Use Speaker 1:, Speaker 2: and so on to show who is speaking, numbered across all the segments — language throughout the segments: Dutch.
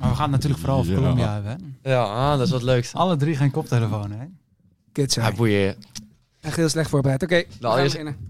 Speaker 1: gaat het natuurlijk vooral over
Speaker 2: Ja.
Speaker 1: Colombia hebben. hè?
Speaker 3: Ja, ah, dat is wat leuks.
Speaker 1: Alle drie geen koptelefoon, hè?
Speaker 4: Kut zijn.
Speaker 3: Ja, boeien.
Speaker 4: Echt heel slecht voorbereid. Oké, we gaan
Speaker 3: allereerste-
Speaker 4: beginnen.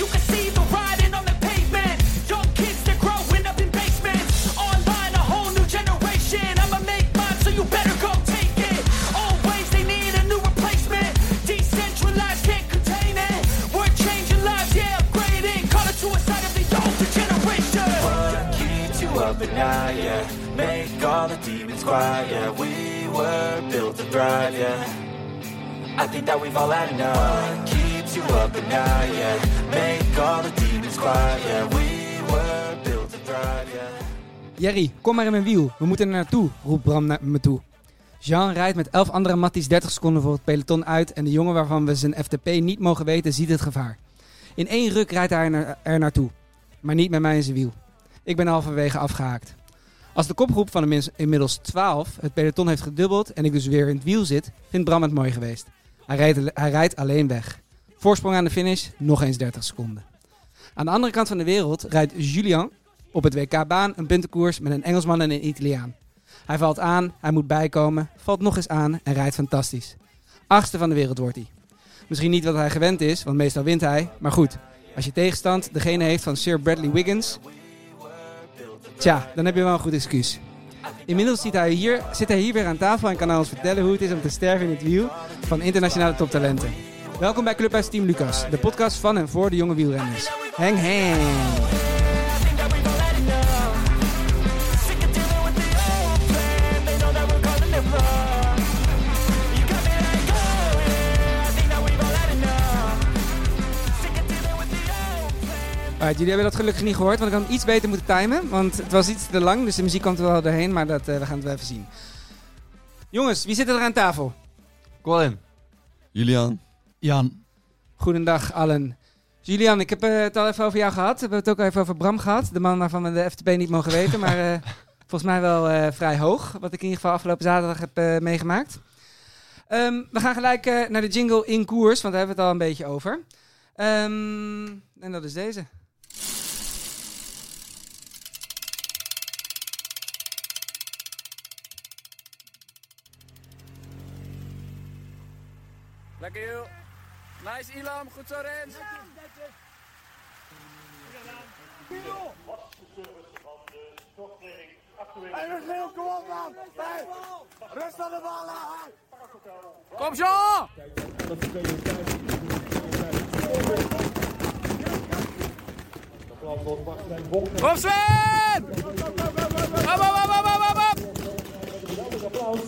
Speaker 5: You can see the riding on the pavement. Young kids, they're growing up in basements. Online, a whole new generation. I'ma make mine, so you better go take it. Always, they need a new replacement. Decentralized, can't contain it. We're changing lives, yeah, upgrading. Call it suicide of the older generation.
Speaker 6: What keeps you up at night, yeah? Make all the demons quiet, yeah. We were built to thrive, yeah. I think that we've all had enough. What keeps you up at night, yeah? Make all the demons quiet, yeah. We were built to thrive, yeah.
Speaker 4: Jerry, kom maar in mijn wiel. We moeten er naartoe, roept Bram naar me toe. Jean rijdt met elf andere matties 30 seconden voor het peloton uit en de jongen waarvan we zijn FTP niet mogen weten ziet het gevaar. In één ruk rijdt hij er, na- er naartoe, maar niet met mij in zijn wiel. Ik ben halverwege afgehaakt. Als de kopgroep van inmiddels- inmiddels 12 het peloton heeft gedubbeld en ik dus weer in het wiel zit, vindt Bram het mooi geweest. Hij rijdt, al- hij rijdt alleen weg. Voorsprong aan de finish, nog eens 30 seconden. Aan de andere kant van de wereld rijdt Julian op het WK-baan een puntenkoers met een Engelsman en een Italiaan. Hij valt aan, hij moet bijkomen, valt nog eens aan en rijdt fantastisch. Achtste van de wereld wordt hij. Misschien niet wat hij gewend is, want meestal wint hij. Maar goed, als je tegenstand degene heeft van Sir Bradley Wiggins... Tja, dan heb je wel een goed excuus. Inmiddels zit hij, hier, zit hij hier weer aan tafel en kan hij ons vertellen hoe het is om te sterven in het wiel van internationale toptalenten. Welkom bij Clubhuis Team Lucas, de podcast van en voor de jonge wielrenners. Heng heng!
Speaker 5: oh,
Speaker 4: Alright, Eh, jullie hebben dat gelukkig niet gehoord, want ik had hem iets beter moeten timen. Want het was iets te lang, dus de muziek kwam er wel doorheen, maar dat, eh, we gaan het wel even zien. Jongens, wie zit er aan tafel?
Speaker 3: Colin.
Speaker 2: Julian.
Speaker 1: Jan,
Speaker 4: Goedendag allen. Julian, ik heb eh, het al even over jou gehad. We hebben het ook al even over Bram gehad. De man waarvan we de FTP niet mogen weten, maar eh, volgens mij wel eh, vrij hoog. Wat ik in ieder geval afgelopen zaterdag heb eh, meegemaakt. Ehm, we gaan gelijk eh, naar de jingle in koers, want daar hebben we het al een beetje over. Ehm, en dat is deze.
Speaker 7: Lekker joh. Nice Ilam, goed zo Rens. Kom Jean! Kom Sven! Op, op, op, op, op, op!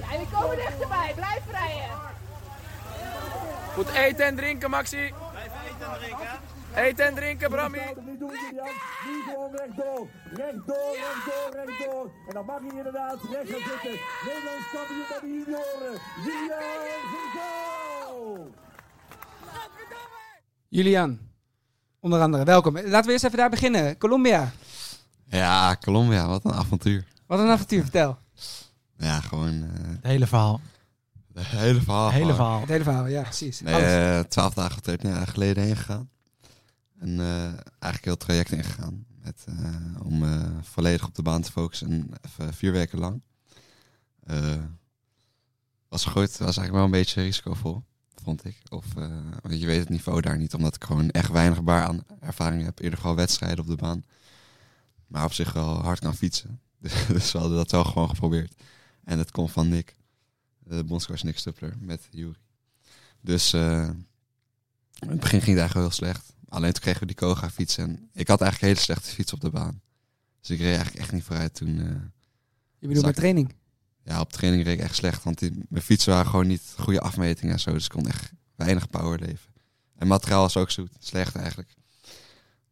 Speaker 8: Ja, jullie komen dichterbij. Blijf rijden.
Speaker 7: Goed eten en drinken, Maxi. Blijf eten en drinken. Eten en drinken, Brammy.
Speaker 9: Nu doen we Jan. Nu gewoon rechtdoor. Rechtdoor, rechtdoor, rechtdoor. En dan mag hij inderdaad recht gaan zitten. Nederlands kampioen bij de junioren. Julian Zinko!
Speaker 4: Julian, onder andere, welkom. Laten we eerst even daar beginnen. Colombia,
Speaker 2: Ja, Colombia, wat een avontuur.
Speaker 4: wat een avontuur, vertel.
Speaker 2: Ja, gewoon eh
Speaker 1: het hele verhaal.
Speaker 2: het hele verhaal.
Speaker 1: Het hele
Speaker 2: gewoon.
Speaker 1: verhaal.
Speaker 4: Het hele verhaal, ja, precies.
Speaker 2: Nee,
Speaker 4: Alles.
Speaker 2: eh, twaalf dagen trip ja, geleden heen gegaan. En eh, eigenlijk heel het traject ingegaan. Met, eh, om eh, volledig op de baan te focussen. En even vier weken lang. Eh, was goed. Was eigenlijk wel een beetje risicovol, vond ik. Of, eh, want je weet het niveau daar niet. Omdat ik gewoon echt weinig baan ervaring heb. Eerder gewoon wedstrijden op de baan. Maar op zich wel hard kan fietsen. Dus, we hadden dat wel gewoon geprobeerd. En het komt van Nick. De bondscoach Nick Stuppler met Juri. Dus eh, in het begin ging het eigenlijk wel heel slecht. Alleen toen kregen we die Koga fiets en ik had eigenlijk een hele slechte fiets op de baan. Dus ik reed eigenlijk echt niet vooruit toen. eh,
Speaker 4: Je bedoelt
Speaker 2: Zak.
Speaker 4: met training.
Speaker 2: ja, op training reed ik echt slecht, want die, mijn fietsen waren gewoon niet goede afmetingen en zo. Dus ik kon echt weinig power leven. En materiaal was ook zoet, slecht eigenlijk.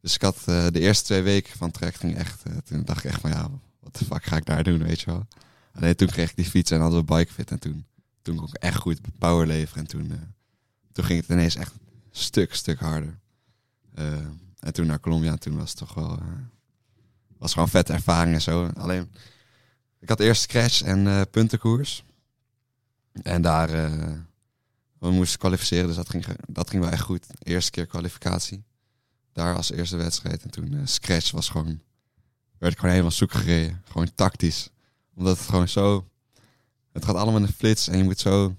Speaker 2: Dus ik had eh, de eerste twee weken van trekking echt, eh, toen dacht ik echt van ja, wat de fuck ga ik daar doen, weet je wel. Alleen toen kreeg ik die fiets en hadden we bikefit en toen, toen kon ik echt goed power leveren. En toen, eh, toen ging het ineens echt stuk, stuk harder. Eh, en toen naar Colombia, toen was het toch wel, eh, was gewoon vette ervaring en zo. Alleen Ik had eerst scratch en eh, puntenkoers. En daar eh, we moesten kwalificeren, dus dat ging, ge- dat ging wel echt goed. Eerste keer kwalificatie. Daar als eerste wedstrijd. En toen eh, scratch was gewoon... Werd ik gewoon helemaal zoek gereden. Gewoon tactisch. Omdat het gewoon zo... Het gaat allemaal in de flits en je moet zo...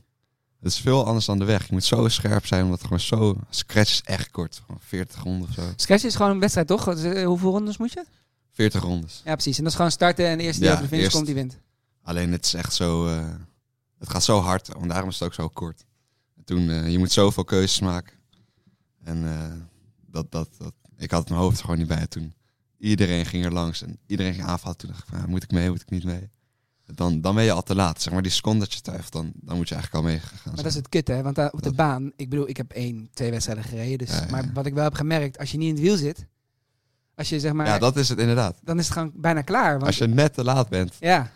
Speaker 2: Het is veel anders dan de weg. Je moet zo scherp zijn, omdat het gewoon zo... Scratch is echt kort. Gewoon 40 ronden of zo.
Speaker 4: Scratch is gewoon een wedstrijd, toch? Dus, eh, Hoeveel rondes moet je?
Speaker 2: 40 rondes.
Speaker 4: Ja, precies. En dat is gewoon starten en de eerste die
Speaker 2: Ja,
Speaker 4: over de finish
Speaker 2: eerst.
Speaker 4: komt, die wint.
Speaker 2: Alleen het is echt zo. eh, het gaat zo hard, en daarom is het ook zo kort. En toen, eh, je moet zoveel keuzes maken. En eh, dat, dat, dat, ik had mijn hoofd er gewoon niet bij. Toen iedereen ging er langs en iedereen ging aanvallen. Toen dacht ik, van, ja, moet ik mee, moet ik niet mee? Dan, dan ben je al te laat. Zeg maar die seconde dat je twijfelt, dan, dan moet je eigenlijk al meegegaan zijn.
Speaker 4: Maar dat is het kut, hè? Want daar op de
Speaker 2: Dat-
Speaker 4: baan, ik bedoel, ik heb één, twee wedstrijden gereden. Dus,
Speaker 2: Ja, ja, ja.
Speaker 4: Maar wat ik wel heb gemerkt, als je niet in het wiel zit, als je zeg maar,
Speaker 2: Ja, dat is het inderdaad.
Speaker 4: dan is het gewoon bijna klaar. Want,
Speaker 2: Als je net te laat bent,
Speaker 4: Ja,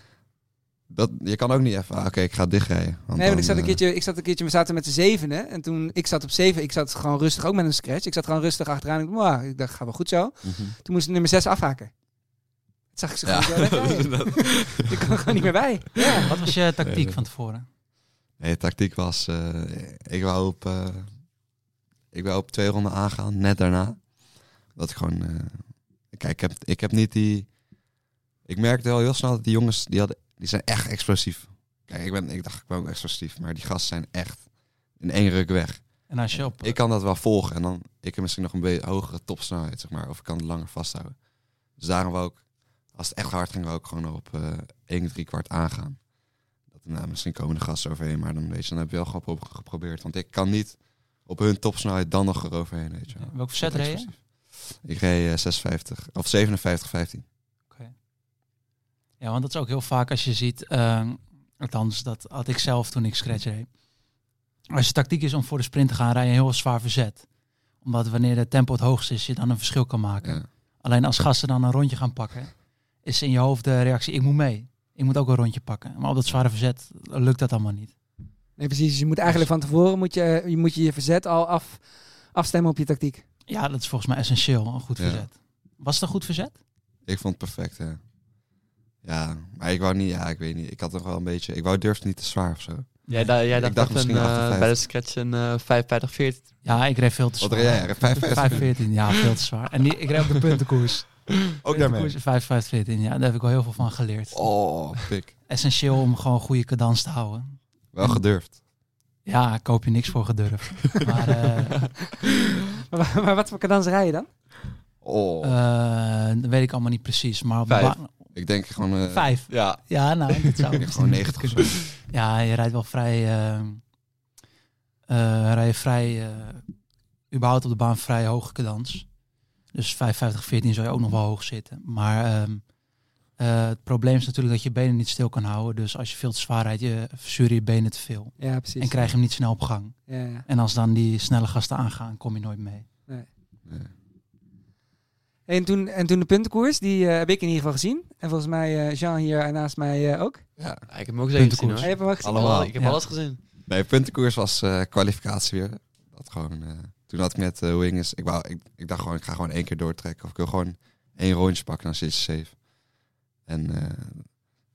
Speaker 2: dat, je kan ook niet even, ah, oké, ik ga dichtrijden. Want
Speaker 4: nee, want
Speaker 2: dan,
Speaker 4: ik zat een
Speaker 2: eh,
Speaker 4: keertje, ik zat een keertje, we zaten met z'n zevenen. En toen, ik zat op zeven, ik zat gewoon rustig, ook met een scratch. Ik zat gewoon rustig achteraan. Ik dacht, "Mwah," ik dacht, gaat wel goed zo.
Speaker 2: mhm.
Speaker 4: Toen moest nummer zes afhaken. Dat zag ik ze
Speaker 2: Ja.
Speaker 4: gewoon zo wegrijden. Ik kwam er gewoon niet meer bij. Ja.
Speaker 1: Wat was je tactiek van tevoren?
Speaker 2: Nee, de tactiek was, eh, ik, wou op, eh, ik wou op twee ronden aangaan, net daarna. Dat ik gewoon, eh, kijk, ik heb, ik heb niet die, ik merkte wel heel snel dat die jongens, die, hadden, die zijn echt explosief. Kijk, ik, ben, ik dacht, ik ben ook explosief, maar die gasten zijn echt in één ruk weg.
Speaker 1: En als je op...
Speaker 2: Ik kan dat wel volgen en dan, ik heb misschien nog een beetje hogere topsnelheid, zeg maar, of ik kan het langer vasthouden. Dus daarom wou ik, als het echt hard ging, wou ik gewoon op eh 1, 3 kwart aangaan. Dat, nou, misschien komen de gasten overheen, maar dan, weet je, dan heb je wel gewoon op- geprobeerd. Want ik kan niet op hun topsnelheid dan nog eroverheen, weet je wel.
Speaker 1: welk verzet reed je?
Speaker 2: Explosief. Ik reed eh, 56, of 57, 15.
Speaker 1: Ja, want dat is ook heel vaak als je ziet, eh, althans dat had ik zelf toen ik scratch reed. Als je tactiek is om voor de sprint te gaan, rij je heel zwaar verzet. Omdat wanneer het tempo het hoogst is, je dan een verschil kan maken.
Speaker 2: Ja.
Speaker 1: Alleen als gasten dan een rondje gaan pakken, is in je hoofd de reactie, ik moet mee. Ik moet ook een rondje pakken. Maar op dat zware verzet lukt dat allemaal niet.
Speaker 4: Nee, precies. Dus je moet eigenlijk van tevoren moet je, je, moet je, je verzet al af, afstemmen op je tactiek.
Speaker 1: Ja, dat is volgens mij essentieel, een goed
Speaker 2: Ja.
Speaker 1: verzet. Was het een goed verzet?
Speaker 2: Ik vond het perfect, hè. Ja, maar ik wou niet, ja, ik weet niet. Ik had nog wel een beetje, ik wou durfde niet te zwaar of zo.
Speaker 3: Jij, da- jij dacht,
Speaker 2: dacht
Speaker 3: dat een,
Speaker 2: misschien
Speaker 3: eh,
Speaker 2: 58.
Speaker 3: bij de scratch een eh 55, 40.
Speaker 1: Ja, ik reed veel te
Speaker 2: Wat
Speaker 1: zwaar.
Speaker 2: reed jij? 55?
Speaker 1: 5.14, ja, veel te zwaar. En die- ik reed op de puntenkoers.
Speaker 2: Ook
Speaker 1: Puntenkoers 5.14, ja, daar heb ik wel heel veel van geleerd.
Speaker 2: Oh, pik.
Speaker 1: essentieel om gewoon goede cadans te houden.
Speaker 2: Wel
Speaker 1: Hmm.
Speaker 2: gedurfd.
Speaker 1: Ja, daar koop je niks voor gedurfd. maar eh,
Speaker 4: Maar, maar wat voor cadans rij je dan?
Speaker 2: Oh.
Speaker 1: eh, dat weet ik allemaal niet precies. Maar op de
Speaker 3: Vijf.
Speaker 1: baan-
Speaker 2: ik denk gewoon... eh,
Speaker 1: vijf.
Speaker 3: Ja,
Speaker 1: Ja, nou, dat zou
Speaker 2: ik denk gewoon 90 of zo.
Speaker 1: Ja, je rijdt wel vrij. eh, eh, rij je vrij. eh, überhaupt op de baan vrij hoge cadans. Dus 55, 14 zou je ook nog wel hoog zitten. Maar ehm, eh, het probleem is natuurlijk dat je benen niet stil kan houden. Dus als je veel te zwaar rijdt, je verzuren je benen te veel.
Speaker 4: Ja, precies.
Speaker 1: En krijg je hem niet snel op gang.
Speaker 4: Ja, ja.
Speaker 1: En als dan die snelle gasten aangaan, kom je nooit mee.
Speaker 2: Nee.
Speaker 4: En, toen, en toen de puntenkoers, die eh, heb ik in ieder geval gezien. En volgens mij eh, Jean hier naast mij eh, ook.
Speaker 2: Ja.
Speaker 3: ik heb hem ook zeker gezien
Speaker 1: Puntenkoers.
Speaker 4: Hij
Speaker 3: hoor.
Speaker 4: heeft hem ook gezien.
Speaker 2: Allemaal.
Speaker 3: Ik heb
Speaker 1: Ja.
Speaker 3: alles gezien.
Speaker 2: nee, puntenkoers was eh, kwalificatie weer. Dat gewoon, eh, toen had ik net eh Wings. Ik, wou, ik, ik dacht gewoon, ik ga gewoon één keer doortrekken. Of ik wil gewoon één rondje pakken, dan zit je safe. En eh,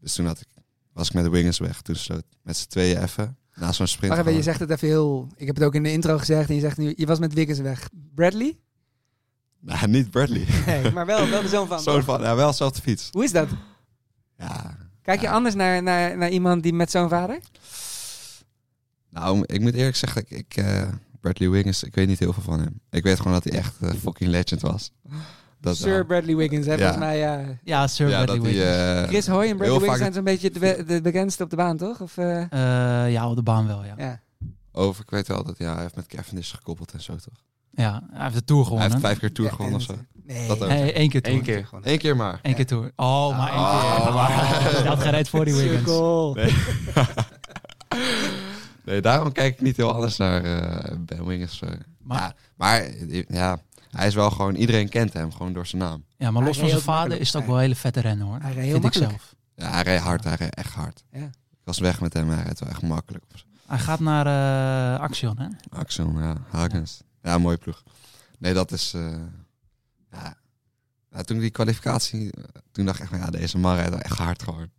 Speaker 2: dus toen had ik, was ik met de Wings weg. Toen sloot met z'n tweeën even. Na zo'n sprint.
Speaker 4: Wacht even,
Speaker 2: gewoon-
Speaker 4: je zegt het even heel... Ik heb het ook in de intro gezegd en je zegt nu... Je was met Wiggins weg. Bradley?
Speaker 2: Nou, niet Bradley.
Speaker 4: Nee, maar wel, wel de zoon van.
Speaker 2: Zo'n van, ja, wel zelf de fiets.
Speaker 4: Hoe is dat?
Speaker 2: Ja,
Speaker 4: Kijk je
Speaker 2: Ja.
Speaker 4: anders naar, naar, naar iemand die met zo'n vader?
Speaker 2: Nou, ik moet eerlijk zeggen, ik, ik, eh, Bradley Wiggins, ik weet niet heel veel van hem. Ik weet gewoon dat hij echt eh, fucking legend was. Dat
Speaker 4: Sir
Speaker 2: wel.
Speaker 4: Bradley Wiggins, hè,
Speaker 2: Ja.
Speaker 4: volgens mij. ja.
Speaker 1: Ja, Sir
Speaker 2: ja, dat
Speaker 1: Bradley
Speaker 2: hij,
Speaker 1: Wiggins.
Speaker 2: eh,
Speaker 4: Chris Hoy en
Speaker 2: heel
Speaker 4: Bradley Wiggins
Speaker 2: vaak
Speaker 4: zijn zo'n beetje de, be- de bekendste op de baan, toch? Of, eh,
Speaker 1: Eh, ja, op de baan wel, ja. ja.
Speaker 4: ja.
Speaker 2: over, ik weet wel dat ja, hij heeft met Cavendish gekoppeld en zo toch?
Speaker 1: hij heeft de Tour
Speaker 2: Hij
Speaker 1: gewonnen.
Speaker 2: heeft vijf keer Tour
Speaker 4: Ja,
Speaker 2: gewonnen of
Speaker 4: en-
Speaker 2: zo.
Speaker 4: Nee.
Speaker 2: Dat ook.
Speaker 1: Nee, één keer Tour.
Speaker 3: Eén keer. Ah.
Speaker 2: Eén keer maar.
Speaker 1: Eén keer Tour. Oh, maar één
Speaker 2: Oh,
Speaker 1: keer.
Speaker 2: maar-
Speaker 1: Hij had gereed voor die Wiggins.
Speaker 4: Cirkel.
Speaker 2: Nee, daarom kijk ik niet heel anders naar eh, Ben Wiggins. eh.
Speaker 1: Maar-
Speaker 2: ja, maar eh, ja, hij is wel gewoon, iedereen kent hem gewoon door zijn naam.
Speaker 1: Ja, maar
Speaker 4: Hij
Speaker 1: los van
Speaker 4: reed
Speaker 1: zijn
Speaker 4: ook
Speaker 1: vader
Speaker 4: makkelijk.
Speaker 1: is het ook wel een hele vette rennen, hoor.
Speaker 4: Hij reed heel
Speaker 1: Vind ik
Speaker 4: makkelijk.
Speaker 1: zelf.
Speaker 2: Ja, hij reed hard, hij reed echt hard.
Speaker 4: Ja.
Speaker 2: Ik was weg met hem, hij reed wel echt makkelijk.
Speaker 1: Hij gaat naar eh, Action, hè?
Speaker 2: Axel, ja, Hagens. Ja, mooie ploeg. Nee, dat is... eh, ja. Ja, toen die kwalificatie, eh, toen dacht ik echt van ja, deze man rijdt wel echt hard gewoon.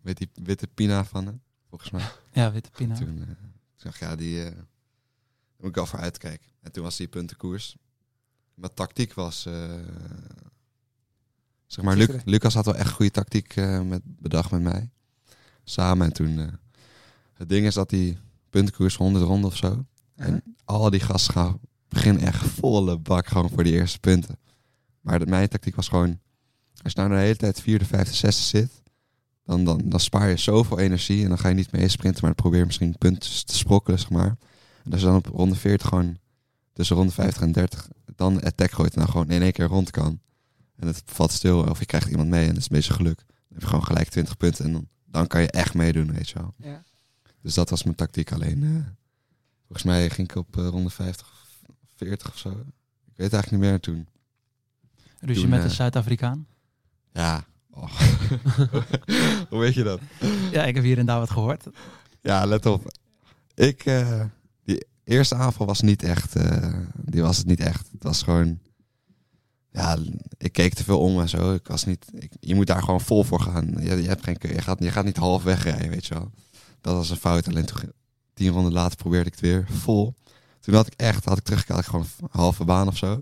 Speaker 2: Met die witte pina van hem, volgens mij.
Speaker 1: Ja, witte pina.
Speaker 2: Toen eh, ik zag ja, die... eh, daar moet ik wel voor uitkijken. En toen was die puntenkoers. Maar tactiek was... eh, zeg maar, Luc-
Speaker 4: Gisteren.
Speaker 2: Lucas had wel echt goede tactiek eh, met, bedacht met mij. Samen. En toen... eh, het ding is dat die puntenkoers 100 ronden of zo. En al die gasten gaan beginnen echt volle bak gewoon voor die eerste punten. Maar de, mijn tactiek was gewoon... Als je nou de hele tijd vierde, vijfde, zesde zit... Dan, dan, dan spaar je zoveel energie en dan ga je niet mee sprinten, maar dan probeer je misschien punten te sprokkelen, zeg maar. En als je dan op ronde 40 gewoon tussen ronde 50 en 30 dan een attack gooit en dan gewoon in één keer rond kan. En het valt stil of je krijgt iemand mee en dat is een beetje geluk. Dan heb je gewoon gelijk 20 punten en dan, dan kan je echt meedoen, weet je wel.
Speaker 4: Ja.
Speaker 2: Dus dat was mijn tactiek alleen. eh, volgens mij ging ik op eh, ronde 50 of 40 of zo. Ik weet eigenlijk niet meer toen.
Speaker 1: Ruzie
Speaker 2: Toen,
Speaker 1: met
Speaker 2: eh,
Speaker 1: een Zuid-Afrikaan.
Speaker 2: Ja. Oh. Hoe weet je dat?
Speaker 1: Ja, ik heb hier en daar wat gehoord.
Speaker 2: Ja, let op. Ik, eh, die eerste aanval was niet echt, eh, die was het niet echt. Het was gewoon, ja, ik keek te veel om en zo. Ik was niet, ik, je moet daar gewoon vol voor gaan. Je, je, hebt geen, keu- je, gaat, je gaat niet half wegrijden, weet je wel. Dat was een fout. Alleen toen, ging- tien ronden later probeerde ik het weer vol. Toen had ik echt, had ik teruggekeken, had ik gewoon een halve baan of zo.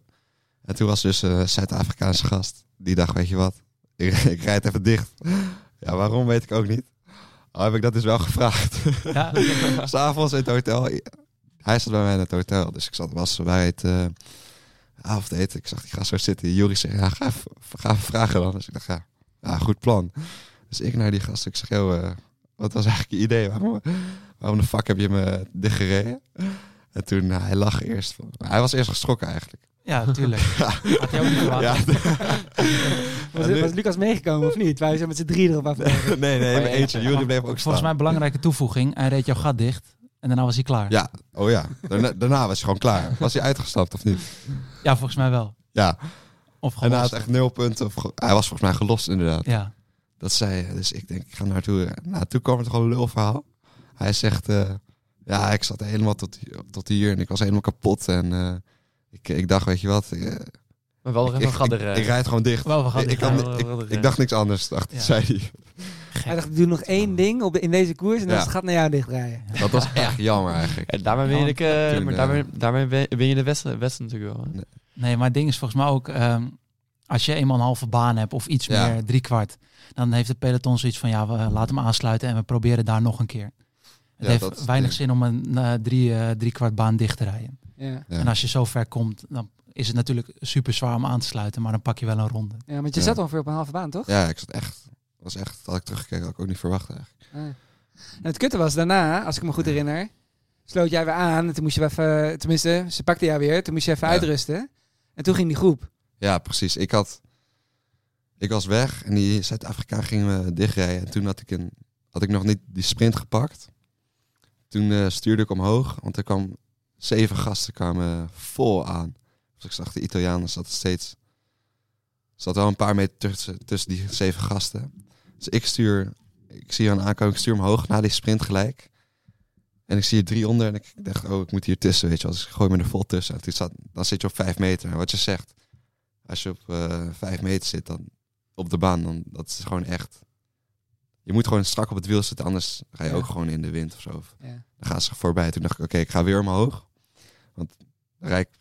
Speaker 2: En toen was dus een Zuid-Afrikaanse gast. Die dacht, weet je wat, ik, ik rijd even dicht. Ja, waarom weet ik ook niet. Al heb ik dat dus wel gevraagd.
Speaker 1: Ja,
Speaker 2: S'avonds in het hotel. Hij zat bij mij in het hotel. Dus ik zat, was bij het eh, avondeten. Ik zag die gast zo zitten. Juri zei, ja, ga, even- ga even vragen dan. Dus ik dacht, ja, ja, goed plan. Dus ik naar die gast. Ik zeg, joh, eh, wat was eigenlijk je idee? Waarom, waarom de fuck heb je me dichtgereden? En toen, nou, hij lag eerst. van- Hij was eerst geschrokken eigenlijk.
Speaker 1: ja tuurlijk. Had jij ook niet verwacht.
Speaker 2: Ja,
Speaker 4: Was,
Speaker 2: Ja, nu-
Speaker 4: was Lucas meegekomen of niet? Wij zijn met z'n drieën erop af.
Speaker 2: nee, nee, maar eentje. Juri bleef
Speaker 1: Oh,
Speaker 2: ook
Speaker 1: Volgens
Speaker 2: staan.
Speaker 1: mij een belangrijke toevoeging. Hij reed jouw gat dicht en daarna was hij klaar.
Speaker 2: Ja, oh ja. Daarna, daarna was hij gewoon klaar. Was hij uitgestapt of niet?
Speaker 1: Ja, volgens mij wel.
Speaker 2: Ja.
Speaker 1: Of gewoon.
Speaker 2: En hij had
Speaker 1: los.
Speaker 2: echt nul punten. Of ge- hij was volgens mij gelost, inderdaad.
Speaker 1: Ja,
Speaker 2: Dat zei hij. Dus ik denk, ik ga naartoe. Nou, toen kwam het gewoon een lulverhaal. Hij zegt, eh, ja, ik zat helemaal tot, hier- tot hier en ik was helemaal kapot. En eh, ik, ik dacht, weet je wat, eh,
Speaker 3: Maar wel nog
Speaker 2: ik,
Speaker 3: even een
Speaker 2: ik, ik,
Speaker 3: gadder. eh.
Speaker 2: ik rijd gewoon dicht.
Speaker 1: wel we gaan
Speaker 2: Ik-
Speaker 1: dicht.
Speaker 2: ik, kan-
Speaker 3: ja, wel-
Speaker 2: ik-
Speaker 3: wel- wel-
Speaker 2: ik dacht niks anders, dacht,
Speaker 1: Ja.
Speaker 2: zei hij.
Speaker 4: Hij dacht, doe nog één ding op de- in deze koers en dan
Speaker 2: Ja.
Speaker 4: gaat naar jou dichtdraaien.
Speaker 2: Dat was echt jammer eigenlijk.
Speaker 3: En daarmee win je de, eh,
Speaker 2: Natuurlijk,
Speaker 3: maar
Speaker 2: ja.
Speaker 3: daarmee, daarmee win- win je de wedstrijd wedstrijd natuurlijk wel. hè.
Speaker 1: Nee, maar het ding is volgens mij ook, ehm, als je eenmaal een halve baan hebt of iets
Speaker 2: Ja.
Speaker 1: meer, drie kwart, dan heeft het peloton zoiets van, ja, we eh, laten hem aansluiten en we proberen daar nog een keer. Het
Speaker 2: Ja, dat is
Speaker 1: heeft
Speaker 2: het
Speaker 1: weinig
Speaker 2: ding.
Speaker 1: zin om een eh, drie, eh, drie kwart baan dicht te rijden.
Speaker 4: Ja.
Speaker 2: Ja.
Speaker 1: En als je zo ver komt, dan is het natuurlijk super zwaar om aan te sluiten, maar dan pak je wel een ronde.
Speaker 4: ja, want je
Speaker 2: Ja.
Speaker 4: zat ongeveer op een halve baan, toch?
Speaker 2: Ja, ik zat echt, was echt, had ik teruggekeken, had ik ook niet verwacht eigenlijk.
Speaker 4: Ah. En het kutte was daarna, als ik me goed herinner, sloot jij weer aan. En toen moest je wel even, tenminste, ze pakte jou weer. Toen moest je even
Speaker 2: Ja.
Speaker 4: uitrusten. En toen ging die groep.
Speaker 2: Ja, precies. Ik had... Ik was weg en die Zuid-Afrika ging me dichtrijden. En toen had ik, een, had ik nog niet die sprint gepakt. Toen eh, stuurde ik omhoog, want er kwam zeven gasten kwamen vol aan. Dus ik zag de Italianen zaten steeds... Zat wel een paar meter tussen, tussen die zeven gasten. Dus ik stuur... Ik zie hem aankomen, ik stuur hem hoog na die sprint gelijk. En ik zie er drie onder en ik dacht, oh, ik moet hier tussen, weet je wel. Dus ik gooi me er vol tussen. En toen zat, dan zit je op vijf meter. En wat je zegt, als je op eh, vijf meter zit dan op de baan, dan dat is gewoon echt. Je moet gewoon strak op het wiel zitten, anders ga je
Speaker 4: Ja.
Speaker 2: ook gewoon in de wind of zo.
Speaker 4: Ja.
Speaker 2: Dan gaan ze voorbij. Toen dacht ik, oké, ik ga weer omhoog. Want dan rijd ik-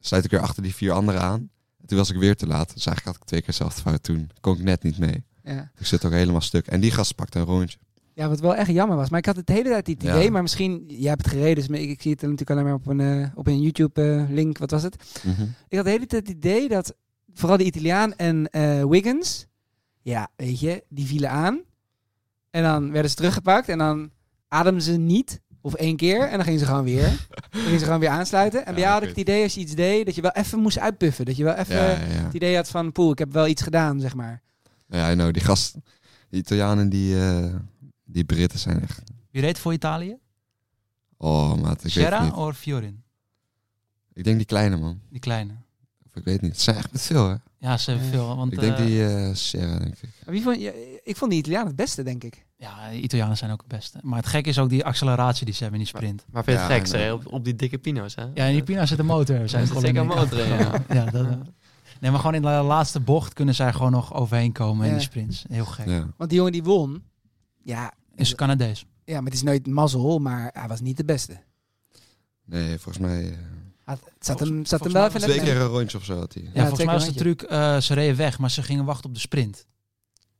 Speaker 2: sluit ik weer achter die vier anderen aan. En toen was ik weer te laat. Dus eigenlijk had ik twee keer dezelfde fout. Toen kon ik net niet mee.
Speaker 4: Ja.
Speaker 2: Ik zit ook helemaal stuk. En die gast pakte een rondje.
Speaker 4: ja, wat wel echt jammer was. Maar ik had het de hele tijd het
Speaker 2: Ja.
Speaker 4: idee, maar misschien, jij hebt het gereden, dus ik, ik zie het natuurlijk alleen maar op een, eh, op een YouTube-link. wat was het? Ik had de hele tijd het idee dat vooral de Italiaan en eh, Wiggins, ja, weet je, die vielen aan. En dan werden ze teruggepakt en dan ademden ze niet. Of één keer en dan gingen ze gewoon weer. Dan gingen ze gewoon weer aansluiten. En bij
Speaker 2: Ja,
Speaker 4: jou had
Speaker 2: ik
Speaker 4: ik het idee als je iets deed, dat je wel even moest uitpuffen. Dat je wel even
Speaker 2: Ja, ja, ja.
Speaker 4: het idee had van, poeh, ik heb wel iets gedaan, zeg maar.
Speaker 2: Ja, I know. Die gast, die Italianen, die, eh, die Britten zijn echt.
Speaker 1: Wie reed voor Italië?
Speaker 2: Oh, maat, ik weet het
Speaker 1: Gerra
Speaker 2: niet.
Speaker 1: of Fiorin?
Speaker 2: Ik denk die kleine man.
Speaker 1: Die kleine.
Speaker 2: Of ik weet niet. Het zijn echt met veel, hè?
Speaker 1: Ja, ze hebben
Speaker 4: Eh,
Speaker 1: veel. Want,
Speaker 2: ik denk
Speaker 1: eh,
Speaker 2: die eh Sierra, denk ik.
Speaker 4: Maar wie vond, je- ik vond die Italiaan het beste, denk ik.
Speaker 1: eh, Ja, de Italianen zijn ook het beste. Maar het gek is ook die acceleratie die ze hebben in die sprint.
Speaker 3: Maar vind je het
Speaker 2: Ja,
Speaker 3: gek,
Speaker 2: en,
Speaker 3: zeg,
Speaker 2: eh,
Speaker 3: op, op die dikke pino's, hè?
Speaker 1: Ja, in die Pina zit een motor. Zijn
Speaker 3: Er zit zeker een motor in, ja.
Speaker 1: ja, dat, nee, maar gewoon in de laatste bocht kunnen zij gewoon nog overheen komen in
Speaker 4: Ja.
Speaker 1: die sprints. Heel gek.
Speaker 2: Ja.
Speaker 4: Want die jongen die won, Ja,
Speaker 1: Is Canadees.
Speaker 4: ja, maar het is nooit mazzel, maar hij was niet de beste.
Speaker 2: Nee, volgens mij... eh,
Speaker 4: Had- Het zat
Speaker 1: Volgens-
Speaker 4: hem, zat hem
Speaker 1: volgens
Speaker 4: wel
Speaker 1: mij
Speaker 4: even
Speaker 1: was
Speaker 2: twee
Speaker 4: lekker.
Speaker 2: keer een rondje of zo had hij.
Speaker 1: Ja, volgens mij was de
Speaker 4: zeker
Speaker 1: truc, eh, ze reden weg, maar ze gingen wachten op de sprint.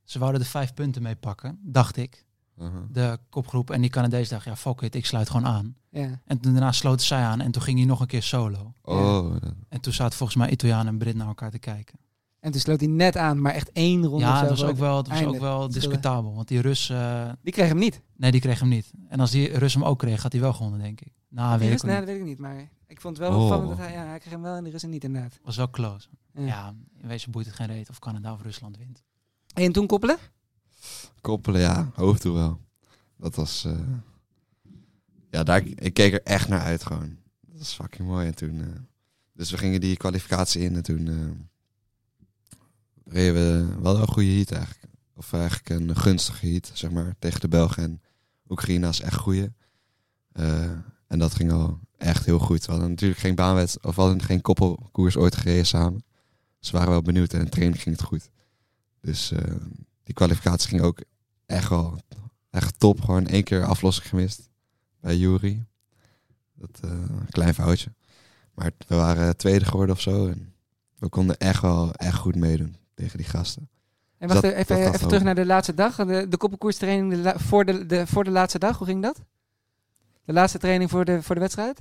Speaker 1: Ze wouden er vijf punten mee pakken, dacht ik.
Speaker 2: Aha.
Speaker 1: De kopgroep en die Canadees dacht, ja fuck it, ik sluit gewoon aan.
Speaker 4: Ja.
Speaker 1: En toen daarna sloot zij aan en toen ging hij nog een keer solo.
Speaker 2: Oh, dat-
Speaker 1: En toen zaten volgens mij Italiaan en Brit naar elkaar te kijken.
Speaker 4: En toen sloot hij net aan, maar echt één ronde of
Speaker 1: Ja,
Speaker 4: zo
Speaker 1: dat was ook
Speaker 4: voor-
Speaker 1: wel, het was ook
Speaker 4: eindelijk.
Speaker 1: wel discutabel, want die Rus, eh,
Speaker 4: Die kreeg hem niet.
Speaker 1: nee die kreeg hem niet. En als die Rus hem ook kreeg, had hij wel gewonnen denk ik. Nou,
Speaker 4: Die
Speaker 1: weet ik
Speaker 4: rust,
Speaker 1: ook
Speaker 4: nee,
Speaker 1: niet.
Speaker 4: dat weet ik niet, maar ik vond het wel
Speaker 2: Oh.
Speaker 4: opvallend dat hij, ja, hij kreeg hem wel in de rust en niet inderdaad.
Speaker 1: was wel close.
Speaker 4: Ja.
Speaker 1: Ja, in wezen boeit het geen reet of Canada of Rusland wint.
Speaker 4: En toen koppelen?
Speaker 2: Koppelen, ja. Hoofdduel. Dat was... eh, Ja, daar, ik keek er echt naar uit gewoon. Dat was fucking mooi. En toen... eh, Dus we gingen die kwalificatie in en toen... eh reden we wel een goede heat eigenlijk. Of eigenlijk een gunstige heat, zeg maar. Tegen de Belgen en Oekraïne als echt goede. Eh, en dat ging al echt heel goed. We hadden natuurlijk geen baanwet of we hadden geen koppelkoers ooit gereden samen. Ze waren wel benieuwd en in training ging het goed. Dus eh, die kwalificatie ging ook echt wel echt top. Gewoon één keer aflossing gemist bij Jury. Dat eh, een klein foutje. Maar we waren tweede geworden of zo. En we konden echt wel echt goed meedoen tegen die gasten.
Speaker 4: En wacht
Speaker 2: Dat-
Speaker 4: even, even,
Speaker 2: dat gaat
Speaker 4: terug
Speaker 2: over.
Speaker 4: naar de laatste dag. De, de koppelkoerstraining de la- voor, de, de, voor de laatste dag, hoe ging dat? De laatste training voor de, voor de wedstrijd?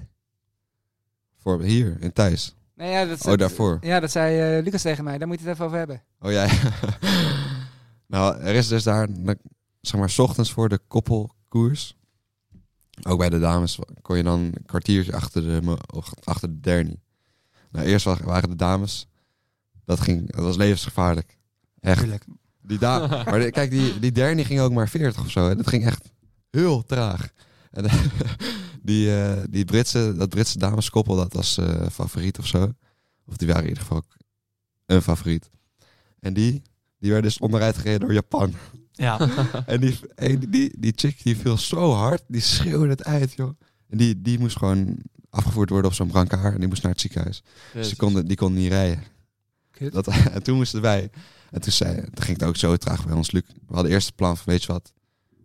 Speaker 2: Voor hier in Thijs.
Speaker 4: Nee, ja, dat,
Speaker 2: Oh, daarvoor.
Speaker 4: Ja, dat zei eh, Lucas tegen mij. Daar moet je het even over hebben.
Speaker 2: Oh ja. nou, er is dus daar, zeg maar, 's ochtends voor de koppelkoers. Ook bij de dames kon je dan een kwartiertje achter de, mo- of achter de dernie. Nou, eerst wa- waren de dames. Dat, ging, dat was levensgevaarlijk. Echt.
Speaker 1: Tuurlijk.
Speaker 2: Die da- maar de- kijk, die, die dernie ging ook maar 40 of zo. Hè. Dat ging echt heel traag. En die, eh, die Britse, dat Britse dameskoppel, dat was eh, favoriet of zo. Of die waren in ieder geval ook een favoriet. En die, die werd dus onderuit gereden door Japan.
Speaker 1: Ja,
Speaker 2: En die, en die- die, die chick die viel zo hard, die schreeuwde het uit, joh. En die, die moest gewoon afgevoerd worden op zo'n brancard en die moest naar het ziekenhuis. Dus die konden, die konden niet rijden.
Speaker 4: Kut.
Speaker 2: Dat, en toen moesten wij. En toen, zei, toen ging het ook zo traag bij ons, Luc. We hadden eerst het plan van, weet je wat,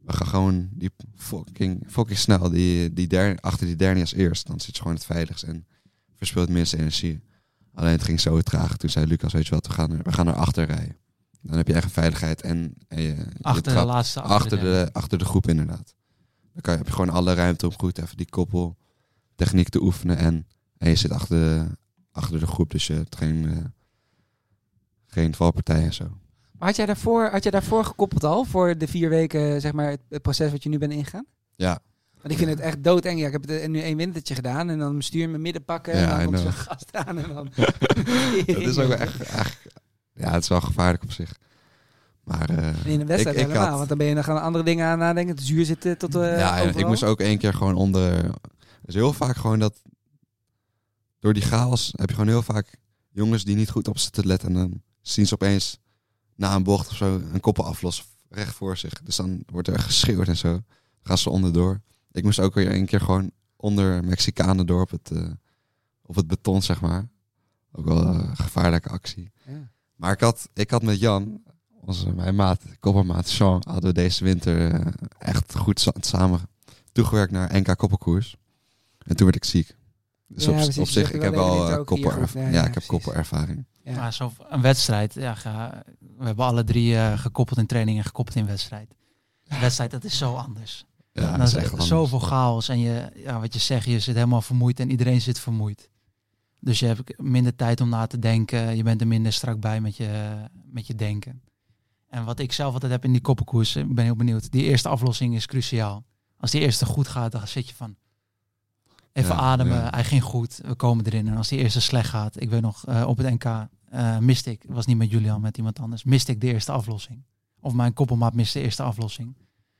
Speaker 2: we gaan gewoon die fucking, fucking snel die, die der, achter die derde als eerst. Dan zit je gewoon het veiligst en verspilt het minste energie. Alleen het ging zo traag. Toen zei Lucas, weet je wat, we gaan, er, we gaan erachter rijden. Dan heb je eigen veiligheid en, en je, je
Speaker 1: achter de
Speaker 2: trapt
Speaker 1: laatste.
Speaker 2: achter de, achter de groep inderdaad. Dan kan, je- heb je gewoon alle ruimte om goed even die koppel techniek te oefenen. En, en je zit achter de, achter de groep, dus je hebt geen, eh, geen valpartij en zo.
Speaker 4: Maar had jij, daarvoor, had jij daarvoor gekoppeld al? Voor de vier weken, zeg maar, het, het proces wat je nu bent ingegaan?
Speaker 2: Ja.
Speaker 4: Want ik vind het echt doodeng. Ja, ik heb het eh, nu één wintertje gedaan en dan stuur je me midden pakken
Speaker 2: Ja,
Speaker 4: en dan
Speaker 2: I
Speaker 4: komt zo'n
Speaker 2: know.
Speaker 4: gast aan en dan...
Speaker 2: Dat is ook wel echt, echt- ja, het is wel gevaarlijk op zich. Maar eh,
Speaker 4: In een wedstrijd
Speaker 2: Ik- ik
Speaker 4: helemaal,
Speaker 2: had-
Speaker 4: want dan ben je dan gaan andere dingen aan nadenken. Het zuur zitten tot eh
Speaker 2: ja, en ik
Speaker 4: overal.
Speaker 2: moest ook één keer gewoon onder. Dus heel vaak gewoon dat. Door die chaos heb je gewoon heel vaak jongens die niet goed op zitten te letten. En dan zien ze opeens na een bocht of zo een koppel aflossen recht voor zich. Dus dan wordt er geschreeuwd en zo. Dan gaan ze onderdoor. Ik moest ook weer één keer gewoon onder Mexicanen door op het, eh, op het beton, zeg maar. Ook wel een gevaarlijke actie.
Speaker 4: Ja.
Speaker 2: Maar ik had, ik had met Jan, onze, mijn maat, koppermaat Jean, hadden we deze winter eh, echt goed sa- samen toegewerkt naar NK koppelkoers. En toen werd ik ziek. Dus
Speaker 4: Ja,
Speaker 2: op,
Speaker 4: precies,
Speaker 2: op
Speaker 4: je
Speaker 2: zich,
Speaker 4: hebt
Speaker 2: ik
Speaker 4: wel
Speaker 2: heb
Speaker 4: even
Speaker 2: wel
Speaker 4: winter
Speaker 2: eh,
Speaker 4: ook hier
Speaker 2: kopper,
Speaker 4: goed. Ja,
Speaker 2: ja,
Speaker 4: ja,
Speaker 2: ik heb
Speaker 4: precies.
Speaker 2: kopperervaring.
Speaker 4: Ja.
Speaker 1: Maar zo een wedstrijd, ja, ga- we hebben alle drie eh, gekoppeld in training en gekoppeld in wedstrijd. Een wedstrijd, dat is zo anders.
Speaker 2: Ja,
Speaker 1: dan
Speaker 2: dat
Speaker 1: is
Speaker 2: is echt anders.
Speaker 1: nou, zoveel chaos en je, ja, wat je zegt, je zit helemaal vermoeid en iedereen zit vermoeid. Dus je hebt minder tijd om na te denken, je bent er minder strak bij met je, met je denken. En wat ik zelf altijd heb in die koppenkoers, ik ben heel benieuwd, die eerste aflossing is cruciaal. Als die eerste goed gaat, dan zit je van, even
Speaker 2: Ja,
Speaker 1: ademen,
Speaker 2: ja.
Speaker 1: hij ging goed, we komen erin. En als die eerste slecht gaat, ik weet nog, eh, op het NK eh miste ik, was niet met Julian, met iemand anders, miste ik de eerste aflossing. Of mijn koppelmaat miste de eerste aflossing.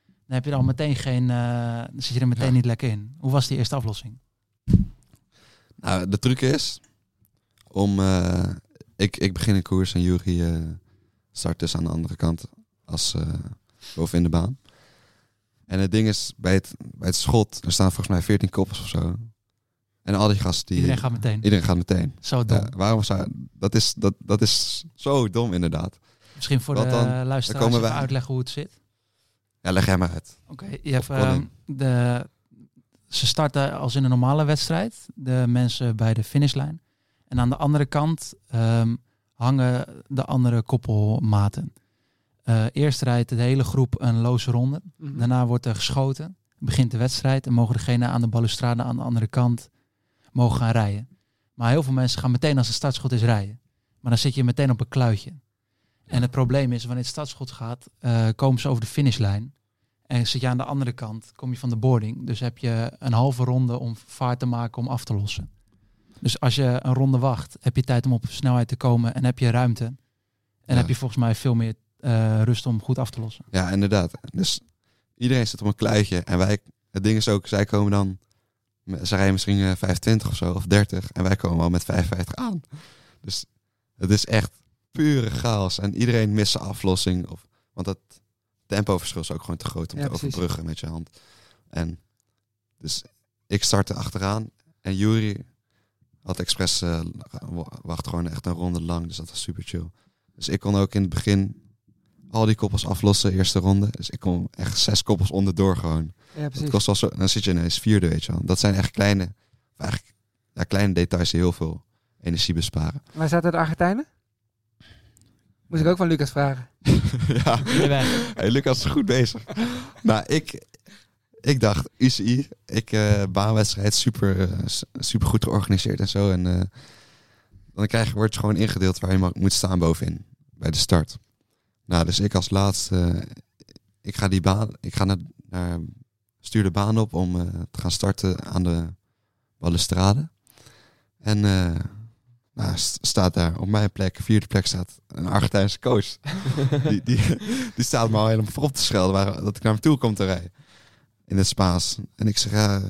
Speaker 1: Dan heb je er al meteen geen, eh, dan zit je er meteen
Speaker 2: Ja.
Speaker 1: niet lekker in. Hoe was die eerste aflossing?
Speaker 2: Nou, de truc is om. eh, ik, ik begin een koers en Jury eh, start dus aan de andere kant als eh, boven in de baan. En het ding is, bij het, bij het schot, er staan volgens mij 14 koppels of zo. En al die gasten die.
Speaker 1: Iedereen gaat meteen.
Speaker 2: iedereen gaat meteen.
Speaker 1: Zo dom.
Speaker 2: Ja, waarom zou. Dat is, dat, dat is zo dom, inderdaad.
Speaker 1: Misschien voor
Speaker 2: want
Speaker 1: de
Speaker 2: dan-
Speaker 1: eh, luisteraars
Speaker 2: komen
Speaker 1: even
Speaker 2: wij-
Speaker 1: uitleggen hoe het zit.
Speaker 2: Ja, leg jij maar uit.
Speaker 1: Oké, je hebt,
Speaker 2: Of kon
Speaker 1: ehm,
Speaker 2: in.
Speaker 1: de, ze starten als in een normale wedstrijd, de mensen bij de finishlijn. En aan de andere kant ehm, hangen de andere koppelmaten. Eh, eerst rijdt de hele groep een loze ronde.
Speaker 4: Mhm.
Speaker 1: Daarna wordt er geschoten, begint de wedstrijd en mogen degene aan de balustrade aan de andere kant mogen gaan rijden. Maar heel veel mensen gaan meteen als het startschot is rijden. Maar dan zit je meteen op een kluitje. En het probleem is, wanneer het startschot gaat, eh, komen ze over de finishlijn. En zit je aan de andere kant, kom je van de boarding. Dus heb je een halve ronde om vaart te maken om af te lossen. Dus als je een ronde wacht, heb je tijd om op snelheid te komen en heb je ruimte. En
Speaker 2: Ja.
Speaker 1: heb je volgens mij veel meer eh, rust om goed af te lossen.
Speaker 2: Ja, inderdaad. Dus iedereen zit op een kluitje. En wij, het ding is ook, zij komen dan... Ze rijden misschien eh, 25 of zo, of 30. En wij komen al met 55 aan. Dus het is echt pure chaos. En iedereen mist zijn aflossing. Of, want dat tempoverschil is ook gewoon te groot om
Speaker 4: Ja,
Speaker 2: te
Speaker 4: precies.
Speaker 2: overbruggen met je hand. En dus ik startte achteraan. En Jury had expres... eh, wa- wacht gewoon echt een ronde lang. Dus dat was super chill. Dus ik kon ook in het begin al die koppels aflossen, eerste ronde. Dus ik kom echt zes koppels onderdoor gewoon.
Speaker 4: Ja,
Speaker 2: Dat
Speaker 4: precies.
Speaker 2: kost wel zo, dan zit je ineens vierde, weet je wel. Dat zijn echt kleine, of eigenlijk, ja, kleine details die heel veel energie besparen.
Speaker 4: Waar zaten de Argentijnen? Moest ik ook van Lucas vragen.
Speaker 2: ja,
Speaker 3: de weg.
Speaker 2: hey, Lucas is goed bezig. nou, ik, ik dacht, UCI, ik, eh, baanwedstrijd, super, eh, s- super goed georganiseerd en zo. En eh, dan krijg, je- word je gewoon ingedeeld waar je mag- moet staan bovenin, bij de start. Nou, dus ik als laatste, eh, ik ga die baan, ik ga naar, naar stuur de baan op om eh, te gaan starten aan de balustrade. En eh, nou, st- staat daar op mijn plek, vierde plek staat een Argentijnse coach. die, die, die staat me al helemaal voor op te schelden waar, dat ik naar hem toe kom te rijden. In het Spaans. En ik zeg, eh,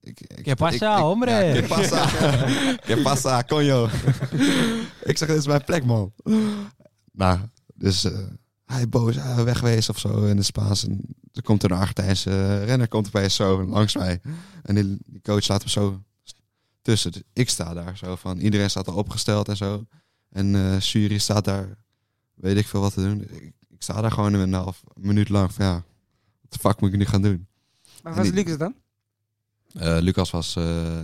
Speaker 2: ik, ik,
Speaker 1: Que pasa,
Speaker 2: ik- ik-
Speaker 1: hombre?
Speaker 2: Ja, que pasa, que pasa, coño. ik zeg, dit is mijn plek, man. Nou, dus eh, hij boos, ah, wegwezen of zo in het Spaans. En er komt een Argentijnse eh, renner komt opeens zo langs mij. En die, die coach laat hem zo tussen. Dus ik sta daar zo van, iedereen staat al opgesteld en zo. En eh jury staat daar, weet ik veel wat te doen. Ik, ik sta daar gewoon een half minuut lang van ja, wat de fuck moet ik nu gaan doen?
Speaker 4: Maar
Speaker 2: En
Speaker 4: was
Speaker 2: die-
Speaker 4: Lucas dan?
Speaker 2: Eh, Lucas was, eh,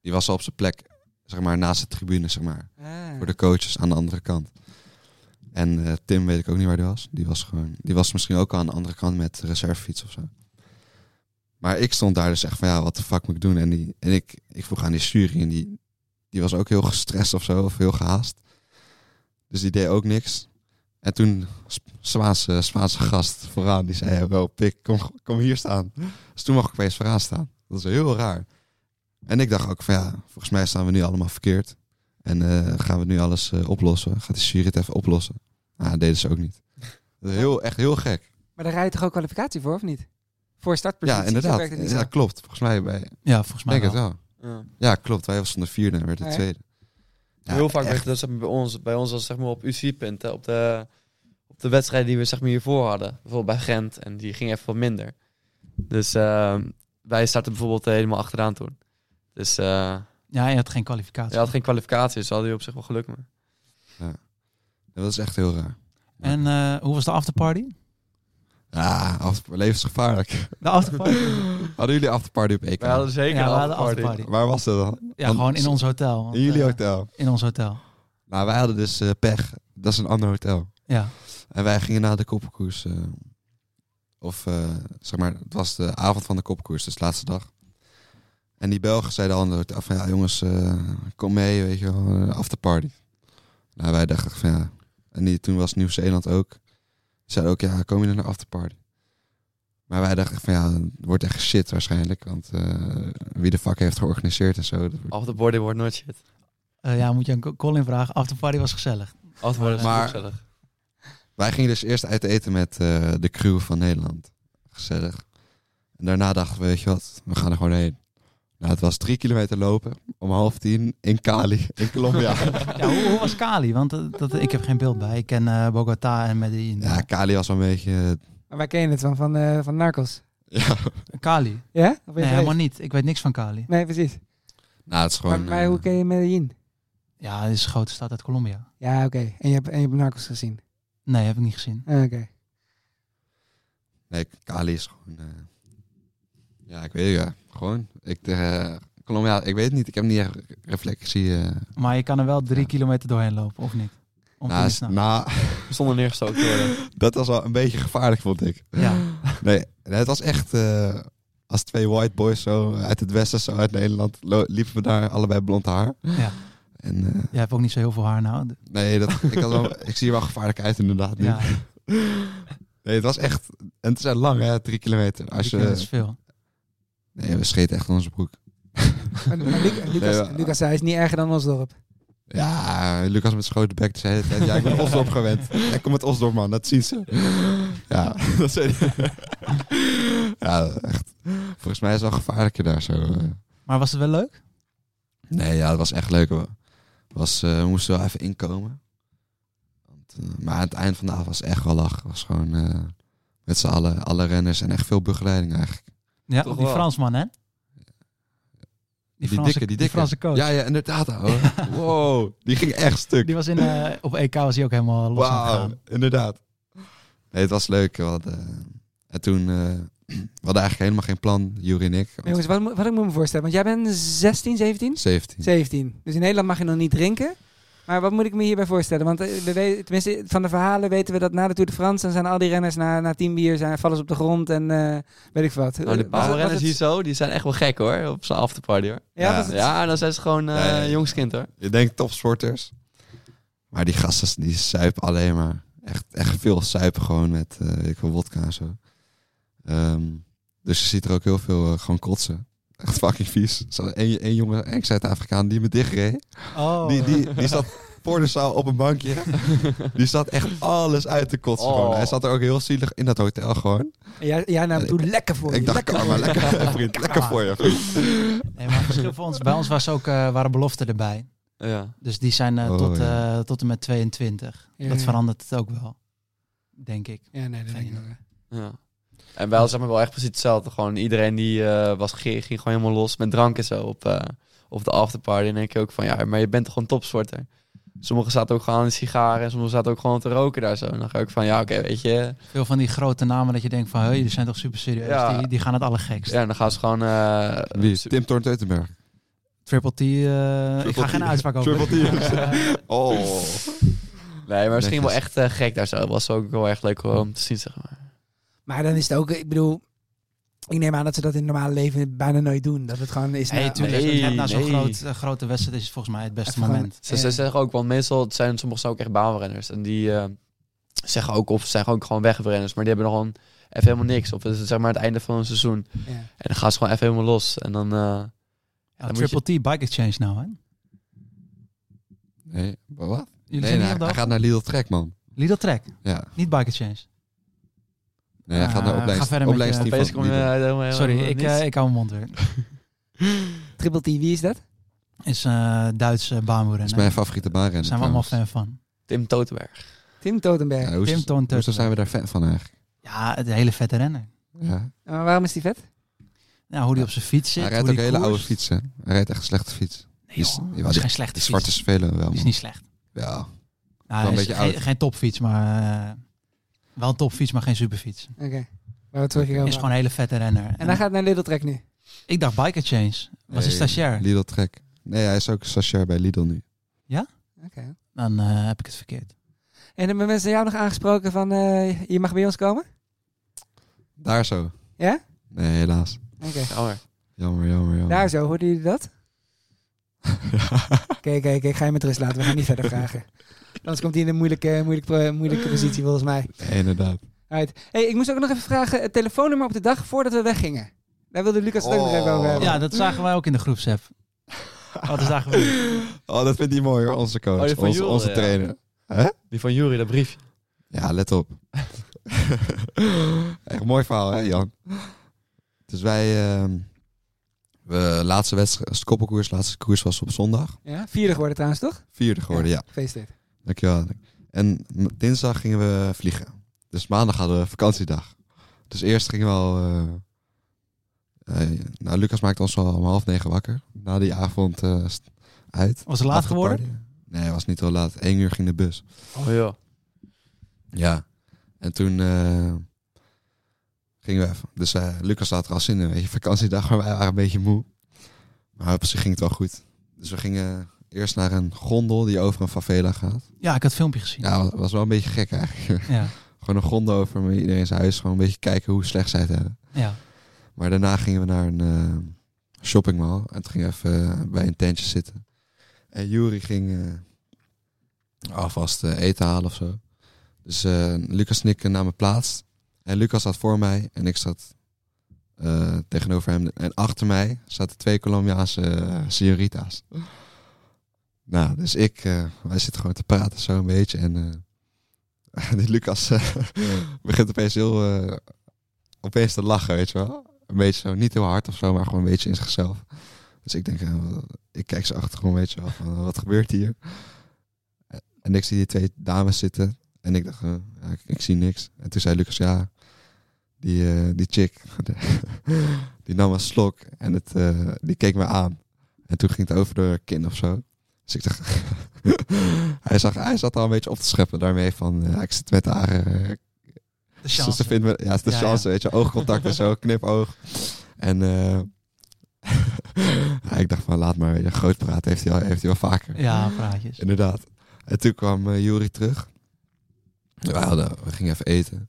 Speaker 2: die was al op zijn plek, zeg maar, naast de tribune, zeg maar.
Speaker 4: Ah.
Speaker 2: Voor de coaches aan de andere kant. En eh, Tim weet ik ook niet waar die was. Die was, gewoon, die was misschien ook al aan de andere kant met de reservefiets of zo. Maar ik stond daar dus echt van, ja, wat de fuck moet ik doen? En, die, en ik, ik vroeg aan die jury en die, die was ook heel gestrest of zo, of heel gehaast. Dus die deed ook niks. En toen, Sp- Spaanse, Spaanse gast vooraan, die zei, wel pik, kom, kom hier staan. Dus toen mocht ik opeens vooraan staan. Dat is heel raar. En ik dacht ook van, ja, volgens mij staan we nu allemaal verkeerd. En eh, gaan we nu alles eh, oplossen? Gaat de jury het even oplossen? Ah, dat deden ze ook niet. Dat is heel, echt heel gek.
Speaker 4: Maar daar rij je toch ook kwalificatie voor, of niet? Voor startpositie.
Speaker 2: Ja,
Speaker 4: Zo
Speaker 2: inderdaad.
Speaker 4: werkt het niet
Speaker 2: Ja,
Speaker 4: zo.
Speaker 2: klopt. Volgens mij bij,
Speaker 1: Ja, volgens mij
Speaker 2: denk het
Speaker 1: wel.
Speaker 2: wel. Ja, klopt. Wij stonden vierde en werd de
Speaker 4: Ja.
Speaker 2: tweede. Ja,
Speaker 3: Heel vaak
Speaker 2: echt.
Speaker 3: werd dat zeg maar, bij ons, bij ons was zeg maar op UC-punten, op de, op de wedstrijden die we zeg maar, hiervoor hadden. Bijvoorbeeld bij Gent, en die ging even wat minder. Dus eh, wij starten bijvoorbeeld eh, helemaal achteraan toen. Dus eh
Speaker 1: Ja, je had geen kwalificatie.
Speaker 3: hij had geen kwalificaties, dus daar hadden we op zich wel geluk mee.
Speaker 2: Dat is echt heel raar.
Speaker 1: En eh, hoe was de afterparty?
Speaker 2: Ja, after- levensgevaarlijk.
Speaker 1: De afterparty?
Speaker 2: Hadden jullie afterparty op EK?
Speaker 3: We hadden zeker
Speaker 1: Ja, we
Speaker 3: een
Speaker 1: hadden
Speaker 3: afterparty.
Speaker 1: afterparty.
Speaker 2: Waar was dat dan?
Speaker 1: Ja, gewoon in ons hotel. want,
Speaker 2: In jullie
Speaker 1: eh,
Speaker 2: hotel.
Speaker 1: In ons hotel,
Speaker 2: Nou, wij hadden dus eh, pech. Dat is een ander hotel.
Speaker 1: ja.
Speaker 2: En wij gingen na de koppenkoers. eh, of eh, zeg maar, het was de avond van de koppenkoers, dus de laatste dag. En die Belgen zeiden al in het hotel van ja, jongens, eh, kom mee, weet je wel, af de party. Nou, wij dachten van ja. En die, toen was Nieuw-Zeeland ook. Die zeiden ook, ja, kom je naar de afterparty? Maar wij dachten van ja, het wordt echt shit waarschijnlijk. Want eh, wie de fuck heeft georganiseerd en zo. dat wordt-
Speaker 3: Afterparty wordt nooit shit.
Speaker 1: Eh, ja, moet je aan Co- Colin vragen. Afterparty was gezellig.
Speaker 3: Afterparty is
Speaker 2: Maar-
Speaker 3: maar... gezellig.
Speaker 2: Wij gingen dus eerst uit eten met eh, de crew van Nederland. Gezellig. En daarna dachten we, weet je wat, we gaan er gewoon heen. Nou, het was drie kilometer lopen om half tien in Cali, in Colombia.
Speaker 1: Ja, hoe, hoe was Cali? Want eh, dat, ik heb geen beeld bij. Ik ken eh, Bogota en Medellin.
Speaker 2: ja, Cali was wel een beetje... eh,
Speaker 4: Maar waar ken je het van? Van, eh, van Narcos?
Speaker 2: Ja.
Speaker 1: Cali?
Speaker 4: Ja? Of ben je
Speaker 1: Nee,
Speaker 4: geweest?
Speaker 1: helemaal niet. Ik weet niks van Cali.
Speaker 4: nee, precies.
Speaker 2: Nou, het is gewoon...
Speaker 4: Maar, maar hoe
Speaker 2: eh,
Speaker 4: ken je Medellin?
Speaker 1: Ja, het is een grote stad uit Colombia.
Speaker 4: Ja, Ah, oké. En, je hebt, en je hebt Narcos gezien?
Speaker 1: Nee, heb ik niet gezien.
Speaker 4: Ah, Oké.
Speaker 2: nee, Nee, Kali is gewoon... eh, ja, ik weet het, ja. Gewoon. Ik, eh Colombia, ik weet het niet. Ik heb niet echt reflectie. eh,
Speaker 1: Maar je kan er wel drie
Speaker 2: Ja.
Speaker 1: kilometer doorheen lopen, of niet? Om te
Speaker 2: naast-
Speaker 1: ontsnappen.
Speaker 2: nou,
Speaker 3: Zonder neergestoken Nou, te worden.
Speaker 2: dat was wel een beetje gevaarlijk, vond ik.
Speaker 1: Ja.
Speaker 2: Nee, nee, het was echt eh, als twee white boys zo uit het westen, zo uit Nederland, lo- liepen we daar allebei blond haar.
Speaker 1: Ja.
Speaker 2: En eh,
Speaker 1: Jij hebt ook niet zo heel veel haar nou.
Speaker 2: nee, dat, ik, had wel, ik zie er wel gevaarlijk uit inderdaad. nu.
Speaker 1: Ja,
Speaker 2: Nee, het was echt, en het is lang hè, drie kilometer. Als
Speaker 1: drie keer, dat is
Speaker 2: je,
Speaker 1: veel.
Speaker 2: nee, we scheten echt onze broek.
Speaker 4: Maar Luc-
Speaker 2: Nee,
Speaker 4: Lucas,
Speaker 2: maar-
Speaker 4: Lucas zei, hij is niet erger dan ons dorp.
Speaker 2: Ja, Lucas met schoten bek zei het. Ja, ik ben Osdorp gewend. Ja, Ik kom met Osdorp, man. Dat zien ze. Ja, dat zei hij. Ja, echt. Volgens mij is het wel gevaarlijker daar zo. eh.
Speaker 1: Maar was het wel leuk?
Speaker 2: Nee, ja, het was echt leuk. hoor. Was, eh, we moesten wel even inkomen. Want, eh, maar aan het eind van de avond was het echt wel lach. Het was gewoon eh, met z'n allen, alle renners en echt veel begeleiding eigenlijk.
Speaker 1: Ja,
Speaker 3: Toch
Speaker 1: die
Speaker 3: wel.
Speaker 1: Fransman, hè?
Speaker 2: Die
Speaker 1: Franse-
Speaker 2: dikke, die dikke.
Speaker 1: Franse coach.
Speaker 2: Ja, ja, inderdaad. Hoor. Wow, die ging echt stuk.
Speaker 1: Die was in, eh, op EK was hij ook helemaal los aan het
Speaker 2: Wauw,
Speaker 1: gaan.
Speaker 2: inderdaad. Nee, het was leuk. We hadden, eh, en toen, eh, we hadden eigenlijk helemaal geen plan, Juri en ik. want-
Speaker 4: Maar jongens, wat, moet- wat ik moet me voorstellen, want jij bent 16, 17?
Speaker 2: 17.
Speaker 4: 17. Dus in Nederland mag je nog niet drinken. Maar wat moet ik me hierbij voorstellen? Want eh, we weten, tenminste, van de verhalen weten we dat na de Tour de France... dan zijn al die renners na, na tien bier zijn, vallen ze op de grond en eh, weet ik wat.
Speaker 3: Nou, de
Speaker 4: Was het- was
Speaker 3: powerrenners
Speaker 4: het-
Speaker 3: hier zo, die zijn echt wel gek hoor. Op zo'n afterparty hoor.
Speaker 4: Ja,
Speaker 2: Ja.
Speaker 4: was het-
Speaker 3: Ja, dan zijn ze gewoon eh,
Speaker 2: Ja, ja, ja.
Speaker 3: jongskind hoor.
Speaker 2: Je denkt topsporters. Maar die gasten, die suipen alleen maar. Echt, echt veel suipen gewoon met, eh weet ik veel, wodka en zo. Ehm, dus je ziet er ook heel veel eh, gewoon kotsen. Echt fucking vies. Er zat één één jongen, ex Zuid-Afrikaan, die me dichtreed.
Speaker 1: Oh,
Speaker 2: Die, die, die zat voor de zaal op een bankje. Die zat echt alles uit te kotsen.
Speaker 3: Oh.
Speaker 2: gewoon. Hij zat er ook heel zielig in dat hotel gewoon.
Speaker 4: Ja, ja nou, toen lekker
Speaker 1: Oh,
Speaker 4: voor je.
Speaker 2: Ik dacht,
Speaker 4: lekker
Speaker 2: karma,
Speaker 4: voor je.
Speaker 2: lekker, vriend, lekker voor je. Vriend.
Speaker 1: nee, maar het verschil voor ons. Bij ons was ook, eh, waren beloften erbij.
Speaker 3: Ja.
Speaker 1: Dus die zijn eh,
Speaker 2: Oh,
Speaker 1: tot,
Speaker 2: ja.
Speaker 1: eh, tot en met 22.
Speaker 4: Ja,
Speaker 1: Dat
Speaker 4: ja.
Speaker 1: verandert het ook wel, denk ik.
Speaker 4: Ja, nee, dat denk ik wel.
Speaker 3: ja. En wij hadden zeg maar wel echt precies hetzelfde. Gewoon iedereen die eh, was ge- ging gewoon helemaal los met drank en zo op, eh, op de afterparty. En dan denk je ook van ja, maar je bent toch gewoon topsporter. Sommigen zaten ook gewoon aan de sigaren en sommigen zaten ook gewoon te roken daar zo. En dan ga ik van ja, oké, weet je.
Speaker 1: Veel van die grote namen dat je denkt van... hé, jullie zijn toch super serieus.
Speaker 3: Ja.
Speaker 1: Die, die gaan het allergekst.
Speaker 3: Ja, en dan gaan ze gewoon. eh,
Speaker 2: Wie? Tim Thorn Teutenberg.
Speaker 1: Triple T, eh, ik
Speaker 2: Triple
Speaker 1: ga geen
Speaker 2: T.
Speaker 1: uitspraak over.
Speaker 2: Triple T.
Speaker 1: Eh,
Speaker 2: Oh.
Speaker 3: Nee, maar misschien wel
Speaker 2: Netjes.
Speaker 3: echt eh, gek daar zo. Was ook wel echt leuk om te zien, zeg maar.
Speaker 4: Maar dan is het ook, ik bedoel... Ik neem aan dat ze dat in het normale leven bijna nooit doen. Dat het gewoon is...
Speaker 1: nee,
Speaker 4: nou,
Speaker 1: tuurlijk.
Speaker 3: nee,
Speaker 1: net na zo'n
Speaker 3: nee.
Speaker 1: groot, eh, grote wedstrijd is het volgens mij het beste
Speaker 4: Even gaan-
Speaker 1: moment.
Speaker 3: Ze, ze
Speaker 4: Eh.
Speaker 3: zeggen ook, want meestal zijn sommige ook echt baanrenners. En die eh, zeggen ook, of zijn ook gewoon wegrenners. Maar die hebben nog gewoon even helemaal niks. Of het is zeg maar het einde van een seizoen.
Speaker 4: ja.
Speaker 3: En dan gaan ze gewoon even helemaal los. En dan... eh,
Speaker 1: Ja,
Speaker 3: Dan moet
Speaker 1: Triple T, Bike Exchange nou, hè?
Speaker 2: Nee, maar wat?
Speaker 1: Jullie
Speaker 2: nee,
Speaker 1: zijn niet
Speaker 2: nee,
Speaker 1: op de
Speaker 2: hij
Speaker 1: hoogte?
Speaker 2: gaat naar Lidl Trek, man.
Speaker 1: Lidl Trek,
Speaker 2: Ja.
Speaker 1: niet Bike Exchange.
Speaker 2: Nee, hij gaat
Speaker 1: Ah,
Speaker 2: naar
Speaker 1: ga verder met
Speaker 2: opleiding. opleiding
Speaker 1: je-
Speaker 2: Stefan
Speaker 3: opeens kom je
Speaker 2: Lidl.
Speaker 3: eh, helemaal...
Speaker 1: Sorry,
Speaker 3: helemaal
Speaker 1: ik,
Speaker 3: niks.
Speaker 1: eh, ik hou mijn mond weer.
Speaker 4: Triple T, wie is dat?
Speaker 1: Is eh Duitse baanmoeder.
Speaker 2: Dat is mijn favoriete baanrenner.
Speaker 1: Daar zijn we allemaal
Speaker 2: trouwens.
Speaker 1: fan van.
Speaker 3: Tim Totenberg.
Speaker 4: Tim Totenberg.
Speaker 2: Ja, hoe
Speaker 1: Tim Thorn
Speaker 2: Hoezo
Speaker 1: Teutenberg.
Speaker 2: zijn we daar fan van eigenlijk?
Speaker 1: Ja, het hele vette renner.
Speaker 2: Ja.
Speaker 4: Maar waarom is die vet?
Speaker 1: Nou, hoe die op zijn fiets zit.
Speaker 2: Hij
Speaker 1: hoe
Speaker 2: rijdt ook
Speaker 1: die
Speaker 2: hele
Speaker 1: koerst.
Speaker 2: oude fietsen. Hij rijdt echt een slechte fiets.
Speaker 1: Nee,
Speaker 2: Die is-
Speaker 1: joh,
Speaker 2: die-
Speaker 1: dat is
Speaker 2: die-
Speaker 1: geen slechte
Speaker 2: Die
Speaker 1: fiets.
Speaker 2: zwarte is velen wel,
Speaker 1: Die is
Speaker 2: man.
Speaker 1: niet slecht.
Speaker 2: Ja.
Speaker 1: Nou, hij
Speaker 2: een
Speaker 1: is
Speaker 2: beetje
Speaker 1: geen,
Speaker 2: oud.
Speaker 1: geen topfiets, maar eh, wel een topfiets, maar geen superfiets.
Speaker 4: Oké. Waar we het vorige keer over
Speaker 1: Is gewoon een hele vette renner.
Speaker 4: hadden. En hij gaat naar Little Trek nu.
Speaker 1: Ik dacht Biker Change. Was een
Speaker 2: Nee,
Speaker 1: stagiair.
Speaker 2: Lidl Trek. Nee, hij is ook stagiair bij Lidl nu.
Speaker 4: Oké.
Speaker 1: Dan eh, heb ik het verkeerd.
Speaker 4: En hebben mensen jou nog aangesproken van eh, je mag bij ons komen?
Speaker 2: Daar zo.
Speaker 4: Ja?
Speaker 2: Nee, helaas.
Speaker 4: Oké.
Speaker 3: Jammer.
Speaker 2: Jammer, jammer, jammer.
Speaker 4: Daar zo, hoorden jullie dat? Kijk, kijk, kijk, ga je met rust laten. We gaan niet verder vragen. Anders komt hij in een moeilijke, moeilijke, moeilijke positie volgens mij.
Speaker 2: Nee, inderdaad.
Speaker 4: Right. Hey, ik moest ook nog even vragen, het telefoonnummer op de dag voordat we weggingen. Daar wilde Lucas het ook nog even over hebben.
Speaker 1: Ja, dat zagen wij ook in de groepsapp. Wat is daar gebeurd?
Speaker 2: Oh, dat vindt hij mooi hoor, onze coach.
Speaker 3: Oh, die van
Speaker 2: onze,
Speaker 3: Jule,
Speaker 2: onze
Speaker 3: ja.
Speaker 2: trainer.
Speaker 3: Die van Jury, dat briefje.
Speaker 2: Ja, let op. Echt een mooi verhaal, hè, Jan? Dus wij... ehm, we laatste wedstrijd, de koppelkoers, laatste koers was op zondag.
Speaker 4: Ja, vierde geworden trouwens, toch?
Speaker 2: Vierde geworden, ja.
Speaker 4: Feestdate.
Speaker 2: Dankjewel. En m- dinsdag gingen we vliegen. Dus maandag hadden we vakantiedag. Dus eerst gingen we al... eh, eh, nou, Lucas maakte ons al om half negen wakker. Na die avond eh, st- uit.
Speaker 1: Was het laat geworden?
Speaker 2: Afterparty. Nee, het was niet heel laat. Eén uur ging de bus.
Speaker 3: Oh joh.
Speaker 2: Ja. En toen eh, Gingen we even. Dus eh, Lucas had er al zin in, weet je. Vakantiedag, maar wij waren een beetje moe. Maar op zich ging het wel goed. Dus we gingen eerst naar een gondel die over een favela gaat.
Speaker 1: Ja, ik had het filmpje gezien.
Speaker 2: Ja, dat was wel een beetje gek eigenlijk.
Speaker 1: ja.
Speaker 2: Gewoon een gondel over met iedereen zijn huis. Gewoon een beetje kijken hoe slecht zij het hebben.
Speaker 1: ja.
Speaker 2: Maar daarna gingen we naar een shopping shoppingmall. En toen gingen we even eh, bij een tentje zitten. En Juri ging eh, alvast eh, eten halen of zo. Dus eh, Lucas en ik namen plaats. En Lucas zat voor mij en ik zat eh, tegenover hem. En achter mij zaten twee Colombiaanse eh, señorita's. Nou, dus ik, eh, wij zitten gewoon te praten zo een beetje. En eh, die Lucas eh, begint opeens heel eh, opeens te lachen, weet je wel. Een beetje zo, niet heel hard of zo, maar gewoon een beetje in zichzelf. Dus ik denk, eh, ik kijk ze achterom, weet je wel, van, eh, wat gebeurt hier? En ik zie die twee dames zitten en ik dacht, eh, ja, ik, ik zie niks. En toen zei Lucas, ja, die, eh, die chick, die nam een slok en het, eh, die keek me aan. En toen ging het over de kin of zo. Dus ik dacht, hij, zag, hij zat al een beetje op te scheppen daarmee van, ja, ik zit met haar eh,
Speaker 1: De
Speaker 2: dus
Speaker 1: chance.
Speaker 2: Ze vinden me, ja, het is de
Speaker 1: Ja,
Speaker 2: chance,
Speaker 1: ja.
Speaker 2: weet je. Oogcontact en zo, knipoog. En eh, ja, ik dacht van, laat maar, weet je, groot praten heeft hij al, heeft hij wel vaker.
Speaker 1: Ja, praatjes.
Speaker 2: Inderdaad. En toen kwam eh Juri terug. We, hadden, we gingen even eten.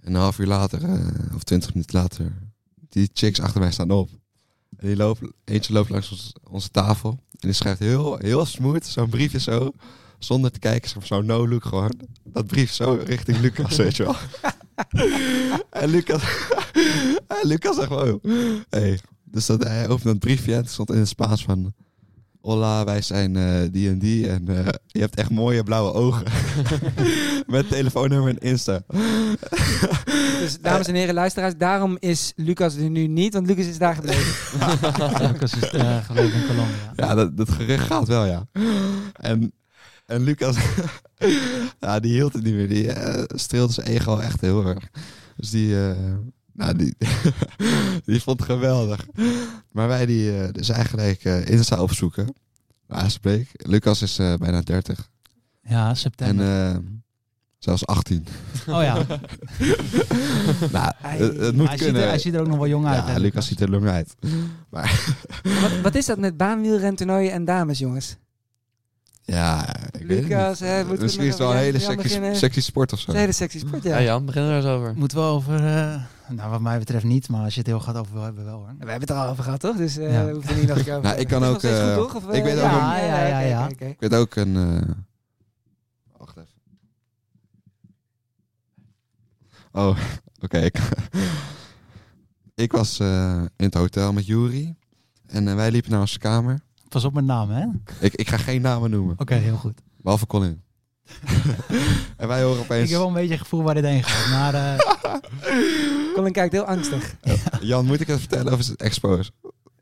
Speaker 2: En een half uur later, eh, of twintig minuten later, die chicks achter mij staan op. En die loopt, eentje loopt langs ons- onze tafel. En die schrijft heel, heel smooth, zo'n briefje zo. Zonder te kijken, zo- zo'n no-look gewoon. Dat brief zo richting Lucas, weet je wel. en Lucas... en Lucas zegt gewoon... Hey. Dus dat, hij opende dat briefje en het stond in het Spaans van... Hola, wij zijn eh, die en die. En eh, je hebt echt mooie blauwe ogen. Met telefoonnummer en Insta.
Speaker 4: Dus dames en heren, luisteraars, daarom is Lucas er nu niet, want Lucas is daar gebleven.
Speaker 1: Lucas is eh gebleven in Colombia.
Speaker 2: Ja, dat, dat gerucht gaat wel, ja. En, en Lucas, ja, die hield het niet meer. Die eh, streelde zijn ego echt heel erg. Dus die, eh, nou, die, die vond het geweldig. Maar wij die, eh, dus eigenlijk eh, Insta opzoeken. Maar ze bleek, Lucas is eh, bijna 30.
Speaker 1: Ja,
Speaker 2: En
Speaker 1: september.
Speaker 2: eh, zelfs 18.
Speaker 1: oh ja,
Speaker 2: nou,
Speaker 1: hij,
Speaker 2: het, het moet
Speaker 1: hij ziet,
Speaker 2: kunnen.
Speaker 1: er, hij ziet er ook nog wel jong uit.
Speaker 2: ja,
Speaker 1: hè,
Speaker 2: Lucas ziet er lang uit.
Speaker 4: Wat, wat is dat met baanwielrentoernooien en dames,
Speaker 2: Oh.
Speaker 4: jongens?
Speaker 2: Ja, ik weet het niet.
Speaker 4: Lucas, hè, moeten we
Speaker 2: Misschien
Speaker 4: nog
Speaker 2: is het wel een
Speaker 4: even-
Speaker 2: hele
Speaker 4: ja,
Speaker 2: sexy,
Speaker 4: beginnen?
Speaker 2: sexy sport of zo.
Speaker 4: Het is een hele sexy sport, ja.
Speaker 3: Ja, Jan, begin er eens over.
Speaker 1: Moet wel over, eh, nou wat mij betreft niet, maar als je het heel gaat over wil hebben, wel hoor.
Speaker 4: We hebben het er al over gehad, toch? Dus eh
Speaker 1: Ja.
Speaker 4: we hoeven er niet nog een keer over
Speaker 2: Nou,
Speaker 4: te
Speaker 2: ik
Speaker 4: hebben.
Speaker 2: kan
Speaker 4: Is het nog
Speaker 2: ook,
Speaker 4: steeds
Speaker 2: eh,
Speaker 4: goed, toch? Of, eh,
Speaker 2: ik weet ook
Speaker 4: ja,
Speaker 1: nog-
Speaker 4: Ja, ja, ja.
Speaker 1: ja.
Speaker 4: oké, oké, oké.
Speaker 2: Ik weet ook een. eh, Wacht even. Oh, oké. ik... ik was eh, in het hotel met Juri. En eh, wij liepen naar onze kamer.
Speaker 1: Pas op met naam, hè? Oké,
Speaker 2: Ik, ik ga geen namen noemen,
Speaker 1: heel goed.
Speaker 2: behalve Colin. en wij horen
Speaker 1: Ik
Speaker 2: opeens.
Speaker 1: heb wel een beetje het gevoel waar dit heen gaat, maar eh,
Speaker 4: Colin kijkt heel angstig.
Speaker 2: Jan, moet ik het vertellen of is het expose?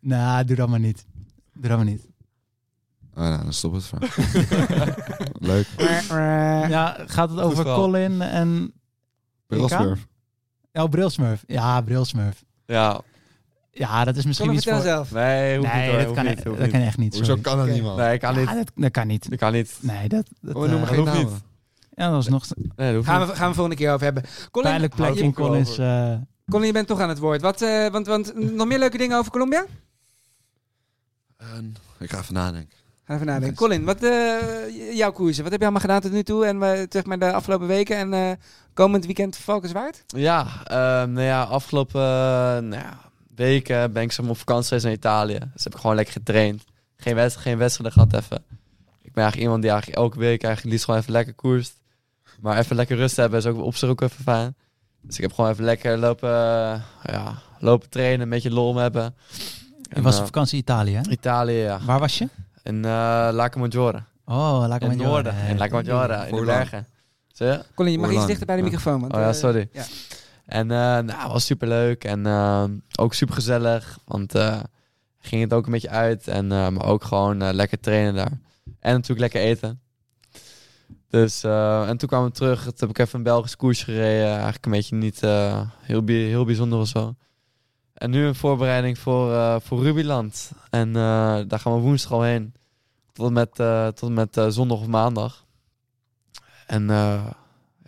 Speaker 1: nou, doe dat maar niet. Doe dat maar niet.
Speaker 2: Oh, nou, dan stop het van. Leuk.
Speaker 4: Eh,
Speaker 1: Ja, gaat het over
Speaker 3: verhaal.
Speaker 1: Colin en...
Speaker 2: Pilsmurf.
Speaker 1: Oh, Brilsmurf. Ja, Brilsmurf.
Speaker 3: Ja,
Speaker 1: Ja, dat is misschien
Speaker 4: Colin,
Speaker 1: iets
Speaker 4: vertel
Speaker 1: voor...
Speaker 4: zelf.
Speaker 3: nee, hoeft niet
Speaker 1: Nee,
Speaker 3: hoor,
Speaker 1: dat
Speaker 3: hoeft
Speaker 1: kan,
Speaker 3: niet,
Speaker 1: e-
Speaker 3: hoeft
Speaker 1: dat
Speaker 3: niet.
Speaker 1: kan echt niet.
Speaker 2: Hoezo
Speaker 1: sorry.
Speaker 2: kan dat niet, man?
Speaker 3: Nee, kan
Speaker 1: Ja,
Speaker 3: niet.
Speaker 1: dat, dat kan niet.
Speaker 3: Dat kan niet.
Speaker 1: Nee, dat... dat
Speaker 2: Oh, noem maar
Speaker 1: eh,
Speaker 2: geen
Speaker 3: hoeft
Speaker 2: namen.
Speaker 3: niet.
Speaker 1: ja, dat was nog een
Speaker 3: Nee, dat hoeft
Speaker 4: Gaan
Speaker 3: niet.
Speaker 4: we, gaan we volgende keer over hebben. Colin, Ah,
Speaker 1: pijnlijk plek
Speaker 3: Houd
Speaker 1: in
Speaker 3: op erover.
Speaker 1: Collins. eh,
Speaker 4: Colin, je bent toch aan het woord. Wat, eh, want, want nog meer leuke dingen over Colombia?
Speaker 2: Eh, ik ga even nadenken.
Speaker 4: Ga even nadenken. Colin, wat, eh, jouw koersen. Wat heb je allemaal gedaan tot nu toe? En eh, zeg maar de afgelopen weken en eh, komend weekend Valkenswaard?
Speaker 3: Ja, ehm, nou ja, afgelopen eh, nou ja, weken ben ik zeg maar, op vakantie geweest naar Italië. Dus heb ik gewoon lekker getraind. Geen, wedst geen wedstrijden gehad even. Ik ben eigenlijk iemand die eigenlijk elke week eigenlijk liefst gewoon even lekker koerst. Maar even lekker rust hebben is ook op zich ook even fijn. Dus ik heb gewoon even lekker lopen, eh, ja, lopen trainen, een beetje lol hebben.
Speaker 1: Je was
Speaker 3: eh,
Speaker 1: op vakantie Italië, hè?
Speaker 3: Italië, ja.
Speaker 1: Waar was je?
Speaker 3: In eh Lago Maggiore.
Speaker 1: Oh, laat
Speaker 3: In
Speaker 1: ik
Speaker 3: het noorden. In Lago Maggiore, in de
Speaker 2: Voorland.
Speaker 3: bergen. Zie je?
Speaker 4: Colin, je mag
Speaker 2: Hoe
Speaker 4: iets
Speaker 2: lang?
Speaker 4: dichter bij de
Speaker 2: Ja.
Speaker 4: microfoon. Want,
Speaker 3: Oh ja,
Speaker 4: eh,
Speaker 3: sorry.
Speaker 4: ja.
Speaker 3: En eh nou, was super leuk en eh, ook super gezellig. Want eh, ging het ook een beetje uit en eh, maar ook gewoon eh, lekker trainen daar. En natuurlijk lekker eten. Dus, eh, en toen kwamen we terug. Toen heb ik even een Belgisch koers gereden. Eigenlijk een beetje niet eh, heel, bi- heel bijzonder of zo. En nu een voorbereiding voor, eh, voor Rubyland. En eh, daar gaan we woensdag al heen. Tot en met, eh, tot en met eh, zondag of maandag. En eh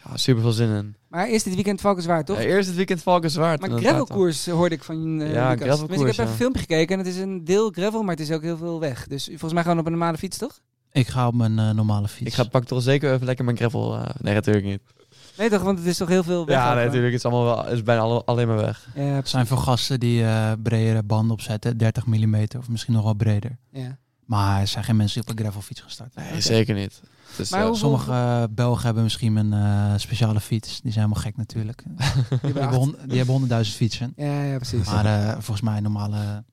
Speaker 3: ja, super veel zin in.
Speaker 4: Maar eerst dit weekend Valkenswaard, toch?
Speaker 3: Ja, eerst het weekend Valkenswaard.
Speaker 4: maar
Speaker 3: en dan gaat het
Speaker 4: gravelkoers hoorde ik van eh
Speaker 3: Ja,
Speaker 4: Lucas.
Speaker 3: gravelkoers,
Speaker 4: Tenminste, ik heb even
Speaker 3: ja.
Speaker 4: een filmpje gekeken en het is een deel gravel, maar het is ook heel veel weg. Dus volgens mij gewoon op een normale fiets, toch?
Speaker 1: Ik ga op mijn eh, normale
Speaker 3: wel.
Speaker 1: fiets.
Speaker 3: Ik ga pak toch zeker even lekker mijn gravel. eh, nee, natuurlijk niet.
Speaker 4: Nee toch, want het is toch heel veel weg.
Speaker 3: ja,
Speaker 4: ook,
Speaker 3: nee,
Speaker 4: hoor.
Speaker 3: natuurlijk. Het is allemaal wel, is bijna alle- alleen maar weg.
Speaker 4: Ja,
Speaker 1: Het zijn veel gasten die eh, bredere banden opzetten, 30 mm of misschien nog wel breder.
Speaker 4: ja.
Speaker 1: Maar er zijn geen mensen die op een gravelfiets gaan starten.
Speaker 3: Nee, zeker niet. Het is,
Speaker 4: Maar
Speaker 3: eh,
Speaker 4: hoe-
Speaker 1: Sommige eh, Belgen hebben misschien een eh, speciale fiets. Die zijn helemaal gek natuurlijk. Die hebben hon- die hebben honderdduizend fietsen.
Speaker 4: Ja, ja, precies.
Speaker 1: Maar eh, volgens mij een normale,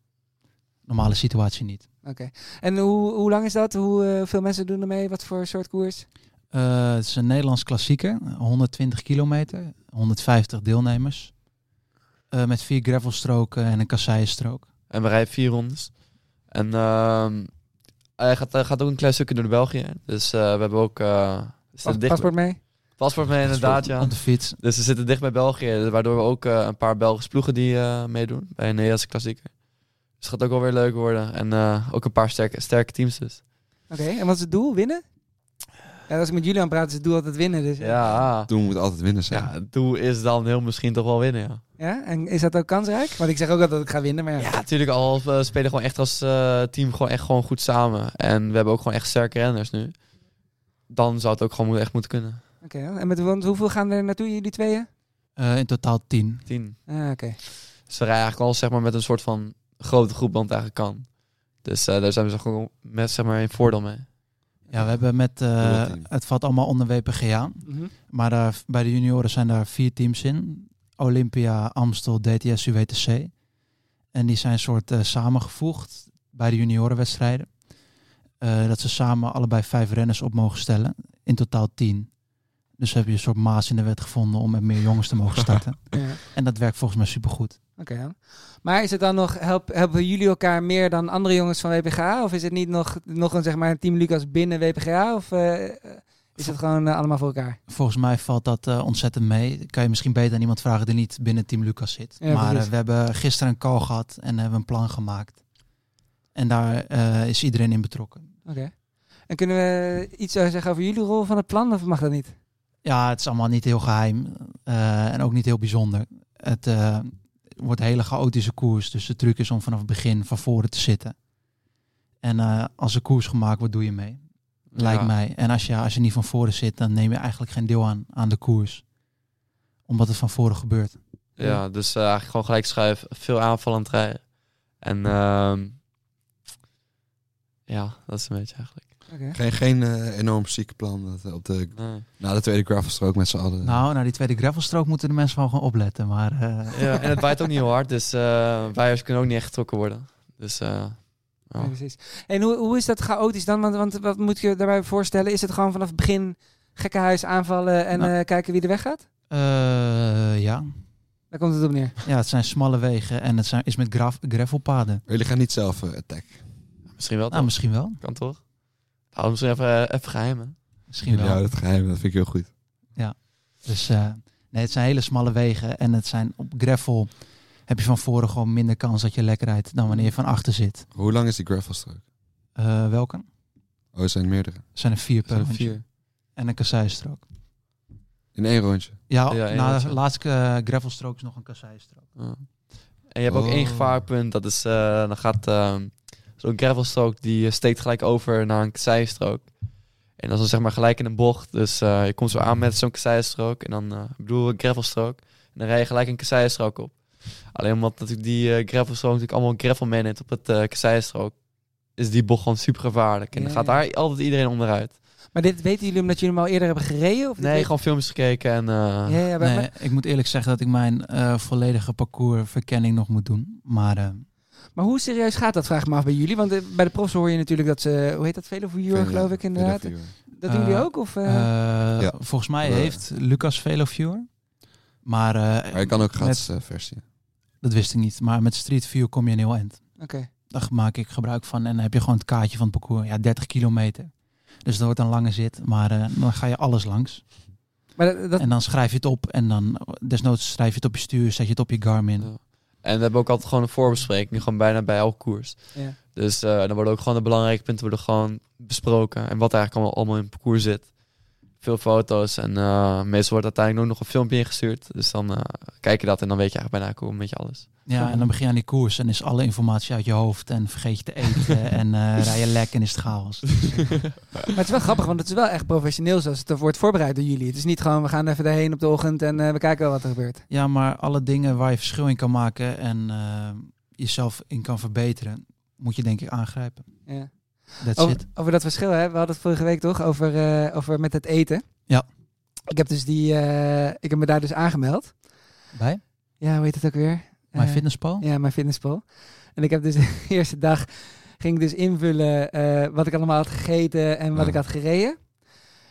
Speaker 1: normale situatie niet.
Speaker 4: En hoe, hoe lang is dat? Hoe eh, veel mensen doen ermee? Wat voor soort koers?
Speaker 1: Eh, het is een Nederlands klassieker, 120 kilometer, 150 deelnemers. Eh, met vier gravelstroken en een kasseienstrook.
Speaker 3: En we rijden vier rondes. En ehm, hij gaat, hij gaat ook een klein stukje door de België. Dus eh, we hebben ook... eh, we
Speaker 4: Pas,
Speaker 3: zitten dicht
Speaker 4: paspoort mee?
Speaker 3: bij- paspoort mee, inderdaad, ja.
Speaker 1: Op de fiets.
Speaker 3: Dus we zitten dicht bij België. Waardoor we ook eh, een paar Belgische ploegen die eh, meedoen. Bij een Nederlandse klassieker. Dus het gaat ook wel weer leuk worden. En eh, ook een paar sterke, sterke teams dus.
Speaker 4: Oké, en wat is het doel? Winnen? Ja, als ik met jullie aan praat, is het doel altijd winnen. Dus,
Speaker 3: Ja,
Speaker 2: Toen moet altijd winnen zijn.
Speaker 3: ja het doel is dan heel misschien toch wel winnen, ja.
Speaker 4: eh, ja? En is dat ook kansrijk? Want ik zeg ook altijd dat ik ga winnen, maar ja.
Speaker 3: Ja, natuurlijk al. We spelen gewoon echt als eh, team gewoon echt gewoon goed samen. En we hebben ook gewoon echt sterke renners nu. Dan zou het ook gewoon moet- echt moeten kunnen.
Speaker 4: Oké, en met want hoeveel gaan er naartoe, jullie tweeën?
Speaker 1: Eh, in totaal tien.
Speaker 3: Tien.
Speaker 4: Ah, oké.
Speaker 3: Dus we rijden eigenlijk al zeg maar, met een soort van grote groep dan het eigenlijk kan. Dus eh, daar zijn we zo gewoon met zeg maar in voordeel mee.
Speaker 1: Ja, we hebben met... eh,
Speaker 2: Dubbelteam.
Speaker 1: het valt allemaal onder WPGA.
Speaker 4: Mhm.
Speaker 1: Maar daar- bij de junioren zijn daar vier teams in. Olympia, Amstel, DTS, UWTC. En die zijn soort eh, samengevoegd bij de juniorenwedstrijden. Eh, dat ze samen allebei vijf renners op mogen stellen. In totaal tien. Dus heb je een soort maas in de wet gevonden om met meer jongens te mogen starten.
Speaker 4: Ja,
Speaker 1: en dat werkt volgens mij supergoed.
Speaker 4: oké. ja. Maar is het dan nog, help, helpen jullie elkaar meer dan andere jongens van WPGA? Of is het niet nog, nog een, zeg maar, een team Lucas binnen WPGA? Of eh, is het gewoon eh, allemaal voor elkaar?
Speaker 1: Volgens mij valt dat eh, ontzettend mee. Kan je misschien beter aan iemand vragen die niet binnen Team Lucas zit.
Speaker 4: Ja,
Speaker 1: maar
Speaker 4: precies.
Speaker 1: eh, we hebben gisteren een call gehad en hebben een plan gemaakt. En daar eh, is iedereen in betrokken.
Speaker 4: Oké. En kunnen we iets eh, zeggen over jullie rol van het plan? Of mag dat niet?
Speaker 1: Ja, het is allemaal niet heel geheim eh, en ook niet heel bijzonder. Het eh, wordt een hele chaotische koers, dus de truc is om vanaf het begin van voren te zitten. En eh, als er koers gemaakt wordt, doe je mee, lijkt
Speaker 3: Ja.
Speaker 1: mij. En als je, als je niet van voren zit, dan neem je eigenlijk geen deel aan, aan de koers. Omdat het van voren gebeurt.
Speaker 3: Ja, dus eh, eigenlijk gewoon gelijk schuif. Veel aanvallend rijden. En ehm, ja, dat is een beetje eigenlijk.
Speaker 4: Oké.
Speaker 2: Geen, geen eh, enorm zieke plan. Dat, eh, op de,
Speaker 3: Nee.
Speaker 2: na de tweede gravelstrook met z'n allen.
Speaker 1: Nou, naar die tweede gravelstrook moeten de mensen wel gewoon opletten. Maar eh,
Speaker 3: Ja, en het waait ook niet heel hard, dus eh waaiers kunnen ook niet echt getrokken worden. Dus eh, ja.
Speaker 4: Ja, precies. En hoe, hoe is dat chaotisch dan? Want, want wat moet je daarbij voorstellen? Is het gewoon vanaf het begin gekkenhuis aanvallen en
Speaker 1: Nou.
Speaker 4: eh, kijken wie er weggaat?
Speaker 1: eh, ja.
Speaker 4: Daar komt het op neer.
Speaker 1: ja, het zijn smalle wegen en het zijn, is met graf, gravelpaden.
Speaker 2: Jullie gaan niet zelf eh, attack.
Speaker 3: misschien wel.
Speaker 1: Nou,
Speaker 3: toch?
Speaker 1: misschien wel.
Speaker 3: Kan toch? Hou misschien even, eh, even geheim, hè?
Speaker 1: Misschien
Speaker 2: Jullie
Speaker 1: wel.
Speaker 2: houden het geheim, dat vind ik heel goed.
Speaker 1: Dus eh, nee, het zijn hele smalle wegen. En het zijn op gravel heb je van voren gewoon minder kans dat je lekker rijdt dan wanneer je van achter zit.
Speaker 2: Hoe lang is die gravelstrook?
Speaker 1: Eh, welke?
Speaker 2: Oh, er zijn meerdere.
Speaker 1: Er zijn er vier per
Speaker 3: Zo'n
Speaker 1: rondje.
Speaker 3: vier.
Speaker 1: En een kasseienstrook.
Speaker 2: In één rondje.
Speaker 1: Ja,
Speaker 3: Ja,
Speaker 1: na
Speaker 3: inderdaad,
Speaker 1: de
Speaker 3: ja.
Speaker 1: laatste eh, gravelstrook is nog een kasseienstrook.
Speaker 3: Ja. En je hebt ook
Speaker 2: Oh.
Speaker 3: één gevaarpunt, dat is, eh, dan gaat ehm, zo'n gravelstrook, die eh, steekt gelijk over naar een zijstrook. En dat is dan zeg maar gelijk in een bocht, dus eh, je komt zo aan met zo'n zijstrook en dan, eh, ik bedoel een gravelstrook, en dan rij je gelijk een zijstrook op. Alleen omdat natuurlijk die eh gravelstrook natuurlijk allemaal gravel meeneemt op het eh zijstrook, is die bocht gewoon super gevaarlijk. En dan
Speaker 4: Ja,
Speaker 3: gaat
Speaker 4: ja.
Speaker 3: daar altijd iedereen onderuit.
Speaker 4: Maar dit weten jullie omdat jullie hem al eerder hebben gereden? Of dit
Speaker 3: Nee,
Speaker 4: weet-
Speaker 3: gewoon films gekeken en... eh,
Speaker 4: Ja, ja, maar-
Speaker 1: Nee,
Speaker 4: maar,
Speaker 1: ik moet eerlijk zeggen dat ik mijn eh, volledige parcoursverkenning nog moet doen. Maar eh,
Speaker 4: maar hoe serieus gaat dat, vraag ik me af bij jullie. Want eh, bij de profs hoor je natuurlijk dat ze, hoe heet dat, velovuur geloof ik inderdaad. Dat doen jullie
Speaker 1: Eh,
Speaker 4: ook? Of, eh,
Speaker 1: eh,
Speaker 2: Ja.
Speaker 1: volgens mij
Speaker 2: Eh.
Speaker 1: heeft Lucas Veloviewer. Maar, eh,
Speaker 2: Maar je kan ook
Speaker 1: met,
Speaker 2: gratis eh, versie.
Speaker 1: dat wist ik niet. Maar met Street View kom je een heel eind.
Speaker 4: Oké.
Speaker 1: daar maak ik gebruik van. En dan heb je gewoon het kaartje van het parcours. Ja, 30 kilometer. Dus dat wordt een lange zit. Maar eh, dan ga je alles langs.
Speaker 4: Maar dat, dat-
Speaker 1: En dan schrijf je het op. En dan eh, desnoods schrijf je het op je stuur. Zet je het op je Garmin.
Speaker 3: Ja. En we hebben ook altijd gewoon een voorbespreking, gewoon bijna bij elke koers.
Speaker 4: Ja.
Speaker 3: Dus eh, dan worden ook gewoon de belangrijke punten worden gewoon besproken. En wat er eigenlijk allemaal, allemaal in het parcours zit. Veel foto's en eh, meestal wordt uiteindelijk ook nog een filmpje ingestuurd. Dus dan eh, kijk je dat en dan weet je eigenlijk bijna hoe een beetje alles.
Speaker 1: Ja, en dan begin je aan die koers en is alle informatie uit je hoofd en vergeet je te eten en eh rij je lek en is het chaos.
Speaker 4: Maar het is wel grappig, want het is wel echt professioneel zoals het wordt voorbereid door jullie. Het is niet gewoon, we gaan even daarheen op de ochtend en eh, we kijken wel wat er gebeurt.
Speaker 1: Ja, maar alle dingen waar je verschil in kan maken en eh, jezelf in kan verbeteren, moet je denk ik aangrijpen.
Speaker 4: Ja.
Speaker 1: That's
Speaker 4: Over,
Speaker 1: it.
Speaker 4: over dat verschil, hè? we hadden het vorige week toch over, eh, over met het eten.
Speaker 1: Ja.
Speaker 4: Ik heb, dus die, eh, ik heb me daar dus aangemeld.
Speaker 1: Bij?
Speaker 4: Ja, hoe heet het ook weer?
Speaker 1: Mijn
Speaker 4: Eh,
Speaker 1: fitnesspal?
Speaker 4: Ja, mijn fitnesspal. En ik heb dus de eerste dag ging ik dus invullen eh, wat ik allemaal had gegeten en wat
Speaker 2: Ja.
Speaker 4: ik had gereden.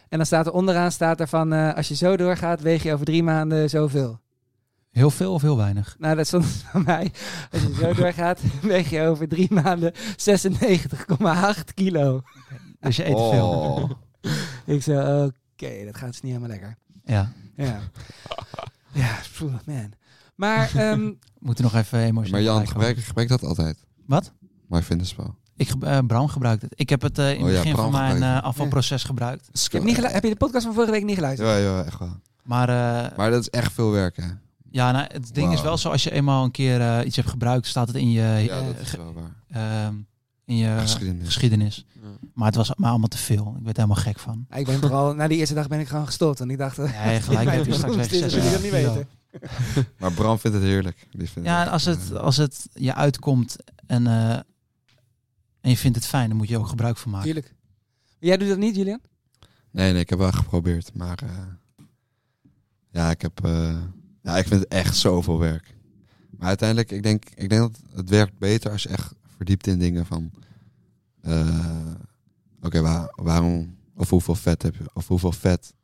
Speaker 4: En dan staat er onderaan staat er van eh, als je zo doorgaat, weeg je over drie maanden zoveel.
Speaker 1: Heel veel of heel weinig?
Speaker 4: Nou, dat stond bij mij. Als je zo doorgaat, weeg je over drie maanden 96,8 kilo.
Speaker 1: Dus je eet te veel.
Speaker 2: Oh.
Speaker 4: Ik zei, oké, dat gaat dus niet helemaal lekker.
Speaker 1: Ja,
Speaker 4: Ja, ja phew, man. Maar ehm,
Speaker 1: we moeten nog even emotioneel
Speaker 2: Maar Jan,
Speaker 1: blijven.
Speaker 2: gebruik, gebruik dat altijd.
Speaker 1: Wat?
Speaker 2: Maar Vinderspel.
Speaker 1: Ik ge- eh, Bram gebruikt het. Ik heb het eh, in
Speaker 2: Oh
Speaker 1: het
Speaker 2: ja,
Speaker 1: begin van
Speaker 2: Bram
Speaker 1: mijn
Speaker 2: gebruikt
Speaker 1: eh, afvalproces gebruikt.
Speaker 4: ik heb, niet gelu- heb je de podcast van vorige week niet geluisterd?
Speaker 2: Ja, ja, echt wel.
Speaker 1: Maar, eh,
Speaker 2: Maar dat is echt veel werk, hè?
Speaker 1: ja, nou, het ding is
Speaker 2: Wauw.
Speaker 1: wel zo, als je eenmaal een keer eh, iets hebt gebruikt, staat het in je,
Speaker 2: Ja,
Speaker 1: eh,
Speaker 2: dat is
Speaker 1: ge-
Speaker 2: wel waar.
Speaker 1: ehm, in je
Speaker 2: Geschiedenis.
Speaker 1: geschiedenis.
Speaker 3: Ja.
Speaker 1: Maar het was me allemaal te veel. Ik werd er helemaal gek van.
Speaker 4: Ja, Ik ben vooral, na die eerste dag ben ik gewoon gestopt. Want ik dacht, eh,
Speaker 1: Nee, gelijk heb je straks weg.
Speaker 4: Dit wil ik dat niet
Speaker 1: 86
Speaker 4: weten.
Speaker 2: Maar Bram vindt het heerlijk. Die vindt
Speaker 1: Ja, en
Speaker 2: echt,
Speaker 1: als het,
Speaker 2: eh,
Speaker 1: als het je uitkomt en, eh, en je vindt het fijn, dan moet je ook gebruik van maken.
Speaker 4: tuurlijk. Jij doet dat niet, Julian?
Speaker 2: Nee, nee, ik heb wel geprobeerd. Maar eh, ja, ik heb... eh, ja, ik vind het echt zoveel werk. Maar uiteindelijk, ik denk, ik denk dat het werkt beter als je echt verdiept in dingen van... eh, Oké, waar- waarom... Of hoeveel vet heb je? Of hoeveel vet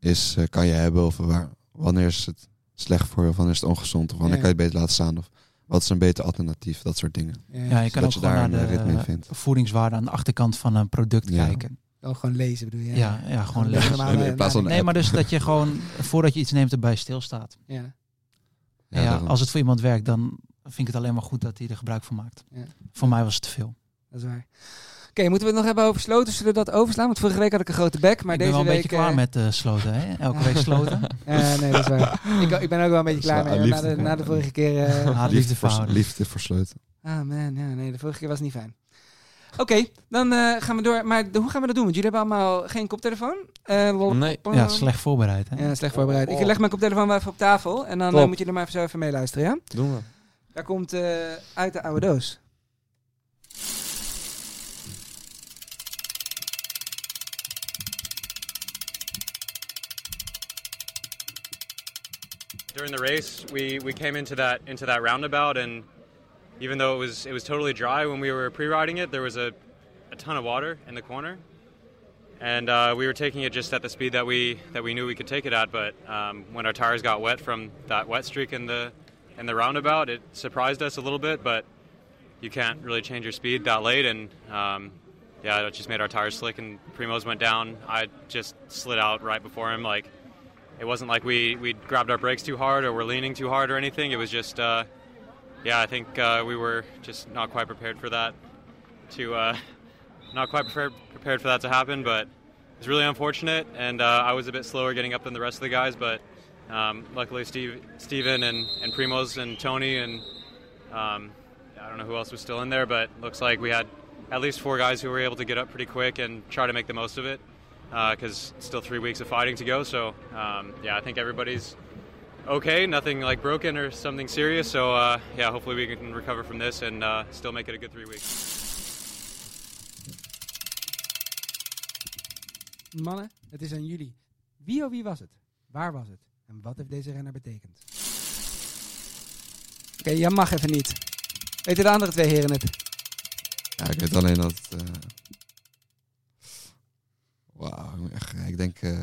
Speaker 2: is, eh, kan je hebben? Of waar, wanneer is het slecht voor je? Of wanneer is het ongezond? Of wanneer
Speaker 4: Ja.
Speaker 2: kan je het beter laten staan? Of wat is een beter alternatief? Dat soort dingen.
Speaker 1: Ja, je kan
Speaker 2: dat
Speaker 1: ook
Speaker 2: je
Speaker 1: gewoon
Speaker 2: daar
Speaker 1: naar
Speaker 2: een
Speaker 1: de
Speaker 2: ritme in
Speaker 1: eh,
Speaker 2: vindt.
Speaker 1: voedingswaarde aan de achterkant van een product
Speaker 2: Ja.
Speaker 1: kijken.
Speaker 4: Oh, gewoon lezen bedoel je?
Speaker 1: Ja, ja, gewoon
Speaker 4: Ja,
Speaker 1: lezen.
Speaker 4: maar- maar-
Speaker 2: In plaats van een
Speaker 1: Nee,
Speaker 2: app.
Speaker 1: maar dus dat je gewoon, voordat je iets neemt, erbij stilstaat.
Speaker 4: Ja.
Speaker 1: Ja,
Speaker 2: daarom.
Speaker 1: als het voor iemand werkt, dan vind ik het alleen maar goed dat hij er gebruik van maakt.
Speaker 4: Ja.
Speaker 1: Voor mij was het te veel.
Speaker 4: Dat is waar. Oké, moeten we het nog hebben over sloten? Zullen we dat overslaan? Want vorige week had ik een grote bek, maar
Speaker 1: ik ben
Speaker 4: deze
Speaker 1: wel een
Speaker 4: week...
Speaker 1: beetje klaar
Speaker 4: eh,
Speaker 1: met eh, sloten, hè? Elke
Speaker 4: Ja.
Speaker 1: week sloten.
Speaker 4: eh, nee, dat is waar. ik, ik ben ook wel een beetje
Speaker 2: Dat is
Speaker 4: klaar
Speaker 2: wel
Speaker 4: mee. hoor.
Speaker 2: aan
Speaker 4: Na de,
Speaker 2: liefde.
Speaker 4: na de vorige keer... eh,
Speaker 1: Ah, liefde
Speaker 2: liefde,
Speaker 1: voor
Speaker 2: voor,
Speaker 1: houden.
Speaker 2: liefde voor sleutel.
Speaker 4: Ah man, ja, nee, de vorige keer was niet fijn. Oké, dan eh, gaan we door. Maar de- hoe gaan we dat doen? Want jullie hebben allemaal geen koptelefoon. Eh, lol-
Speaker 3: Nee.
Speaker 1: Ja, slecht voorbereid, hè? Oh.
Speaker 4: Ja, slecht voorbereid. Ik leg mijn koptelefoon wel even op tafel en dan
Speaker 3: Top.
Speaker 4: eh, moet jullie maar even zo even meeluisteren, ja?
Speaker 3: Doen we.
Speaker 4: Daar komt eh, uit de oude doos.
Speaker 10: during the race we, we came into that into that roundabout and even though it was it was totally dry when we were pre-riding it there was a, a ton of water in the corner and uh, we were taking it just at the speed that we that we knew we could take it at but um, when our tires got wet from that wet streak in the in the roundabout it surprised us a little bit but you can't really change your speed that late and um, yeah it just made our tires slick and primos went down i just slid out right before him like it wasn't like we we grabbed our brakes too hard or were leaning too hard or anything. It was just, uh, yeah, I think uh, we were just not quite prepared for that to uh, not quite prepared prepared for that to happen. But it's really unfortunate, and uh, I was a bit slower getting up than the rest of the guys. But um, luckily, Steve, Steven and and Primos and Tony and um, I don't know who else was still in there, but looks like we had at least four guys who were able to get up pretty quick and try to make the most of it because still three weeks of fighting to go. So um, yeah, I think everybody's okay, nothing like broken or something serious. So uh, yeah, hopefully we can recover from this and uh, still make it a good three weeks.
Speaker 4: Mannen, het is aan jullie. Wie of wie was het? Waar was het? En wat heeft deze renner betekend? Oké, jij mag even niet. Weten de andere twee heren het?
Speaker 2: Ja, ik weet alleen dat. eh, Wauw, ik moet echt- ik denk. eh,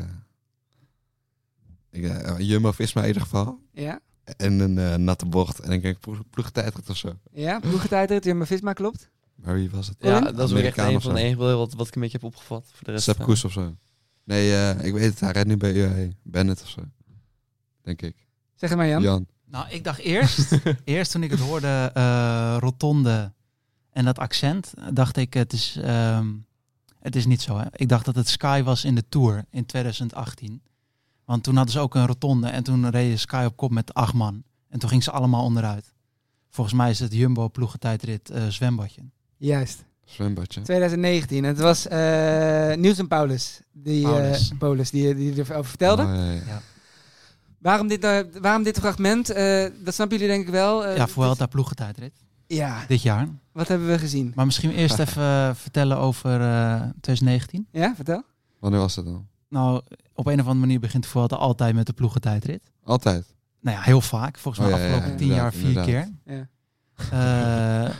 Speaker 2: ik, eh, Jumbo Visma in ieder geval.
Speaker 4: Ja?
Speaker 2: En een eh, natte bocht. En ik denk ploeg, ploegtijdrit of zo.
Speaker 4: Ja? Ploegentijdrit, Jumma Visma klopt.
Speaker 2: Maar wie was het?
Speaker 3: Ja, dat
Speaker 4: Colin?
Speaker 3: is ook echt
Speaker 2: Amerikaan
Speaker 3: een
Speaker 2: of
Speaker 3: van de
Speaker 2: zo.
Speaker 3: enige wat, wat ik een beetje heb opgevat. Voor de rest,
Speaker 2: Sepp
Speaker 3: eh,
Speaker 2: Koes of zo. Nee, eh, ik weet het. Hij rijdt nu bij UAE. Bennett of zo. Denk ik.
Speaker 4: Zeg het maar Jan.
Speaker 2: Jan.
Speaker 1: Nou, ik dacht eerst, eerst toen ik het hoorde, eh, rotonde en dat accent, dacht ik het is ehm, Het is niet zo. Hè? Ik dacht dat het Sky was in de Tour in 2018. Want toen hadden ze ook een rotonde en toen reden Sky op kop met acht man. En toen gingen ze allemaal onderuit. Volgens mij is het Jumbo ploegentijdrit eh zwembadje.
Speaker 4: Juist.
Speaker 2: Zwembadje.
Speaker 4: 2019. Het was eh Niels en Paulus. Die, eh,
Speaker 1: Paulus.
Speaker 4: Paulus, die, die erover vertelde.
Speaker 2: Mooi.
Speaker 4: Waarom, dit, eh, waarom dit fragment? Eh, dat snappen jullie denk ik wel. Eh,
Speaker 1: ja, Vuelta ploegentijdrit
Speaker 4: dat- ja,
Speaker 1: dit jaar.
Speaker 4: wat hebben we gezien?
Speaker 1: Maar misschien eerst even eh, vertellen over eh, 2019.
Speaker 4: Ja, vertel.
Speaker 2: Wanneer was dat dan?
Speaker 1: Nou, op een of andere manier begint Vuelta altijd met de ploegentijdrit.
Speaker 2: Altijd.
Speaker 1: Nou ja, heel vaak. Volgens mij
Speaker 2: Oh, ja, ja,
Speaker 1: afgelopen
Speaker 4: ja,
Speaker 1: tien jaar vier
Speaker 2: inderdaad,
Speaker 1: keer.
Speaker 4: Ja.
Speaker 1: Eh,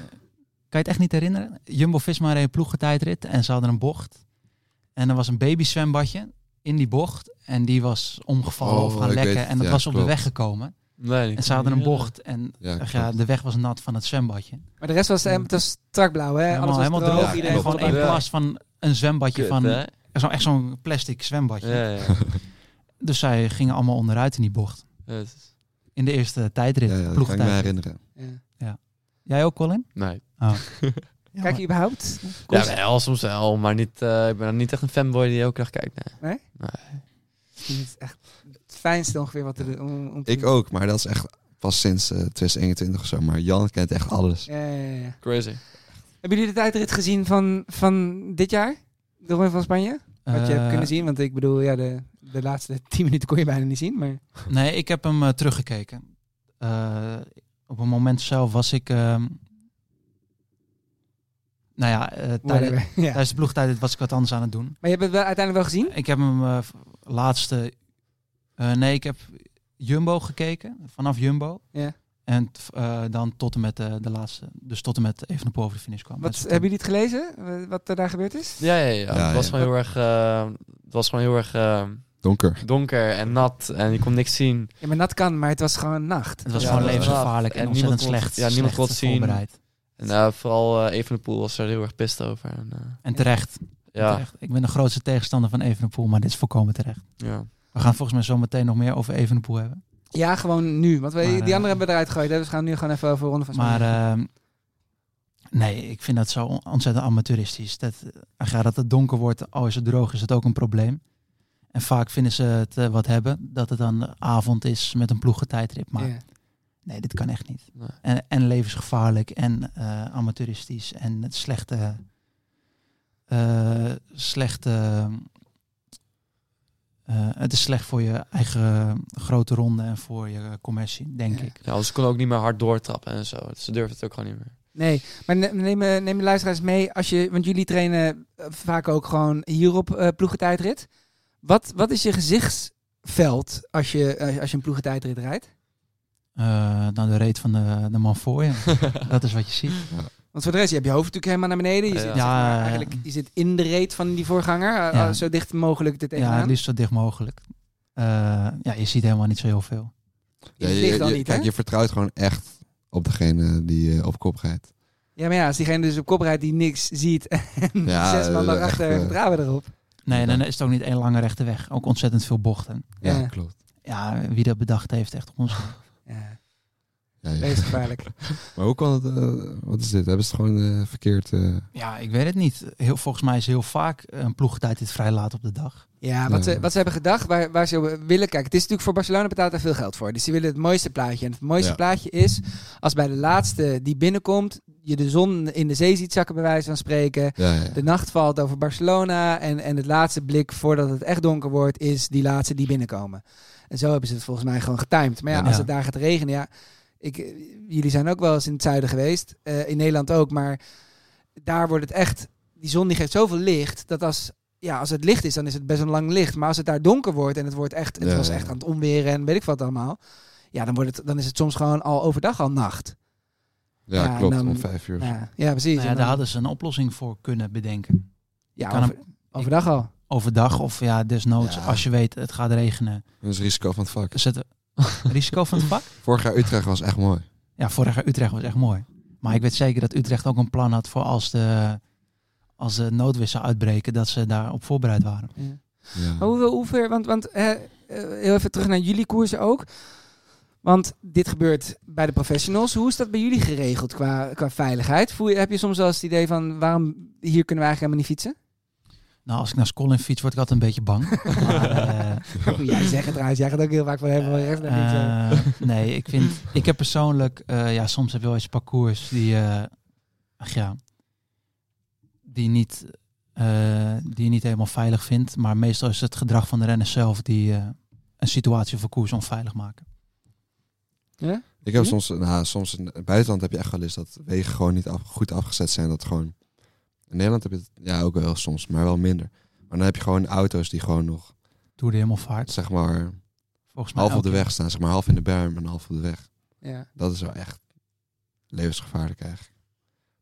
Speaker 1: kan je het echt niet herinneren? Jumbo-Visma reed een ploegentijdrit en ze hadden een bocht. En er was een babyzwembadje in die bocht. En die was omgevallen
Speaker 2: Oh,
Speaker 1: of gaan
Speaker 2: ik
Speaker 1: lekken.
Speaker 2: weet het,
Speaker 1: en dat
Speaker 2: ja,
Speaker 1: was op de
Speaker 2: klopt.
Speaker 1: weg gekomen.
Speaker 3: Nee, die-
Speaker 1: En ze hadden een bocht. En
Speaker 2: Ja,
Speaker 1: ach ja,
Speaker 2: klopt.
Speaker 1: de weg was nat van het zwembadje.
Speaker 4: Maar de rest was, eh, het was strakblauw, hè?
Speaker 1: Helemaal,
Speaker 4: Alles was
Speaker 1: helemaal
Speaker 4: droog.
Speaker 1: droog.
Speaker 3: Ja,
Speaker 1: en
Speaker 4: iedereen
Speaker 1: gewoon
Speaker 4: vond
Speaker 3: klopt.
Speaker 1: één
Speaker 4: het
Speaker 3: Ja.
Speaker 1: plas van een zwembadje
Speaker 3: Kut,
Speaker 1: van...
Speaker 3: hè?
Speaker 1: Zo'n, echt zo'n plastic zwembadje.
Speaker 3: Ja, ja.
Speaker 1: Dus zij gingen allemaal onderuit in die bocht.
Speaker 3: Dus-
Speaker 1: In de eerste tijdrit,
Speaker 2: Ja, ja, dat kan ik me
Speaker 1: ploegentijdrit.
Speaker 2: herinneren.
Speaker 4: Ja.
Speaker 1: Jij ook, Colin?
Speaker 3: Nee.
Speaker 4: Kijk je überhaupt?
Speaker 3: Ja,
Speaker 4: Kost?
Speaker 3: wel, soms wel, maar niet, eh, ik ben dan niet echt een fanboy die elke dag kijkt. Nee.
Speaker 4: Misschien is het echt het fijnste ongeveer wat er om, om te
Speaker 2: Ik
Speaker 4: doen.
Speaker 2: ook, maar dat is echt pas sinds eh, 2021 of zo. Maar Jan kent echt alles.
Speaker 4: Ja, ja, ja, ja.
Speaker 3: Crazy.
Speaker 4: Hebben jullie de tijdrit gezien van, van dit jaar? De Ronde van Spanje? Wat je hebt
Speaker 1: Eh,
Speaker 4: kunnen zien, want ik bedoel, ja, de, de laatste tien minuten kon je bijna niet zien. Maar
Speaker 1: Nee, ik heb hem eh, teruggekeken. Eh, op een moment zelf was ik... ehm, nou ja, eh, tijdens,
Speaker 4: whatever. Ja.
Speaker 1: tijdens de ploegtijd was ik wat anders aan het doen.
Speaker 4: Maar je hebt het wel, uiteindelijk wel gezien?
Speaker 1: Ik heb hem eh, v- laatste... eh, nee, ik heb Jumbo gekeken. Vanaf Jumbo.
Speaker 4: Ja.
Speaker 1: En t- eh, dan tot en met eh, de laatste. Dus tot en met Evenepoel over de finish kwam. Dus
Speaker 4: Wat,
Speaker 1: Met z'n
Speaker 4: hebben jullie het gelezen? Wat- Wat er daar gebeurd is?
Speaker 3: Ja, ja, ja.
Speaker 2: Ja,
Speaker 3: het, was
Speaker 2: ja.
Speaker 3: Gewoon heel erg, eh, het was gewoon heel erg eh,
Speaker 2: Donker.
Speaker 3: donker en nat en je kon niks zien.
Speaker 4: Ja, maar dat kan, maar het was gewoon nacht.
Speaker 1: Het was
Speaker 3: Ja,
Speaker 1: gewoon
Speaker 3: dat was
Speaker 1: levensgevaarlijk
Speaker 3: gaaf.
Speaker 1: en,
Speaker 3: En
Speaker 1: ontzettend
Speaker 3: niemand kon-
Speaker 1: slecht.
Speaker 3: ja, niemand
Speaker 1: slecht
Speaker 3: kon het zien.
Speaker 1: voorbereid.
Speaker 3: En eh, vooral even Evenepoel was er heel erg pist over. En, eh,
Speaker 1: En terecht,
Speaker 3: ja,
Speaker 1: terecht. Ik ben de grootste tegenstander van Evenepoel, maar dit is volkomen terecht.
Speaker 3: ja.
Speaker 1: We gaan volgens mij zo meteen nog meer over Evenepoel hebben.
Speaker 4: Ja, gewoon nu. Want we,
Speaker 1: Maar,
Speaker 4: die
Speaker 1: eh,
Speaker 4: anderen hebben we eruit gegooid. hè, Dus we gaan nu gewoon even over Ronde van Spanje.
Speaker 1: Maar ehm, nee, ik vind dat zo on- ontzettend amateuristisch. Dat, eh, ja, dat het donker wordt, al is het droog, is dat ook een probleem. En vaak vinden ze het eh, wat hebben, dat het dan avond is met een ploegentijdrit. Maar
Speaker 4: Ja.
Speaker 1: nee, dit kan echt niet.
Speaker 3: Nee.
Speaker 1: En, en levensgevaarlijk en eh, amateuristisch en het slechte... eh, slechte eh, het is slecht voor je eigen grote ronde en voor je commercie, denk
Speaker 4: Ja.
Speaker 1: ik.
Speaker 3: ja, ze konden ook niet meer hard doortrappen en zo. dus Ze durfden het ook gewoon niet meer.
Speaker 4: Nee, maar ne- neem, eh, neem de luisteraars mee. Als je, want jullie trainen eh, vaak ook gewoon hier op eh, ploegentijdrit. Wat, wat is je gezichtsveld als je, eh, als je een ploegentijdrit rijdt?
Speaker 1: eh nou, de reet van de, de man voor je. dat is wat je ziet.
Speaker 4: Want voor de rest, je hebt je hoofd natuurlijk helemaal naar beneden. Je
Speaker 3: Ja. Ja,
Speaker 4: zit, zeg maar,
Speaker 1: ja, ja.
Speaker 4: eigenlijk, je zit in de reet van die voorganger. eh,
Speaker 1: Ja.
Speaker 4: eh, Zo dicht mogelijk er
Speaker 1: Ja, dus- het
Speaker 4: tegenaan.
Speaker 1: liefst zo dicht mogelijk. Eh, ja, je ziet helemaal niet zo heel veel.
Speaker 4: Ja,
Speaker 2: Ja,
Speaker 4: je,
Speaker 2: je,
Speaker 4: ligt dan
Speaker 2: je-
Speaker 4: niet, hè?
Speaker 2: kijk, je vertrouwt gewoon echt op degene die eh, op kop rijdt.
Speaker 4: Ja, maar ja, als diegene dus op kop rijdt die niks ziet en
Speaker 2: Ja,
Speaker 4: zes man
Speaker 2: eh, echt,
Speaker 4: daarachter,
Speaker 2: eh,
Speaker 4: vertrouwen erop.
Speaker 1: Nee, dan is het ook niet één lange rechte weg. Ook ontzettend veel bochten.
Speaker 2: Ja,
Speaker 4: Ja.
Speaker 2: klopt.
Speaker 1: Ja, wie dat bedacht heeft, echt ons.
Speaker 4: Ja,
Speaker 2: Ja, ja.
Speaker 4: dat is gevaarlijk.
Speaker 2: Maar hoe kan het? eh, wat is dit? Hebben ze het gewoon eh, verkeerd? eh,
Speaker 1: Ja, ik weet het niet. Heel, volgens mij is heel vaak een ploegtijd dit vrij laat op de dag.
Speaker 4: Ja, wat,
Speaker 2: Ja.
Speaker 4: Ze, wat ze hebben gedacht, waar, waar ze op willen. Kijk, het is natuurlijk voor Barcelona betaalt daar veel geld voor. Dus ze willen het mooiste plaatje. En het mooiste
Speaker 2: Ja.
Speaker 4: plaatje is als bij de laatste die binnenkomt, je de zon in de zee ziet zakken, bij wijze van spreken.
Speaker 2: ja, ja, ja.
Speaker 4: De nacht valt over Barcelona. En, en het laatste blik voordat het echt donker wordt, is die laatste die binnenkomen. En zo hebben ze het volgens mij gewoon getimed. Maar ja,
Speaker 1: Ja.
Speaker 4: als het daar gaat regenen, ja. Ik, eh, jullie zijn ook wel eens in het zuiden geweest. eh, in Nederland ook. Maar daar wordt het echt. Die zon die geeft zoveel licht. Dat als, ja, als het licht is, dan is het best een lang licht. Maar als het daar donker wordt en het wordt echt. Het
Speaker 2: Ja,
Speaker 4: was
Speaker 2: ja.
Speaker 4: echt aan het onweren en weet ik wat allemaal. Ja, dan, wordt het, dan is het soms gewoon al overdag al nacht.
Speaker 2: Ja,
Speaker 4: ja,
Speaker 2: klopt.
Speaker 4: dan-
Speaker 2: om vijf uur.
Speaker 4: Ja, ja precies.
Speaker 1: Nou ja,
Speaker 4: En
Speaker 1: daar
Speaker 4: dan-
Speaker 1: hadden ze een oplossing voor kunnen bedenken.
Speaker 4: ja,
Speaker 1: kan
Speaker 4: over- overdag al.
Speaker 1: Overdag of ja, desnoods.
Speaker 2: Ja.
Speaker 1: Als je weet, het gaat regenen.
Speaker 2: Dat is risico van het vak.
Speaker 1: Zet risico van het vak?
Speaker 2: Vorig jaar Utrecht was echt mooi.
Speaker 1: Ja, vorig jaar Utrecht was echt mooi. Maar ik weet zeker dat Utrecht ook een plan had voor als de, als de noodweer zou uitbreken, dat ze daarop voorbereid waren.
Speaker 2: Ja.
Speaker 4: Maar hoeveel, hoe ver, want, want eh, eh, heel even terug naar jullie koersen ook. Want dit gebeurt bij de professionals. Hoe is dat bij jullie geregeld qua, qua veiligheid? Voel je, heb je soms wel eens het idee van waarom hier kunnen we eigenlijk helemaal niet fietsen?
Speaker 1: Nou, als ik naar Skolin fiets, word ik altijd een beetje bang. maar, eh,
Speaker 2: Oh,
Speaker 4: Jij zegt het trouwens, jij gaat ook heel vaak van helemaal rechts naar links. hè.
Speaker 1: Eh, nee, ik vind, ik heb persoonlijk, eh, ja, soms heb je wel eens parcours die, eh, ach ja, die niet, eh, die je niet helemaal veilig vindt. Maar meestal is het gedrag van de renner zelf die eh, een situatie of een koers onveilig maken.
Speaker 2: Ik heb
Speaker 4: Hm?
Speaker 2: soms, nou, soms in het buitenland heb je echt wel eens dat wegen gewoon niet af, goed afgezet zijn. Dat gewoon, in Nederland heb je het ja, ook wel soms, maar wel minder. Maar dan heb je gewoon auto's die gewoon nog,
Speaker 1: Doe de helemaal vaart.
Speaker 2: zeg maar,
Speaker 1: Ah, Volgens mij
Speaker 2: half op
Speaker 1: elke-
Speaker 2: de weg staan. Zeg maar half in de berm en half op de weg.
Speaker 4: Ja.
Speaker 2: Dat is wel echt levensgevaarlijk eigenlijk.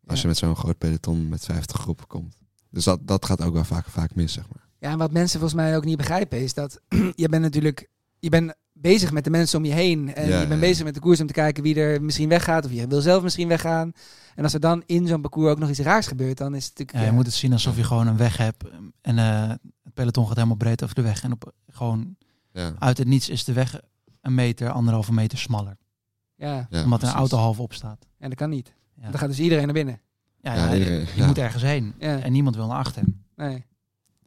Speaker 2: Als
Speaker 4: Ja.
Speaker 2: je met zo'n groot peloton met 50 groepen komt. Dus dat, dat gaat ook wel vaak, vaak mis, zeg maar.
Speaker 4: ja, en wat mensen volgens mij ook niet begrijpen is dat je bent natuurlijk je bent bezig met de mensen om je heen. En
Speaker 2: Ja,
Speaker 4: je bent
Speaker 2: ja.
Speaker 4: bezig met de koers om te kijken wie er misschien weggaat of je wil zelf misschien weggaan. En als er dan in zo'n parcours ook nog iets raars gebeurt, dan is het natuurlijk...
Speaker 1: Ja, Eh, je
Speaker 4: ja.
Speaker 1: moet het zien alsof je gewoon een weg hebt en eh, het peloton gaat helemaal breed over de weg. En op, gewoon
Speaker 2: Ja.
Speaker 1: uit het niets is de weg een meter, anderhalve meter smaller.
Speaker 4: ja,
Speaker 1: omdat
Speaker 2: Ja,
Speaker 1: er een
Speaker 2: precies.
Speaker 1: auto half op staat.
Speaker 4: en dat kan niet.
Speaker 1: Ja.
Speaker 4: Want Dan gaat dus iedereen naar binnen.
Speaker 1: Ja,
Speaker 2: Ja,
Speaker 1: ja,
Speaker 2: iedereen-
Speaker 1: je
Speaker 2: ja.
Speaker 1: moet ergens heen.
Speaker 4: Ja.
Speaker 1: En niemand wil naar achter.
Speaker 4: Nee.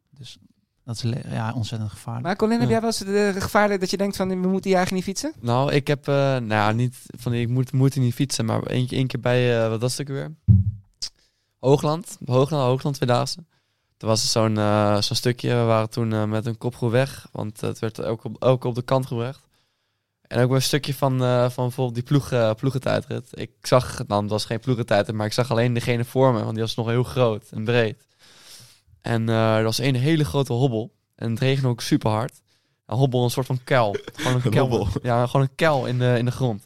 Speaker 1: Dus dat is le- ja, ontzettend gevaarlijk.
Speaker 4: Maar Colin, heb
Speaker 3: Ja.
Speaker 4: jij wel eens de de gevaarlijk dat je denkt van we moeten hier eigenlijk niet fietsen?
Speaker 3: Nou, ik heb, eh, nou ja, niet van die, ik moet, moet hier niet fietsen, maar één één keer bij, eh, wat was het ook weer? Hoogland, Hoogland, Hoogland Vierdaagse. Toen was er zo'n eh, zo'n stukje, we waren toen eh, met een kopgroep weg, want het werd ook op, ook op de kant gebracht. En ook weer een stukje van, eh, van bijvoorbeeld die ploeg, eh, ploegentijdrit. Ik zag, nou het was geen ploegentijdrit, maar ik zag alleen degene voor me, want die was nog heel groot en breed. En eh, er was één hele grote hobbel en het regende ook super hard. Een hobbel, een soort van kuil. Gewoon een,
Speaker 2: Een
Speaker 3: kuil.
Speaker 2: hobbel.
Speaker 3: Ja, gewoon een kuil in de, in de grond.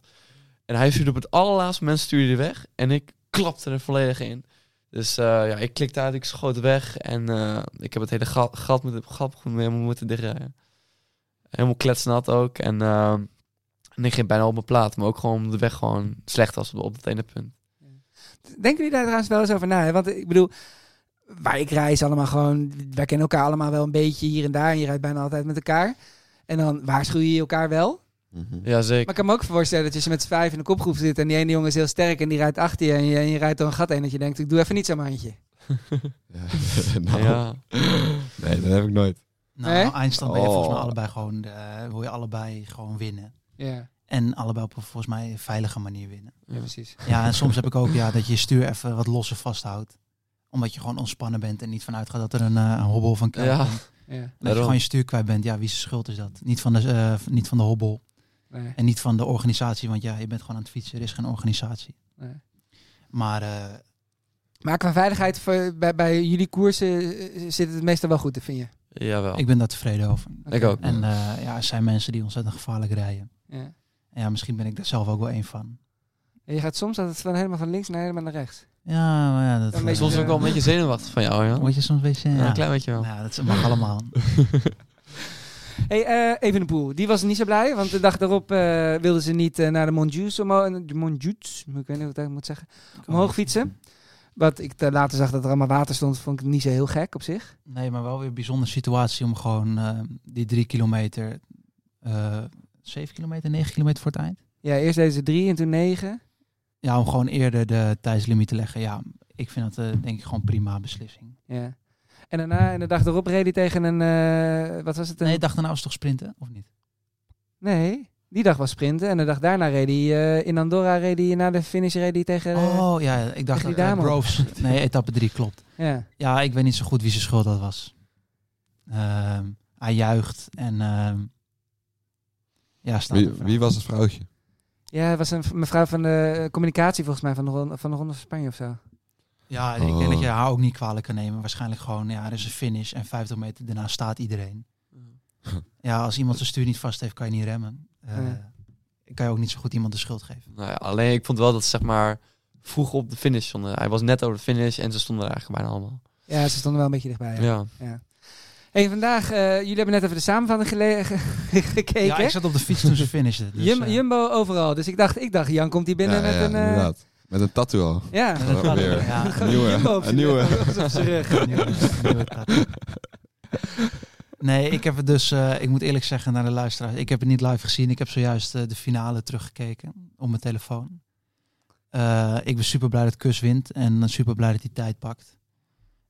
Speaker 3: En hij stuurde op het allerlaatste moment stuurde hij weg. En ik klapte er volledig in. Dus eh, ja, ik klikte uit, ik schoot weg. En eh, ik heb het hele gat, gat, met, gat helemaal moeten dichtrijden. Helemaal kletsnat ook. En, eh, en ik ging bijna op mijn plaat. Maar ook gewoon omdat de weg gewoon slecht was op, op dat ene punt.
Speaker 4: Denken jullie daar trouwens wel eens over na? Hè? Want ik bedoel, waar ik reis allemaal gewoon... Wij kennen elkaar allemaal wel een beetje hier en daar. En je rijdt bijna altijd met elkaar. En dan waarschuw je elkaar wel.
Speaker 2: Mhm.
Speaker 3: Ja,
Speaker 4: Maar
Speaker 3: zeker.
Speaker 4: ik kan me ook voorstellen dat je ze met z'n vijf in de kopgroep zit... en die ene jongen is heel sterk en die rijdt achter je... en je, en je rijdt door een gat heen dat je denkt... ik doe even niet zo'n handje.
Speaker 2: Ja. Nou,
Speaker 3: Ja.
Speaker 2: Nee, dat heb ik nooit.
Speaker 1: Nou,
Speaker 4: Nee?
Speaker 1: eindstand ben je volgens mij
Speaker 2: Oh.
Speaker 1: allebei gewoon, eh, wil je allebei gewoon winnen.
Speaker 4: Ja,
Speaker 1: En allebei op een volgens mij veilige manier winnen.
Speaker 4: ja precies.
Speaker 1: Ja, en soms heb ik ook ja, dat je je stuur even wat losser vasthoudt. Omdat je gewoon ontspannen bent en niet vanuit gaat dat er een, eh, een hobbel van kan.
Speaker 3: Ja.
Speaker 4: Ja,
Speaker 1: Dat je
Speaker 3: Daarom.
Speaker 1: gewoon je stuur kwijt bent. Ja, wie zijn schuld is dat? Niet van, de, eh, niet van de hobbel
Speaker 4: nee.
Speaker 1: en niet van de organisatie. Want ja, je bent gewoon aan het fietsen. Er is geen organisatie.
Speaker 4: Nee.
Speaker 1: Maar eh,
Speaker 4: Maar qua veiligheid voor, bij, bij jullie koersen eh, zit het meestal wel goed, vind je?
Speaker 3: Jawel. Ik,
Speaker 1: ik ben daar tevreden over.
Speaker 3: ook.
Speaker 1: En eh, ja, er zijn mensen die ontzettend gevaarlijk rijden.
Speaker 4: Ja.
Speaker 1: En ja, misschien ben ik daar zelf ook wel één van.
Speaker 4: En je gaat soms altijd van helemaal van links naar helemaal naar rechts.
Speaker 1: Ja, maar ja, dat
Speaker 4: Dan ben je
Speaker 1: eh,
Speaker 3: Soms ook wel een beetje zenuwachtig van jou, ja.
Speaker 1: Word je soms een beetje...
Speaker 3: Ja,
Speaker 1: Ja,
Speaker 3: een klein beetje wel.
Speaker 1: Ja, dat mag allemaal.
Speaker 4: Hey, eh even de poel. Die was niet zo blij, want de dag daarop eh, wilden ze niet eh, naar de Montjuïc omhoog. eh, De Montjuïc, ik weet niet hoe ik dat moet zeggen. Omhoog fietsen. Wat ik eh, later zag dat er allemaal water stond, vond ik niet zo heel gek op zich.
Speaker 1: Nee, maar wel weer een bijzondere situatie om gewoon eh, die drie kilometer... eh zeven kilometer, negen kilometer voor het eind?
Speaker 4: Ja, eerst deze drie en toen negen.
Speaker 1: Ja, om gewoon eerder de tijdslimiet te leggen. Ja, ik vind dat eh, denk ik gewoon prima beslissing.
Speaker 4: Ja. En daarna, en de dag daarop reed hij tegen een, eh, wat was het? Een...
Speaker 1: Nee, dacht daarna was het toch sprinten, of niet?
Speaker 4: Nee, die dag was sprinten. En de dag daarna reed hij, eh, in Andorra reed hij, na de finish reed hij tegen... eh,
Speaker 1: Oh ja, ik dacht
Speaker 4: die
Speaker 1: dat
Speaker 4: dame.
Speaker 1: eh, Groves... Nee, etappe drie klopt.
Speaker 4: Ja,
Speaker 1: Ja, ik weet niet zo goed wie zijn schuld dat was. Ehm, hij juicht en ehm, ja, staat
Speaker 2: Wie,
Speaker 1: een vraag.
Speaker 2: wie was het vrouwtje?
Speaker 4: ja het was een v- mevrouw van de eh, communicatie volgens mij van de, Ron- van de Ronde van Spanje of zo.
Speaker 1: Ja, ik denk dat je
Speaker 2: Oh.
Speaker 1: haar ook niet kwalijk kan nemen. Waarschijnlijk gewoon, ja, er is een finish en 50 meter daarna staat iedereen. Ja, als iemand zijn stuur niet vast heeft, kan je niet remmen. Eh,
Speaker 4: Nee.
Speaker 1: Kan je ook niet zo goed iemand de schuld geven.
Speaker 3: Nou ja, alleen ik vond wel dat ze zeg maar vroeg op de finish stonden. Hij was net over de finish en ze stonden er eigenlijk bijna allemaal.
Speaker 4: Ja, ze stonden wel een beetje dichtbij. Ja.
Speaker 3: Ja.
Speaker 4: Hey, vandaag, eh, jullie hebben net even de samenvatting gele- ge- gekeken.
Speaker 1: ja, ik zat op de fiets toen ze finishte. Dus,
Speaker 4: Jum-
Speaker 1: eh,
Speaker 4: Jumbo overal. Dus ik dacht, ik dacht, Jan komt hier binnen
Speaker 2: ja,
Speaker 4: met
Speaker 2: ja,
Speaker 4: een... eh,
Speaker 2: inderdaad. Met een tattoo al.
Speaker 4: ja,
Speaker 1: ja, dat
Speaker 2: Gewoon
Speaker 1: kan.
Speaker 2: weer.
Speaker 1: Ja,
Speaker 2: Een nieuwe.
Speaker 4: Jumbo op
Speaker 2: Een
Speaker 4: zijn-
Speaker 2: nieuwe.
Speaker 4: op zijn rug.
Speaker 1: Nieuwe- nieuwe kat. Nee, ik heb het dus, eh, ik moet eerlijk zeggen naar de luisteraars, ik heb het niet live gezien. Ik heb zojuist eh, de finale teruggekeken op mijn telefoon. Eh, ik ben super blij dat Kus wint en super blij dat hij tijd pakt.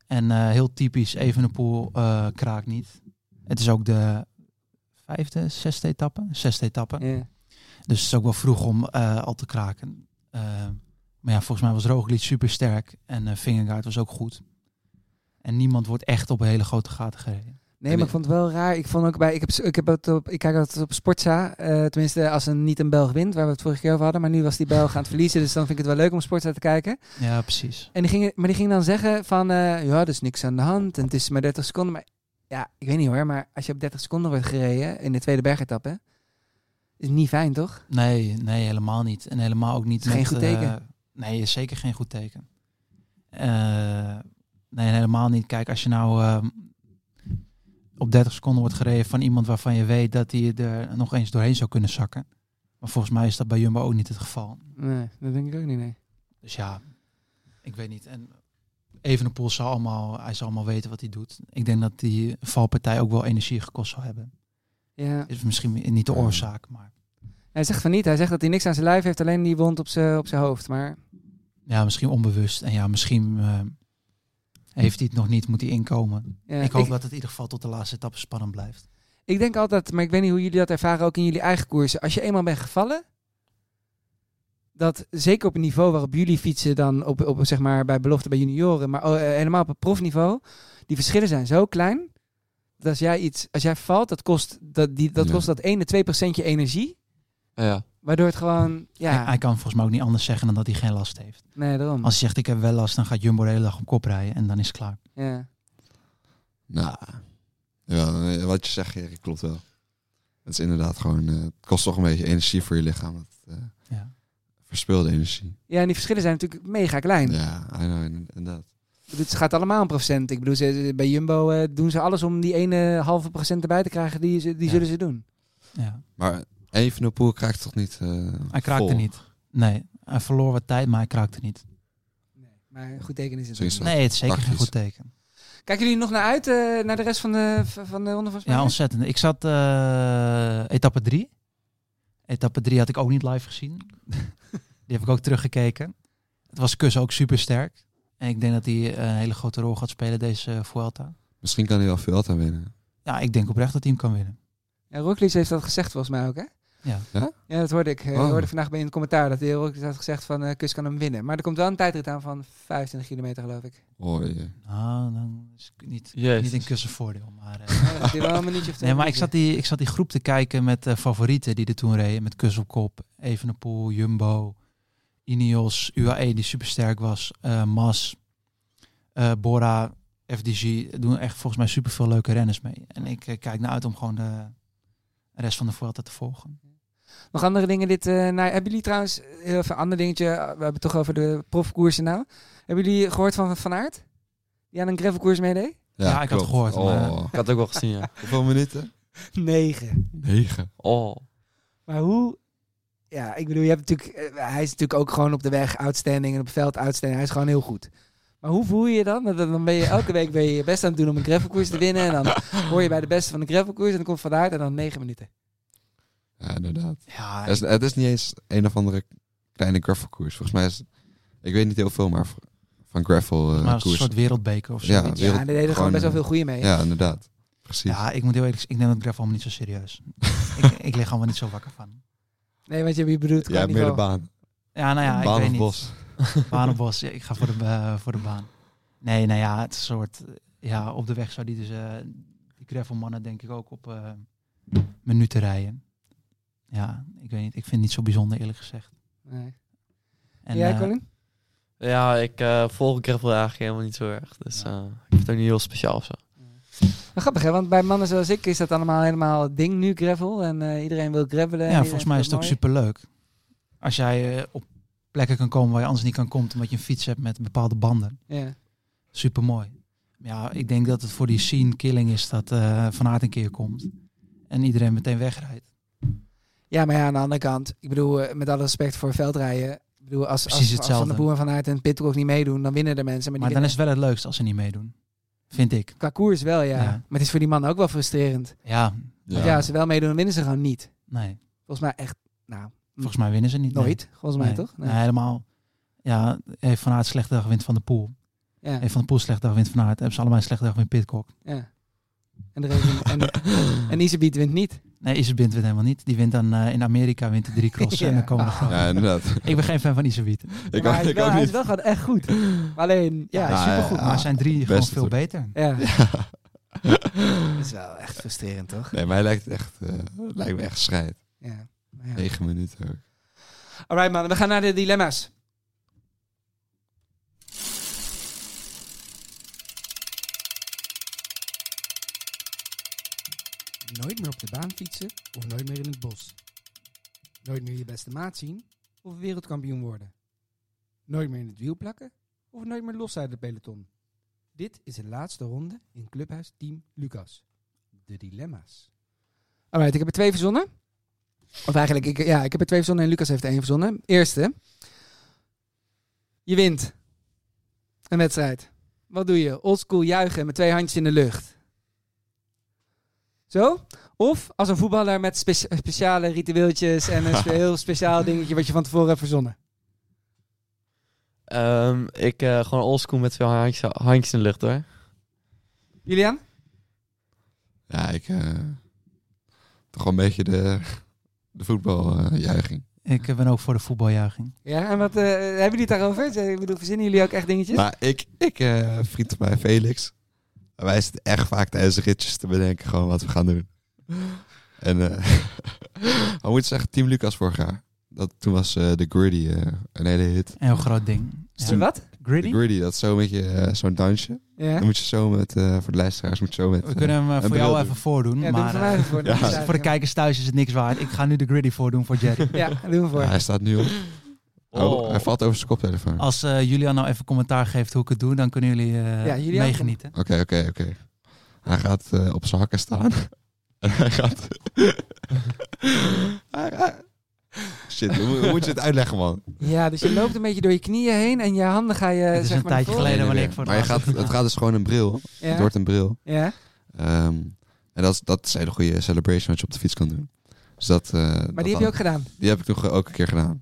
Speaker 1: En eh, heel typisch, Evenepoel eh kraakt niet. Het is ook de vijfde, zesde etappe. Zesde etappe.
Speaker 4: Ja.
Speaker 1: Dus het is ook wel vroeg om eh, al te kraken. Eh, maar ja, volgens mij was Roglic super sterk. En eh Vingegaard was ook goed. En niemand wordt echt op hele grote gaten gereden.
Speaker 4: Nee, maar ik vond het wel raar. Ik vond ook bij. Ik, heb, ik, heb het op, ik kijk altijd op Sportza. eh, tenminste, als een niet een Belg wint, waar we het vorige keer over hadden. Maar nu was die Belg aan het verliezen. Dus dan vind ik het wel leuk om Sportza te kijken.
Speaker 1: Ja, precies.
Speaker 4: En die ging, maar die ging dan zeggen van, eh, ja, er is niks aan de hand en het is maar 30 seconden. Maar ja, ik weet niet hoor, maar als je op 30 seconden wordt gereden in de tweede bergetappe, is niet fijn toch?
Speaker 1: Nee, nee, helemaal niet. En helemaal ook niet.
Speaker 4: Geen
Speaker 1: met,
Speaker 4: goed
Speaker 1: eh,
Speaker 4: teken.
Speaker 1: nee, is zeker geen goed teken. Eh, nee, helemaal niet. Kijk, als je nou eh, op 30 seconden wordt gereden van iemand waarvan je weet dat hij er nog eens doorheen zou kunnen zakken. Maar volgens mij is dat bij Jumbo ook niet het geval.
Speaker 4: Nee, dat denk ik ook niet, nee.
Speaker 1: Dus ja, ik weet niet. En Evenepoel zal allemaal, hij zal allemaal weten wat hij doet. Ik denk dat die valpartij ook wel energie gekost zal hebben.
Speaker 4: Ja.
Speaker 1: Is misschien niet de oorzaak, maar
Speaker 4: Hij zegt van niet, hij zegt dat hij niks aan zijn lijf heeft, alleen die wond op zijn op zijn hoofd. Maar
Speaker 1: ja, misschien onbewust. En ja, misschien eh, heeft hij het nog niet, moet hij inkomen.
Speaker 4: ja,
Speaker 1: ik hoop dat het in ieder geval tot de laatste etappe spannend blijft.
Speaker 4: ik denk altijd, maar ik weet niet hoe jullie dat ervaren, ook in jullie eigen koersen. Als je eenmaal bent gevallen, dat zeker op een niveau waarop jullie fietsen dan op, op zeg maar bij belofte bij junioren, maar oh, eh, helemaal op het profniveau, die verschillen zijn zo klein. Dat als jij iets, als jij valt, dat kost dat, die, dat,
Speaker 2: Ja.
Speaker 4: kost dat 1 2 procentje energie,
Speaker 3: Ja.
Speaker 4: waardoor het gewoon,
Speaker 1: Hij, hij
Speaker 4: ja, Hm.
Speaker 1: kan volgens mij ook niet anders zeggen dan dat hij geen last heeft.
Speaker 4: nee, daarom.
Speaker 1: Als hij zegt ik heb wel last, dan gaat Jumbo de hele dag op kop rijden en dan is het klaar.
Speaker 4: Ja.
Speaker 2: Nou, ja, eh, wat je zegt, Erik, klopt wel. Het is inderdaad gewoon, eh, het kost toch een beetje energie voor je lichaam. Het, eh,
Speaker 1: Ja.
Speaker 2: Verspilde energie.
Speaker 4: ja, en die verschillen zijn natuurlijk mega klein.
Speaker 2: Ja, I know, inderdaad.
Speaker 4: Ik bedoel, Het gaat allemaal om procent. Ik bedoel, ze- ze- bij Jumbo eh, doen ze alles om die ene halve procent erbij te krijgen, die, ze- die
Speaker 1: Ja.
Speaker 4: zullen ze doen.
Speaker 1: Ja.
Speaker 2: Maar Evenepoel kraakt toch niet eh,
Speaker 1: Hij kraakte
Speaker 2: vol?
Speaker 1: niet. Nee, hij verloor wat tijd, maar hij kraakte niet.
Speaker 4: Maar een goed teken is het.
Speaker 2: Zo is
Speaker 4: niet.
Speaker 2: dat.
Speaker 1: Nee, het is zeker geen
Speaker 2: Tactisch.
Speaker 1: goed teken.
Speaker 4: Kijken jullie nog naar uit, eh, naar de rest van de, van de Ronde van Spanje?
Speaker 1: Ja, ontzettend. Ik zat eh, etappe 3. Etappe 3 had ik ook niet live gezien. die heb ik ook teruggekeken. Het was Kus ook super sterk. En ik denk dat hij eh, een hele grote rol gaat spelen deze eh, Vuelta.
Speaker 2: Misschien kan hij wel Vuelta winnen.
Speaker 1: Ja, ik denk oprecht dat hij hem kan winnen.
Speaker 4: Ja, Roglic heeft dat gezegd volgens mij ook, hè?
Speaker 1: Ja.
Speaker 2: Ja?
Speaker 4: Ja, dat hoorde ik. eh,
Speaker 2: Oh.
Speaker 4: hoorde ik vandaag bij in het commentaar dat de heer Roglic had gezegd van eh, Kus kan hem winnen. Maar er komt wel een tijdrit aan van 25 kilometer, geloof ik.
Speaker 2: Oh, jee.
Speaker 1: Nou, dan is het niet,
Speaker 3: Jezus.
Speaker 1: niet in Kussen voordeel. Maar, eh,
Speaker 4: Ja, dat is wel een minuutje of twee
Speaker 1: nee, maar ik
Speaker 4: minuten.
Speaker 1: zat, die, ik zat die groep te kijken met eh, favorieten die er toen reden. Met Kus op kop, Evenepoel, Jumbo, Ineos, UAE die super sterk was, eh, Mas, eh, Bora, FDG. Doen echt volgens mij super veel leuke renners mee. En ik eh, kijk naar uit om gewoon de rest van de Vuelta te volgen.
Speaker 4: Nog andere dingen dit... eh nou, hebben jullie trouwens... Heel even een ander dingetje. eh, We hebben het toch over de profkoersen nou. Hebben jullie gehoord van Van Aert? Die aan een gravelkoers meedeed?
Speaker 1: Ja, ik had
Speaker 2: klopt.
Speaker 1: gehoord, maar-
Speaker 2: Oh,
Speaker 3: Ik had het ook wel gezien, ja.
Speaker 2: Hoeveel minuten?
Speaker 4: Negen.
Speaker 2: Negen.
Speaker 3: Oh.
Speaker 4: Maar hoe... Ja, ik bedoel, je hebt natuurlijk, eh, hij is natuurlijk ook gewoon op de weg outstanding en op het veld outstanding. Hij is gewoon heel goed. Maar hoe voel je je dan? Dat- dat- Dan ben je elke week ben je, je best aan het doen om een gravelkoers te winnen. En dan hoor je bij de beste van de gravelkoers en dan komt Van Aert en dan negen minuten.
Speaker 2: Ja, inderdaad.
Speaker 1: Ja,
Speaker 2: Het is, het is niet eens een of andere kleine gravelkoers. Volgens mij is het- ik weet niet heel veel, maar v- van gravel eh,
Speaker 1: maar het is een
Speaker 2: koers.
Speaker 1: soort wereldbeker of zo.
Speaker 2: Ja,
Speaker 1: Ja,
Speaker 2: wereld-
Speaker 4: ja, en er deden gewoon
Speaker 2: gewoon,
Speaker 4: best wel
Speaker 2: eh,
Speaker 4: veel goede mee.
Speaker 2: Ja, inderdaad. Precies.
Speaker 1: ik moet heel eerlijk zeggen, ik neem het graf allemaal niet zo serieus. ik, ik lig allemaal niet zo wakker van.
Speaker 4: Nee, want je, je bedoelt
Speaker 2: Jij
Speaker 4: qua
Speaker 2: hebt meer de
Speaker 4: niveau.
Speaker 2: baan.
Speaker 1: Ja, nou ja, ik
Speaker 2: baan
Speaker 1: weet
Speaker 2: of
Speaker 1: niet.
Speaker 2: bos.
Speaker 1: Baan op bos. Ja, ik ga voor de, eh, voor de baan. Nee, nou ja, het is een soort... eh, Ja, op de weg zou die dus... eh die gravelmannen denk ik ook op eh, minuten rijden. Ja, ik weet niet. Ik vind het niet zo bijzonder eerlijk gezegd.
Speaker 4: Nee.
Speaker 1: En,
Speaker 4: Jij,
Speaker 1: eh,
Speaker 4: Colin?
Speaker 3: Ja, ik eh, volg gravel eigenlijk helemaal niet zo erg. Dus eh, ik vind het ook niet heel speciaal of zo.
Speaker 4: Maar grappig hè, want bij mannen zoals ik is dat allemaal helemaal het ding nu, gravel. En eh, iedereen wil gravelen. en
Speaker 1: ja,
Speaker 4: iedereen
Speaker 1: volgens mij is het ook
Speaker 4: vindt
Speaker 1: superleuk. Als jij eh, op plekken kan komen waar je anders niet kan komen... omdat je een fiets hebt met bepaalde banden.
Speaker 4: mooi. Ja.
Speaker 1: Supermooi. Ja, ik denk dat het voor die scene killing is dat eh Van Aert een keer komt. En iedereen meteen wegrijdt.
Speaker 4: Ja, maar ja, aan de andere kant, ik bedoel, eh, met alle respect voor veldrijden. Ik bedoel, als,
Speaker 1: Precies
Speaker 4: als, als Van
Speaker 1: hetzelfde.
Speaker 4: de Boer en Van Aert en Pitcock niet meedoen, dan winnen de mensen. Maar,
Speaker 1: Maar
Speaker 4: die
Speaker 1: dan is
Speaker 4: winnen-
Speaker 1: het wel het leukst als ze niet meedoen. Vind ik.
Speaker 4: Qua koers wel, ja.
Speaker 1: Ja.
Speaker 4: Maar het is voor die mannen ook wel frustrerend.
Speaker 1: Ja,
Speaker 4: Ja,
Speaker 2: Ja.
Speaker 4: ja als ze wel meedoen, dan winnen ze gewoon niet.
Speaker 1: nee.
Speaker 4: Volgens mij echt, nou,
Speaker 1: Volgens mij winnen ze niet. nee.
Speaker 4: nooit. Volgens mij
Speaker 1: Nee.
Speaker 4: toch?
Speaker 1: Nee, helemaal. Ja, heeft Van Aert slechte dag wint van de pool.
Speaker 4: Ja.
Speaker 1: Heeft Van de Poel slecht dag, wint Van Aert. Hebben ze allebei een slecht dag, wint Pitcock.
Speaker 4: Ja. En, er is een- en, en Iserbiet wint niet.
Speaker 1: Nee, Iserbiet wint helemaal niet. Die wint dan eh, in Amerika wint de drie crossen
Speaker 4: Ja.
Speaker 1: en dan komen de
Speaker 4: Ah.
Speaker 1: grote.
Speaker 2: Ja, inderdaad.
Speaker 1: Ik ben geen fan van Iserbiet.
Speaker 2: ik
Speaker 4: maar
Speaker 2: ook,
Speaker 4: hij, is
Speaker 2: ik
Speaker 4: wel,
Speaker 2: ook
Speaker 4: hij is
Speaker 2: niet.
Speaker 4: wel gewoon echt goed. Maar alleen, ja,
Speaker 2: Ja,
Speaker 4: supergoed.
Speaker 2: Ah, ja,
Speaker 1: Maar zijn drie gewoon
Speaker 2: beste
Speaker 1: veel
Speaker 2: toer.
Speaker 1: beter.
Speaker 4: Ja.
Speaker 2: Ja.
Speaker 4: Dat is wel echt frustrerend, toch?
Speaker 2: Nee, mij lijkt het echt, eh, lijkt me echt strijd.
Speaker 4: Ja. ja.
Speaker 2: Negen minuten ook.
Speaker 4: Alright man, we gaan naar de dilemma's. Nooit meer op de baan fietsen of nooit meer in het bos. Nooit meer je beste maat zien of wereldkampioen worden. Nooit meer in het wiel plakken of nooit meer los uit de peloton. Dit is de laatste ronde in Clubhuis Team Lucas. De dilemma's. Alright, ik heb er twee verzonnen. Of eigenlijk, ik, ja, ik heb er twee verzonnen en Lucas heeft er één verzonnen. Eerste. Je wint. Een wedstrijd. Wat doe je? Oldschool juichen met twee handjes in de lucht. Zo? Of als een voetballer met spe- speciale ritueeltjes en een spe- heel speciaal dingetje wat je van tevoren hebt verzonnen.
Speaker 3: Ehm, ik eh gewoon oldschool met veel handjes, handjes in de lucht hoor.
Speaker 4: Julian?
Speaker 2: Ja, ik... eh, toch wel een beetje de, de voetbaljuiching.
Speaker 1: Ik eh, ben ook voor de voetbaljuiching.
Speaker 4: Ja, en wat eh, hebben jullie het daarover? Zeg, Ik bedoel, verzinnen jullie ook echt dingetjes?
Speaker 1: Nou,
Speaker 2: maar ik, ik eh, een vriend van mij, Felix... Wij zitten echt vaak tijdens de ritjes te bedenken gewoon wat we gaan doen. En eh we moeten zeggen, Team Lucas vorig jaar. Dat, toen was eh, de Gritty eh, een hele hit.
Speaker 1: Een heel groot ding.
Speaker 4: Is er
Speaker 1: Ja.
Speaker 4: wat?
Speaker 2: De
Speaker 1: Gritty?
Speaker 2: Gritty, dat is zo'n beetje eh, zo'n dansje.
Speaker 4: Ja.
Speaker 2: Dan moet je zo met, eh, voor de luisteraars, moet je zo met...
Speaker 1: We kunnen hem eh,
Speaker 2: een
Speaker 1: voor
Speaker 2: bril
Speaker 1: jou
Speaker 2: doen.
Speaker 1: even voordoen.
Speaker 4: Ja, doe hem
Speaker 1: maar
Speaker 4: voor
Speaker 1: eh,
Speaker 4: mij voor.
Speaker 2: Ja.
Speaker 1: dus voor de kijkers thuis is het niks waard. Ik ga nu de Gritty voordoen voor Jerry.
Speaker 4: Ja, doe hem voor.
Speaker 2: Ja, hij staat nu op. Oh, hij valt over zijn koptelefoon. Oké,
Speaker 1: Als eh, Julian nou even commentaar geeft hoe ik het doe, dan kunnen jullie eh,
Speaker 4: Ja, Julian,
Speaker 1: meegenieten.
Speaker 2: oké, oké. Hij gaat eh, op zijn hakken staan. en hij gaat... Hij- hij- Shit, hoe, hoe moet je het uitleggen, man?
Speaker 4: Ja, dus je loopt een beetje door je knieën heen en je handen ga je.
Speaker 1: Dit is
Speaker 4: zeg
Speaker 1: een
Speaker 4: maar naar
Speaker 1: tijdje
Speaker 4: voren.
Speaker 1: geleden wanneer
Speaker 2: Nee, nee, nee.
Speaker 1: ik voor het
Speaker 2: Maar je
Speaker 1: laatst
Speaker 2: gaat, het gaat dus gewoon een bril. Het
Speaker 4: Ja.
Speaker 2: wordt een bril.
Speaker 4: Ja.
Speaker 2: Ehm, en dat is, dat is een hele goede celebration wat je op de fiets kan doen. Dus dat, eh,
Speaker 4: Maar
Speaker 2: dat
Speaker 4: die heb je ook gedaan.
Speaker 2: die heb ik nog ook een keer gedaan.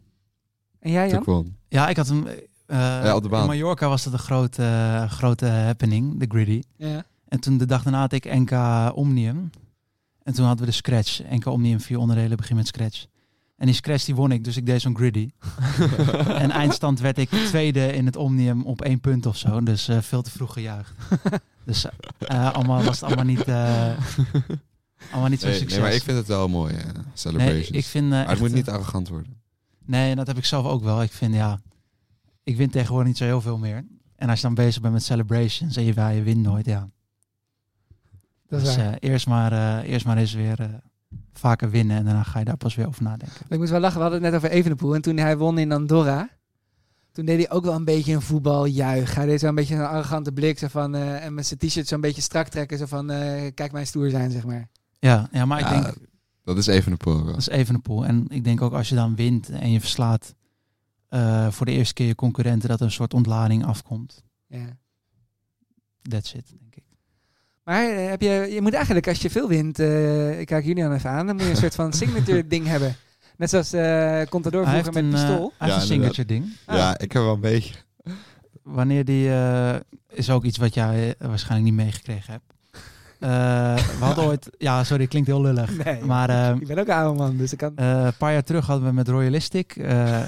Speaker 4: En jij,
Speaker 2: Toen ik
Speaker 4: Jan?
Speaker 2: won.
Speaker 1: Ja, ik had hem. eh,
Speaker 2: Ja, op de baan.
Speaker 1: In Mallorca was dat een grote, eh, grote happening, de Gritty.
Speaker 4: Ja.
Speaker 1: En toen de dag daarna had ik NK Omnium. En toen hadden we de Scratch. NK Omnium, vier onderdelen, begin met Scratch. En die Scratch die won ik, dus ik deed zo'n Gritty. en eindstand werd ik tweede in het Omnium op één punt of zo. Dus eh, veel te vroeg gejuicht. dus eh, allemaal, was het allemaal niet, eh, allemaal niet zo'n
Speaker 2: Nee,
Speaker 1: succes.
Speaker 2: nee, maar ik vind het wel mooi, eh,
Speaker 1: Nee,
Speaker 2: celebrations.
Speaker 1: ik vind, eh,
Speaker 2: maar het
Speaker 1: echt,
Speaker 2: moet
Speaker 1: eh,
Speaker 2: niet arrogant worden.
Speaker 1: Nee, en dat heb ik zelf ook wel. Ik vind ja, ik win tegenwoordig niet zo heel veel meer. En als je dan bezig bent met celebrations en je, ja, je wint nooit, ja.
Speaker 4: Dat is
Speaker 1: dus
Speaker 4: waar.
Speaker 1: eh, eerst, maar, eh, eerst maar eens weer eh, vaker winnen en daarna ga je daar pas weer over nadenken.
Speaker 4: Ik moest wel lachen, we hadden het net over Evenepoel. En toen hij won in Andorra, toen deed hij ook wel een beetje een voetbaljuich. Hij deed zo een beetje een arrogante blik, zo van, eh, en met zijn t-shirt zo'n beetje strak trekken. Zo van, eh, kijk mij stoer zijn, zeg maar.
Speaker 1: Ja, ja maar ik
Speaker 2: Ja,
Speaker 1: denk,
Speaker 2: Dat is even een
Speaker 1: dat
Speaker 2: poel.
Speaker 1: is even een pool. En ik denk ook als je dan wint en je verslaat eh, voor de eerste keer je concurrenten, dat er een soort ontlading afkomt.
Speaker 4: Ja.
Speaker 1: That's it, denk ik.
Speaker 4: Maar eh, heb je, je moet eigenlijk, als je veel wint, eh, ik kijk Julian even aan, dan moet je een soort van signature ding hebben. Net zoals eh Contador
Speaker 1: Hij
Speaker 4: vroeger
Speaker 1: heeft
Speaker 4: met
Speaker 1: een, eh, hij
Speaker 4: pistool.
Speaker 1: heeft een
Speaker 2: Ja, inderdaad.
Speaker 1: signature ding.
Speaker 2: Ja, ik heb wel een beetje.
Speaker 1: wanneer die eh, is ook iets wat jij eh, waarschijnlijk niet meegekregen hebt. Eh, we hadden ooit, ja, sorry, klinkt heel lullig.
Speaker 4: Nee,
Speaker 1: Maar eh,
Speaker 4: ik ben ook een oude man, dus ik kan...
Speaker 1: eh, een paar jaar terug hadden we met Royalistic, eh,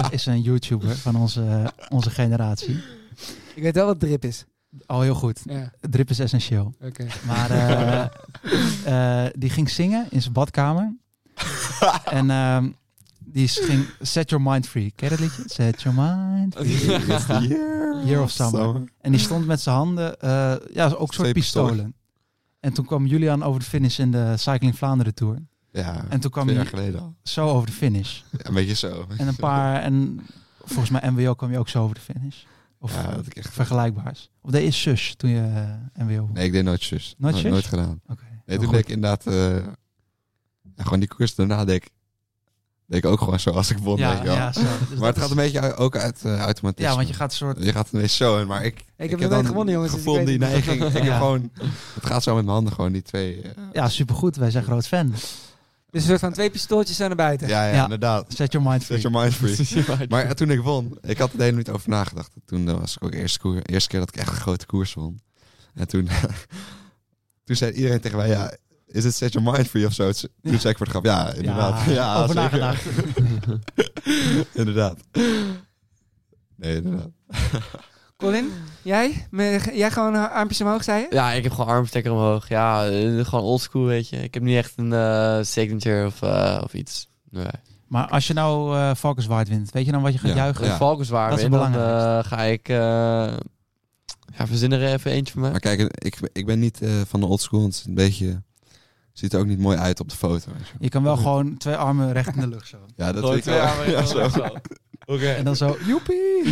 Speaker 1: is een YouTuber van onze, onze generatie.
Speaker 4: Ik weet wel wat drip is.
Speaker 1: Al heel goed,
Speaker 4: Ja,
Speaker 1: drip is essentieel.
Speaker 4: oké.
Speaker 1: Maar eh, eh, die ging zingen in zijn badkamer. en ehm, die ging Set Your Mind Free. Ken je dat liedje? Set Your Mind Free. Year of Summer. En die stond met zijn handen, eh, ja, ook soort
Speaker 2: Twee pistolen.
Speaker 1: pistolen. En toen kwam Julian over de finish in de Cycling Vlaanderen Tour.
Speaker 2: Ja,
Speaker 1: En toen kwam
Speaker 2: twee
Speaker 1: hij
Speaker 2: jaar geleden al.
Speaker 1: zo over de finish.
Speaker 2: Ja, een beetje zo.
Speaker 1: En een paar, en volgens mij MWO kwam je ook zo over de finish. Of
Speaker 2: Ja,
Speaker 1: eh,
Speaker 2: dat ik echt...
Speaker 1: vergelijkbaars. Of deed je zus toen je eh, MWO
Speaker 2: Nee, ik deed nooit zus.
Speaker 1: Nooit
Speaker 2: No-
Speaker 1: zus?
Speaker 2: Nooit gedaan.
Speaker 1: Oké.
Speaker 2: Nee,
Speaker 1: heel
Speaker 2: toen
Speaker 1: goed.
Speaker 2: deed ik inderdaad... eh, ja, gewoon die koers daarna deed ik, deed ik ook gewoon zo als ik won. weet
Speaker 1: ja,
Speaker 2: je wel.
Speaker 1: ja, zo. Dus
Speaker 2: maar
Speaker 1: dat
Speaker 2: het gaat
Speaker 1: is-
Speaker 2: een beetje u- ook uit eh, automatisme.
Speaker 1: Ja, want je gaat een soort...
Speaker 2: Je gaat een beetje zo in, maar ik...
Speaker 4: Ik heb nog nooit gewonnen, jongens. dus ik
Speaker 2: gevoel
Speaker 4: weet
Speaker 2: die
Speaker 4: het niet.
Speaker 2: neiging. Ik
Speaker 1: Ja.
Speaker 2: heb gewoon... Het gaat zo met mijn handen, gewoon die twee... eh,
Speaker 1: Ja, supergoed. Wij zijn groot fan.
Speaker 4: Dus een soort van twee pistooltjes aan de buiten.
Speaker 2: Ja, ja,
Speaker 1: Ja.
Speaker 2: inderdaad.
Speaker 1: Set your mind free.
Speaker 2: Set your mind free. maar ja, toen ik won, ik had er de hele niet over nagedacht. Toen eh, was ik ook de eerste, koer, eerste keer dat ik echt een grote koers won. En toen, toen zei iedereen tegen mij, ja, is het set your mind free of zo? Toen zei ik voor de grap, ja, inderdaad. Ja,
Speaker 1: over
Speaker 2: zeker.
Speaker 1: nagedacht.
Speaker 2: inderdaad. Nee, inderdaad.
Speaker 4: Colin, jij? Met- jij gewoon eh, armpjes omhoog, zei je?
Speaker 3: Ja, ik heb gewoon armstekker omhoog. Ja, eh, gewoon oldschool, weet je. Ik heb niet echt een eh, signature of, eh, of iets. Nee.
Speaker 1: Maar als je nou eh Valkenswaard wint, weet je dan wat je gaat
Speaker 2: Ja.
Speaker 1: juichen?
Speaker 3: Een valkenswaar
Speaker 1: Dat is
Speaker 3: win,
Speaker 1: het
Speaker 3: dan eh,
Speaker 1: belangrijkste.
Speaker 3: ga ik... eh ja, verzin er even eentje voor mij.
Speaker 2: Maar kijk, ik, ik ben niet eh, van de old school, want het is een beetje... Ziet er ook niet mooi uit op de foto. weet je wel.
Speaker 1: Je kan wel gewoon twee armen recht in de lucht zo.
Speaker 2: Ja, dat
Speaker 3: Gooi
Speaker 2: weet ik
Speaker 3: twee
Speaker 2: wel.
Speaker 3: armen in de
Speaker 2: Ja,
Speaker 3: lucht,
Speaker 2: zo.
Speaker 3: zo.
Speaker 1: En dan zo, joepie!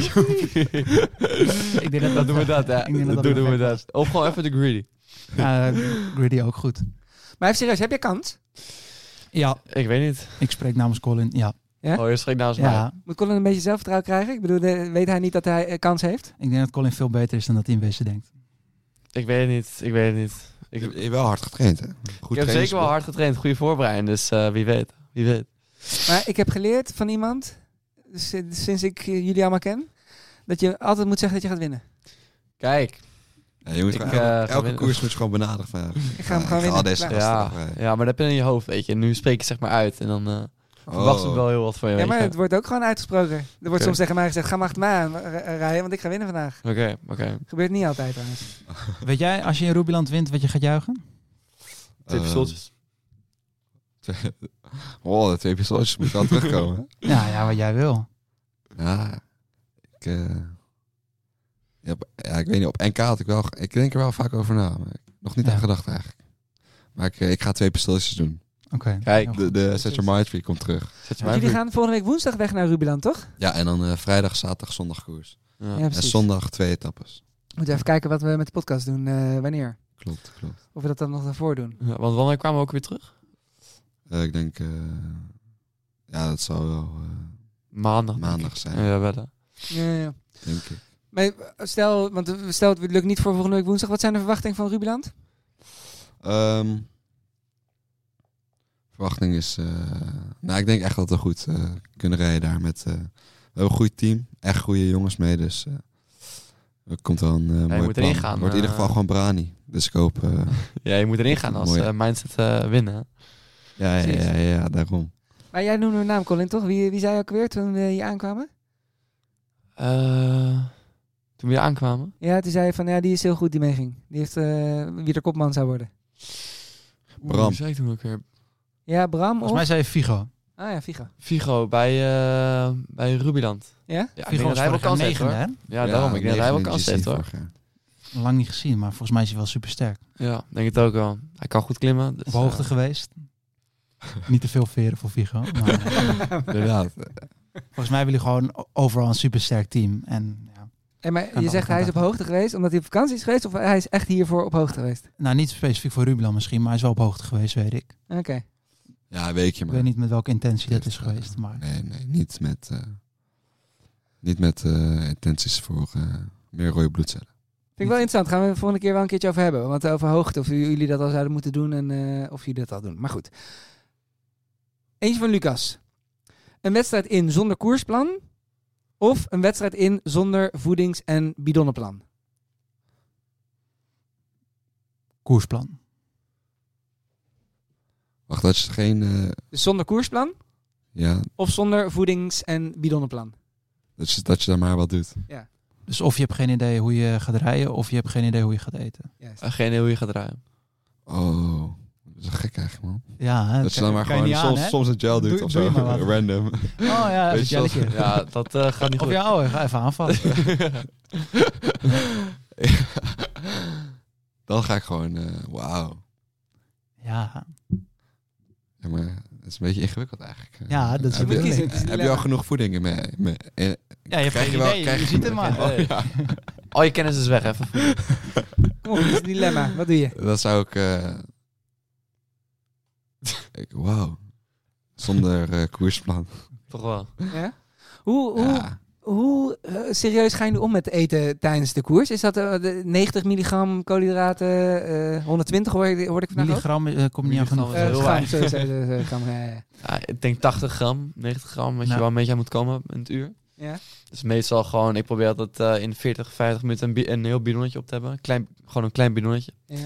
Speaker 1: Ik denk dat
Speaker 3: Dan doen we dat, hè.
Speaker 1: Ik denk dat
Speaker 3: Dan
Speaker 1: dat
Speaker 3: doen we
Speaker 1: perfect
Speaker 3: dat. Of gewoon even de greedy.
Speaker 1: Ja, Greedy ook goed.
Speaker 4: Maar even serieus, heb je kans?
Speaker 1: Ja,
Speaker 3: Ik weet niet.
Speaker 1: ik spreek namens Colin. Ja,
Speaker 4: Hè?
Speaker 3: Oh, je schrikt namens mij.
Speaker 1: ja.
Speaker 4: Moet Colin een beetje zelfvertrouwen krijgen? Ik bedoel, de- weet hij niet dat hij eh, kans heeft?
Speaker 1: ik denk dat Colin veel beter is dan dat hij in wezen denkt.
Speaker 3: Ik weet het niet. Ik weet het niet.
Speaker 2: Ik
Speaker 3: Ik,
Speaker 2: heb je hebt wel hard getraind, hè? Goed
Speaker 3: ik heb zeker wel hard getraind. Goede voorbereiding. Dus eh, wie weet. Wie weet.
Speaker 4: Maar ik heb geleerd van iemand, si- sinds ik eh, jullie allemaal ken, dat je altijd moet zeggen dat je gaat winnen.
Speaker 3: Kijk.
Speaker 2: Ja, je moet
Speaker 3: Ik,
Speaker 2: gewoon
Speaker 3: eh,
Speaker 2: elke-
Speaker 3: ga
Speaker 2: elke
Speaker 3: winnen.
Speaker 2: koers moet je gewoon benaderd van... ja,
Speaker 4: Ik ga hem
Speaker 2: ik
Speaker 4: gewoon
Speaker 2: ga
Speaker 4: winnen.
Speaker 2: al deze
Speaker 4: Klaar.
Speaker 2: gasten eh.
Speaker 3: Ja,
Speaker 2: afrijden.
Speaker 3: ja, maar dat heb je in je hoofd, weet je. Nu spreek je zeg maar uit. En dan eh verwacht ze
Speaker 2: Oh.
Speaker 3: wel heel wat van je.
Speaker 4: Ja,
Speaker 3: weet
Speaker 4: maar
Speaker 3: je.
Speaker 4: het wordt ook gewoon uitgesproken. Er wordt
Speaker 3: Oké.
Speaker 4: soms tegen mij gezegd, ga maar achter mij aan eh, eh, rijden, want ik ga winnen vandaag.
Speaker 3: Oké, oké.
Speaker 4: Gebeurt niet altijd trouwens.
Speaker 1: Weet jij, als je in Rubiland wint, wat je gaat juichen?
Speaker 3: Twee
Speaker 2: Eh,
Speaker 3: pistooltjes.
Speaker 2: Oh, dat twee pistooltjes moet wel terugkomen.
Speaker 1: Ja, Nou, ja, wat jij wil.
Speaker 2: ja, ik, eh, ja, op- ja, ik weet niet, op NK had ik wel... ge- Ik denk er wel vaak over na, maar ik- nog niet
Speaker 1: Ja.
Speaker 2: aan gedacht eigenlijk. Maar ik, eh, ik ga twee pistooltjes doen.
Speaker 1: Oké.
Speaker 3: Kijk,
Speaker 1: heel goed.
Speaker 2: De, de Set Your Mind Free komt terug.
Speaker 3: Zet je
Speaker 4: Want
Speaker 3: mij
Speaker 4: Dus jullie
Speaker 3: voor.
Speaker 4: gaan volgende week woensdag weg naar Rubiland, toch?
Speaker 2: Ja, en dan eh, vrijdag, zaterdag, zondag koers.
Speaker 3: Ja.
Speaker 4: Ja,
Speaker 2: En
Speaker 4: precies.
Speaker 2: zondag twee etappes.
Speaker 4: Moeten we even kijken wat we met de podcast doen, eh, wanneer.
Speaker 2: Klopt, klopt.
Speaker 4: Of we dat dan nog daarvoor doen.
Speaker 3: Ja, want wanneer kwamen we ook weer terug?
Speaker 2: Eh, ik denk... eh, ja, dat zou wel eh,
Speaker 3: Maandag. denk
Speaker 2: maandag
Speaker 3: ik.
Speaker 2: zijn,
Speaker 3: Ja, wel. hè.
Speaker 4: Ja, ja, ja.
Speaker 2: denk ik.
Speaker 4: Maar eh, stel, want stel het lukt niet voor volgende week woensdag. Wat zijn de verwachtingen van Rubiland?
Speaker 2: Ehm, verwachting is. eh, nou, ik denk echt dat we goed eh, kunnen rijden daar. Met, eh, we hebben een goed team, echt goede jongens mee. Dus eh, er komt wel een eh mooi
Speaker 3: moet erin
Speaker 2: plan.
Speaker 3: gaan,
Speaker 2: Het Wordt in ieder
Speaker 3: eh.
Speaker 2: geval gewoon Brani. Dus ik hoop. eh,
Speaker 3: Ja, je moet erin gaan als
Speaker 2: Mooi.
Speaker 3: eh, mindset eh, winnen. hè.
Speaker 2: ja, ja, ja, ja, ja, daarom.
Speaker 4: Maar jij noemde een naam, Colin, toch? Wie, wie zei ook weer toen we hier aankwamen?
Speaker 3: Eh, toen we hier aankwamen.
Speaker 4: Ja, toen zei je van, ja, die is heel goed, die meeging. Die heeft eh, wie de kopman zou worden.
Speaker 3: Oeh,
Speaker 2: Bram.
Speaker 3: wie zei ik toen ook weer?
Speaker 4: Ja, Bram of...
Speaker 1: Volgens mij zei je Figo.
Speaker 4: Ah ja, Figo.
Speaker 3: Figo bij, eh, bij Rubiland.
Speaker 4: Ja?
Speaker 3: Ja, ik denk
Speaker 1: Figo
Speaker 3: dat
Speaker 1: was
Speaker 3: hij wel
Speaker 1: vorig jaar
Speaker 3: kans heeft,
Speaker 1: negende,
Speaker 3: hoor.
Speaker 1: hè?
Speaker 3: Ja, daarom. Ik denk dat hij wel
Speaker 2: negen in
Speaker 3: kans
Speaker 2: GC
Speaker 3: heeft, hoor.
Speaker 2: vorig jaar.
Speaker 1: Lang niet gezien, maar volgens mij is hij wel supersterk.
Speaker 3: Ja, ik denk het ook wel. Hij kan goed klimmen. Dus,
Speaker 1: Op hoogte
Speaker 3: eh,
Speaker 1: geweest. Niet te veel veren voor Figo. Maar eh,
Speaker 2: Inderdaad.
Speaker 1: volgens mij hebben jullie gewoon overal een supersterk team. En, ja.
Speaker 4: En maar
Speaker 1: Kan
Speaker 4: je zegt
Speaker 1: ook, kan
Speaker 4: hij is op
Speaker 1: ook.
Speaker 4: hoogte geweest omdat hij op vakantie is geweest of hij is echt hiervoor op hoogte geweest?
Speaker 1: Nou, niet specifiek voor Rubiland misschien, maar hij is wel op hoogte geweest, weet ik.
Speaker 4: Oké.
Speaker 2: Ja, een weekje
Speaker 1: Ik
Speaker 2: maar.
Speaker 1: weet niet met welke intentie dat is geweest, maar...
Speaker 2: Nee, nee, niet met. eh, niet met eh, intenties voor eh, meer rode bloedcellen.
Speaker 4: Vind ik wel interessant. Gaan we de volgende keer wel een keertje over hebben. Want over hoogte, of jullie dat al zouden moeten doen en eh, of jullie dat al doen. Maar goed. Eentje van Lucas. Een wedstrijd in zonder koersplan of een wedstrijd in zonder voedings- en bidonnenplan?
Speaker 1: Koersplan.
Speaker 2: Wacht, dat is geen. eh,
Speaker 4: Dus zonder koersplan
Speaker 2: ja,
Speaker 4: of zonder voedings- en bidonnenplan?
Speaker 2: dat je, dat je daar maar wat doet.
Speaker 1: Dus of je hebt geen idee hoe je gaat rijden, of je hebt geen idee hoe je gaat eten.
Speaker 3: eh, geen idee hoe je gaat draaien.
Speaker 2: Oh, dat is gek eigenlijk, man.
Speaker 1: Ja, hè,
Speaker 2: Dat ze dan maar
Speaker 1: kan je
Speaker 2: gewoon
Speaker 1: niet aan,
Speaker 2: soms,
Speaker 1: hè?
Speaker 2: soms een gel doet
Speaker 1: Doe-
Speaker 2: of
Speaker 1: doe
Speaker 2: zo.
Speaker 1: je maar wat.
Speaker 2: Random.
Speaker 1: Oh ja, even
Speaker 2: Weet je,
Speaker 1: een
Speaker 2: zoals-
Speaker 1: jelletje.
Speaker 3: Ja, dat eh, gaat niet
Speaker 1: Of
Speaker 3: goed.
Speaker 1: ja, oh, ga even aanvallen.
Speaker 2: dan ga ik gewoon, eh, wauw.
Speaker 1: Ja,
Speaker 2: Ja, maar het is een beetje ingewikkeld eigenlijk.
Speaker 1: Ja, dat is
Speaker 2: heb
Speaker 1: de
Speaker 2: je,
Speaker 1: bedoeling.
Speaker 2: heb je al genoeg voeding in me? in me- in-
Speaker 1: ja je hebt
Speaker 2: Eh, Krijg
Speaker 1: geen
Speaker 2: je wel-
Speaker 1: idee,
Speaker 2: krijg
Speaker 1: je
Speaker 2: je-
Speaker 1: ziet het maar.
Speaker 3: Nee. Al je kennis is weg, even.
Speaker 4: Kom op, dit is een dilemma. Wat doe je?
Speaker 2: dan zou ik... eh, ik- wauw. Zonder eh, koersplan.
Speaker 3: Toch wel.
Speaker 4: Ja? Hoe, hoe,
Speaker 2: Ja.
Speaker 4: Hoe eh, serieus ga je nu om met eten tijdens de koers? Is dat eh, de 90 milligram koolhydraten, eh, 120 hoor, je- hoorde ik vandaag ook?
Speaker 1: Milligram eh, komt niet aan genoeg.
Speaker 3: Milligram
Speaker 4: Eh,
Speaker 3: heel
Speaker 4: gram,
Speaker 3: weinig.
Speaker 4: sorry, sorry, sorry, sorry, gram, ja, ja.
Speaker 3: Ja, ik denk 80 gram, 90 gram, wat je
Speaker 1: Nou.
Speaker 3: wel een beetje aan moet komen in het uur.
Speaker 4: Ja.
Speaker 3: Dus meestal gewoon, ik probeer altijd eh, in 40, 50 minuten een, bi- een heel bidonnetje op te hebben. Klein, gewoon een klein bidonnetje.
Speaker 4: Ja.
Speaker 3: En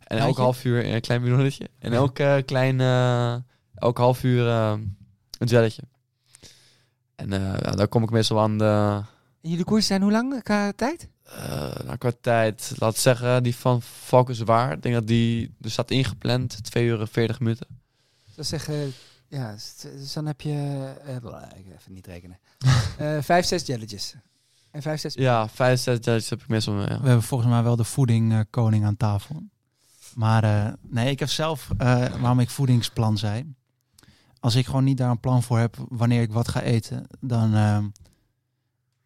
Speaker 3: elk
Speaker 1: Kleintje?
Speaker 3: half uur een klein bidonnetje. En elk eh, klein, eh, elk half uur eh, een jelletje. En eh, ja, daar kom ik meestal aan de,
Speaker 4: En jullie koersen zijn hoe lang qua tijd?
Speaker 3: eh nou, qua tijd, laat ik zeggen, die van Valkenswaard. Ik denk dat die, er staat ingepland 2 uur en 40 minuten.
Speaker 4: Dat zeggen, ja, s- dus dan heb je, eh, bla, ik even niet rekenen, Eh, vijf, zes jelletjes. En vijf, zes...
Speaker 3: Ja, 5, 6 judges heb ik meestal. mee, Ja.
Speaker 1: We hebben volgens mij wel de voedingkoning aan tafel. Maar eh, nee, ik heb zelf, eh, waarom ik voedingsplan zei. Als ik gewoon niet daar een plan voor heb wanneer ik wat ga eten, dan eh,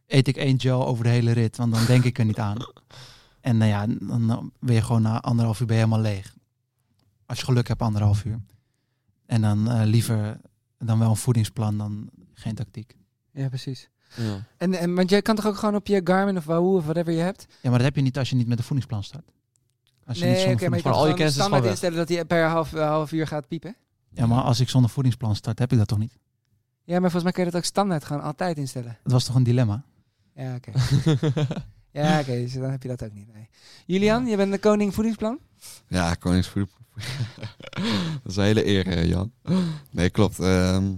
Speaker 1: eet ik één gel over de hele rit, want dan denk ik er niet aan. En nou ja, dan eh, ben je gewoon na anderhalf uur ben je helemaal leeg. Als je geluk hebt, anderhalf uur. En dan eh, liever dan wel een voedingsplan dan geen tactiek.
Speaker 4: Ja, precies.
Speaker 3: Ja.
Speaker 4: En, en, want jij kan toch ook gewoon op je Garmin of Wahoo of whatever je hebt?
Speaker 1: Ja, maar dat heb je niet als je niet met een voedingsplan start. Als je niet zonder
Speaker 4: oké, maar je
Speaker 1: voedingsplan
Speaker 4: kan
Speaker 3: Gewoon al je
Speaker 4: gewoon
Speaker 3: kennis is gewoon
Speaker 4: standaard
Speaker 3: weg.
Speaker 4: instellen dat hij per half, eh, half uur gaat piepen.
Speaker 1: Ja, maar als ik zonder voedingsplan start, heb ik dat toch niet?
Speaker 4: Ja, maar volgens mij kun je dat ook standaard gewoon altijd instellen.
Speaker 1: Het was toch een dilemma?
Speaker 4: Ja, oké. ja, oké, dus dan heb je dat ook niet. Nee. Julian, je bent de koning voedingsplan?
Speaker 2: Ja, koningsvoer. dat is een hele eer, eh, Jan. Nee, klopt. ehm,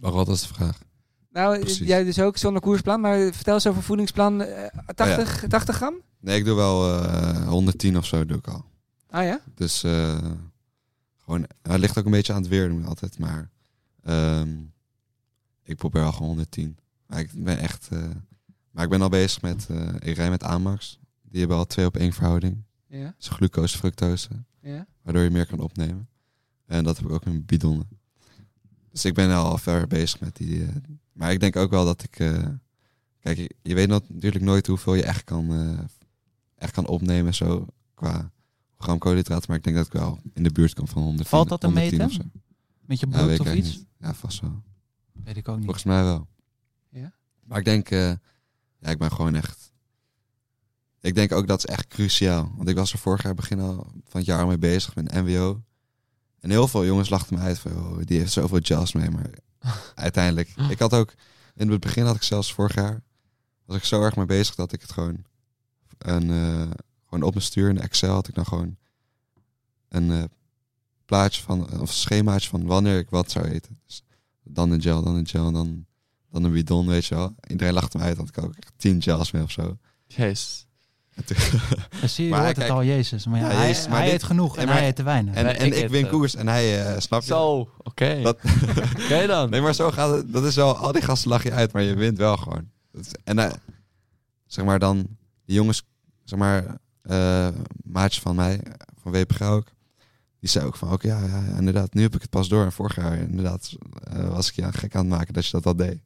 Speaker 2: maar wat was de vraag?
Speaker 4: Nou,
Speaker 2: Precies.
Speaker 4: jij dus ook zonder koersplan, maar vertel eens over voedingsplan eh, 80, 80 gram?
Speaker 2: Nee, ik doe wel eh, 110 of zo doe ik al.
Speaker 4: Ah ja?
Speaker 2: Dus eh, gewoon, het ligt ook een beetje aan het weer doen altijd, maar ehm, ik probeer al gewoon 110. Maar ik ben echt, eh, maar ik ben al bezig met, eh, ik rij met Amax. Die hebben al twee op één verhouding.
Speaker 4: Ja,
Speaker 2: Dus glucose, fructose,
Speaker 4: ja.
Speaker 2: waardoor je meer kan opnemen. En dat heb ik ook in mijn bidonnen. Dus ik ben al ver bezig met die. eh, maar ik denk ook wel dat ik, eh, kijk, je, je weet nat- natuurlijk nooit hoeveel je echt kan, eh, echt kan opnemen zo qua gram koolhydraten, maar ik denk dat ik wel in de buurt kom van 100.
Speaker 1: Valt dat te
Speaker 2: 110
Speaker 1: meten?
Speaker 2: of zo.
Speaker 1: Met je
Speaker 2: Ja,
Speaker 1: brood
Speaker 2: weet ik
Speaker 1: of iets?
Speaker 2: eigenlijk niet. Ja, vast wel.
Speaker 1: Weet ik ook niet.
Speaker 2: Volgens mij wel.
Speaker 4: Ja?
Speaker 2: Maar ik denk, eh, ja, ik ben gewoon echt. Ik denk ook dat is echt cruciaal. Want ik was er vorig jaar begin al van het jaar al mee bezig met een MWO. En heel veel jongens lachten me uit van, "Oh, die heeft zoveel gels mee. Maar uiteindelijk, ik had ook, in het begin had ik zelfs vorig jaar, was ik zo erg mee bezig dat ik het gewoon, een, eh, gewoon op mijn stuur in Excel had ik dan gewoon een eh, plaatje van, of schemaatje van wanneer ik wat zou eten. Dus dan een gel, dan een gel, dan dan een bidon, weet je wel. Iedereen lachte me uit, had ik ook echt tien gels mee of zo.
Speaker 3: Jezus.
Speaker 2: En, toen-
Speaker 1: Ja, zie je, je
Speaker 2: Maar
Speaker 1: hoort
Speaker 2: kijk-
Speaker 1: het al, Jezus. Maar ja,
Speaker 2: Ja,
Speaker 1: hij,
Speaker 2: Jezus, maar
Speaker 1: hij
Speaker 2: dit-
Speaker 1: eet genoeg en,
Speaker 2: en maar-
Speaker 1: hij eet te weinig.
Speaker 2: en,
Speaker 3: Nee,
Speaker 2: en
Speaker 3: ik
Speaker 2: ik
Speaker 3: eet,
Speaker 2: win
Speaker 3: eh,
Speaker 2: koers en hij eh snap je.
Speaker 3: Zo, oké.
Speaker 2: Dat-
Speaker 3: Oké dan.
Speaker 2: Nee, maar zo gaat het. Dat is wel, al die gasten lach je uit, maar je wint wel gewoon. Dat is- en eh, zeg maar dan, die jongens, zeg maar, eh maatjes van mij, van WPG ook, die zei ook van, oké, ja, ja, ja, inderdaad, nu heb ik het pas door. En vorig jaar, inderdaad, eh, was ik je gek aan het maken dat je dat al deed.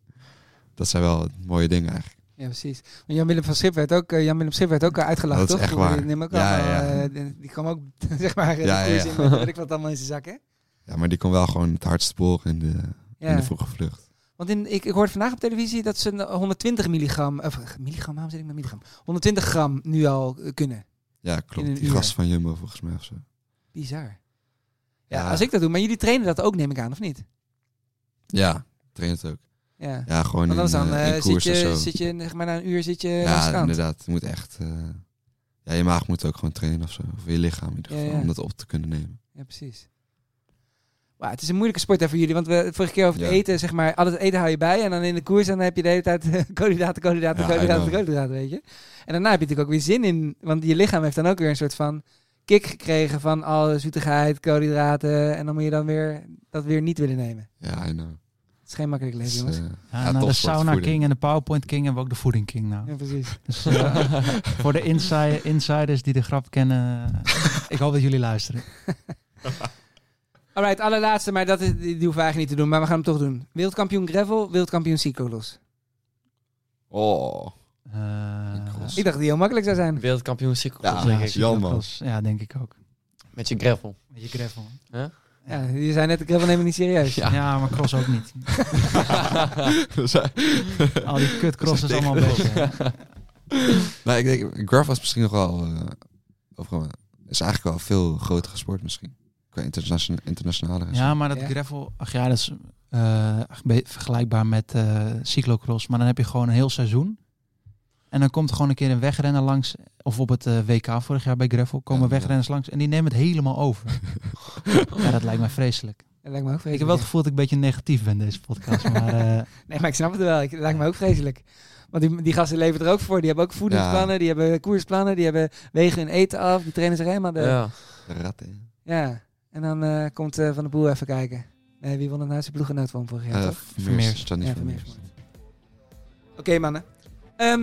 Speaker 2: Dat zijn wel mooie dingen eigenlijk.
Speaker 4: Ja, precies. Maar Jan-Willem van Schip werd ook, eh, Jan-Willem Schip werd ook eh, uitgelachen,
Speaker 2: Dat is
Speaker 4: toch?
Speaker 2: echt waar.
Speaker 4: Die, neem ik
Speaker 2: Ja,
Speaker 4: allemaal,
Speaker 2: ja.
Speaker 4: eh, die, die kwam ook, zeg maar, eh,
Speaker 2: Ja,
Speaker 4: de koers
Speaker 2: ja.
Speaker 4: in met weet ik wat allemaal in zijn zak, hè?
Speaker 2: Ja, maar die kon wel gewoon het hardst boren in de, in
Speaker 4: Ja.
Speaker 2: de vroege vlucht.
Speaker 4: Want in, ik, ik hoorde vandaag op televisie dat ze een 120 milligram, of milligram, waarom zit ik met milligram? 120 gram nu al eh, kunnen.
Speaker 2: Ja,
Speaker 4: In
Speaker 2: klopt.
Speaker 4: een
Speaker 2: Die
Speaker 4: uur.
Speaker 2: gast van Jumbo volgens mij of zo.
Speaker 4: Bizar. Ja,
Speaker 2: Ja.
Speaker 4: als ik dat doe. Maar jullie trainen dat ook, neem ik aan, of niet?
Speaker 2: Ja, traint ook.
Speaker 4: Ja.
Speaker 2: Ja, gewoon
Speaker 4: Want
Speaker 2: in,
Speaker 4: anders dan
Speaker 2: eh, in
Speaker 4: eh,
Speaker 2: koers
Speaker 4: zit, je,
Speaker 2: of zo.
Speaker 4: zit je, zeg maar, na een uur zit je aan de
Speaker 2: ja,
Speaker 4: strand.
Speaker 2: inderdaad. Je moet echt... eh, ja, je maag moet ook gewoon trainen of zo. Of je lichaam in ieder
Speaker 4: Ja,
Speaker 2: geval,
Speaker 4: ja.
Speaker 2: om dat op te kunnen nemen.
Speaker 4: Ja, precies. Wauw, het is een moeilijke sport hè, voor jullie. Want we vorige keer over het
Speaker 2: Ja.
Speaker 4: eten, zeg maar, al het eten hou je bij. En dan in de koers en dan heb je de hele tijd koolhydraten, koolhydraten,
Speaker 2: Ja,
Speaker 4: koolhydraten,
Speaker 2: I know.
Speaker 4: koolhydraten, weet je. En daarna heb je natuurlijk ook weer zin in. Want je lichaam heeft dan ook weer een soort van kick gekregen van alle zoetigheid, koolhydraten. En dan moet je dan weer dat weer niet willen nemen.
Speaker 2: Ja, I know.
Speaker 4: Het is geen makkelijk leven,
Speaker 2: Dus,
Speaker 4: jongens.
Speaker 2: eh,
Speaker 1: Ja,
Speaker 2: ja,
Speaker 1: nou, de
Speaker 2: topsport,
Speaker 1: Sauna
Speaker 2: voeding.
Speaker 1: King en de PowerPoint King hebben we ook de Voeding King nou.
Speaker 4: Ja, precies.
Speaker 1: Dus, eh, voor de insi- insiders die de grap kennen, ik hoop dat jullie luisteren.
Speaker 4: Alright, allerlaatste, maar dat is, die die hoeven we eigenlijk niet te doen. Maar we gaan hem toch doen. Wereldkampioen gravel, wereldkampioen cyclos.
Speaker 2: Oh.
Speaker 1: Eh,
Speaker 2: cross.
Speaker 4: Ik dacht dat die heel makkelijk zou zijn.
Speaker 3: Wereldkampioen cyclocross,
Speaker 2: Ja.
Speaker 3: denk ik.
Speaker 2: Jan, man.
Speaker 1: cyclocross. Ja, denk ik ook.
Speaker 3: Met je gravel.
Speaker 1: Met je gravel.
Speaker 3: Huh?
Speaker 1: Ja,
Speaker 4: Ja, je zei net, ik helemaal neem het niet serieus.
Speaker 1: Ja. maar cross ook niet.
Speaker 2: We zijn-
Speaker 1: Al die kutcrosses allemaal een beetje.
Speaker 2: Maar ik denk, Graf was misschien nog wel... eh, overal, is eigenlijk wel een veel grotere sport misschien. Qua internationale, internationale
Speaker 1: Ja, maar dat
Speaker 4: Ja.
Speaker 1: gravel, ach ja, dat is eh, echt be- vergelijkbaar met eh, cyclocross. Maar dan heb je gewoon een heel seizoen. En dan komt gewoon een keer een wegrenner langs. Of op het eh, WK vorig jaar bij gravel komen
Speaker 2: Ja, ja.
Speaker 1: wegrenners langs. En die nemen het helemaal over. ja, dat lijkt mij vreselijk.
Speaker 4: Dat lijkt me ook vreselijk.
Speaker 1: Ik heb wel
Speaker 4: ja.
Speaker 1: het gevoel dat ik een beetje negatief ben deze podcast. Maar eh,
Speaker 4: Nee, maar ik snap het wel. Ik, het lijkt me ook vreselijk. Want die, die gasten leven er ook voor. Die hebben ook voedingsplannen, die hebben koersplannen, die hebben wegen hun eten af. Die trainen zich helemaal de... Ja.
Speaker 3: Ja.
Speaker 2: Ratten.
Speaker 4: En dan eh, komt eh, Van de Boel even kijken. Nee, wie won het nou? Zijn ploeggenoot van vorig jaar,
Speaker 2: Ja,
Speaker 4: toch?
Speaker 1: Vermeers.
Speaker 2: Eh, Vermeers. Johnny
Speaker 4: Ja,
Speaker 2: Vermeers.
Speaker 4: Vermeers. Oké, mannen. Ehm,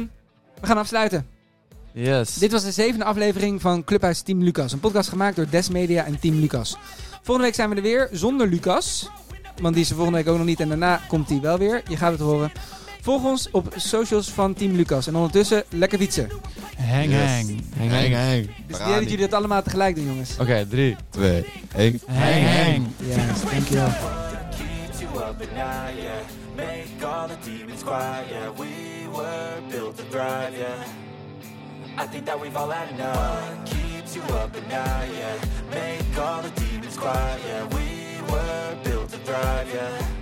Speaker 4: we gaan afsluiten.
Speaker 3: Yes.
Speaker 4: Dit was de zevende aflevering van Clubhuis Team Lucas. Een podcast gemaakt door Des Media en Team Lucas. Volgende week zijn we er weer zonder Lucas. Want die is er volgende week ook nog niet. En daarna komt hij wel weer. Je gaat het horen. Volg ons op socials van Team Lucas. En ondertussen lekker fietsen.
Speaker 1: hang hang.
Speaker 3: Hang, hang, hang.
Speaker 4: Dus ik denk dat jullie dat allemaal tegelijk doen, jongens.
Speaker 3: Oké, drie.
Speaker 2: Twee, één.
Speaker 1: Hang hang.
Speaker 4: Ja, dankjewel.
Speaker 6: keeps you up at night, yeah. Make all the demons quiet, yeah. We were built to thrive, yeah. I think that we've all had enough. What keeps you up at night, yeah. Make all the demons quiet, yeah. We were built to thrive, yeah.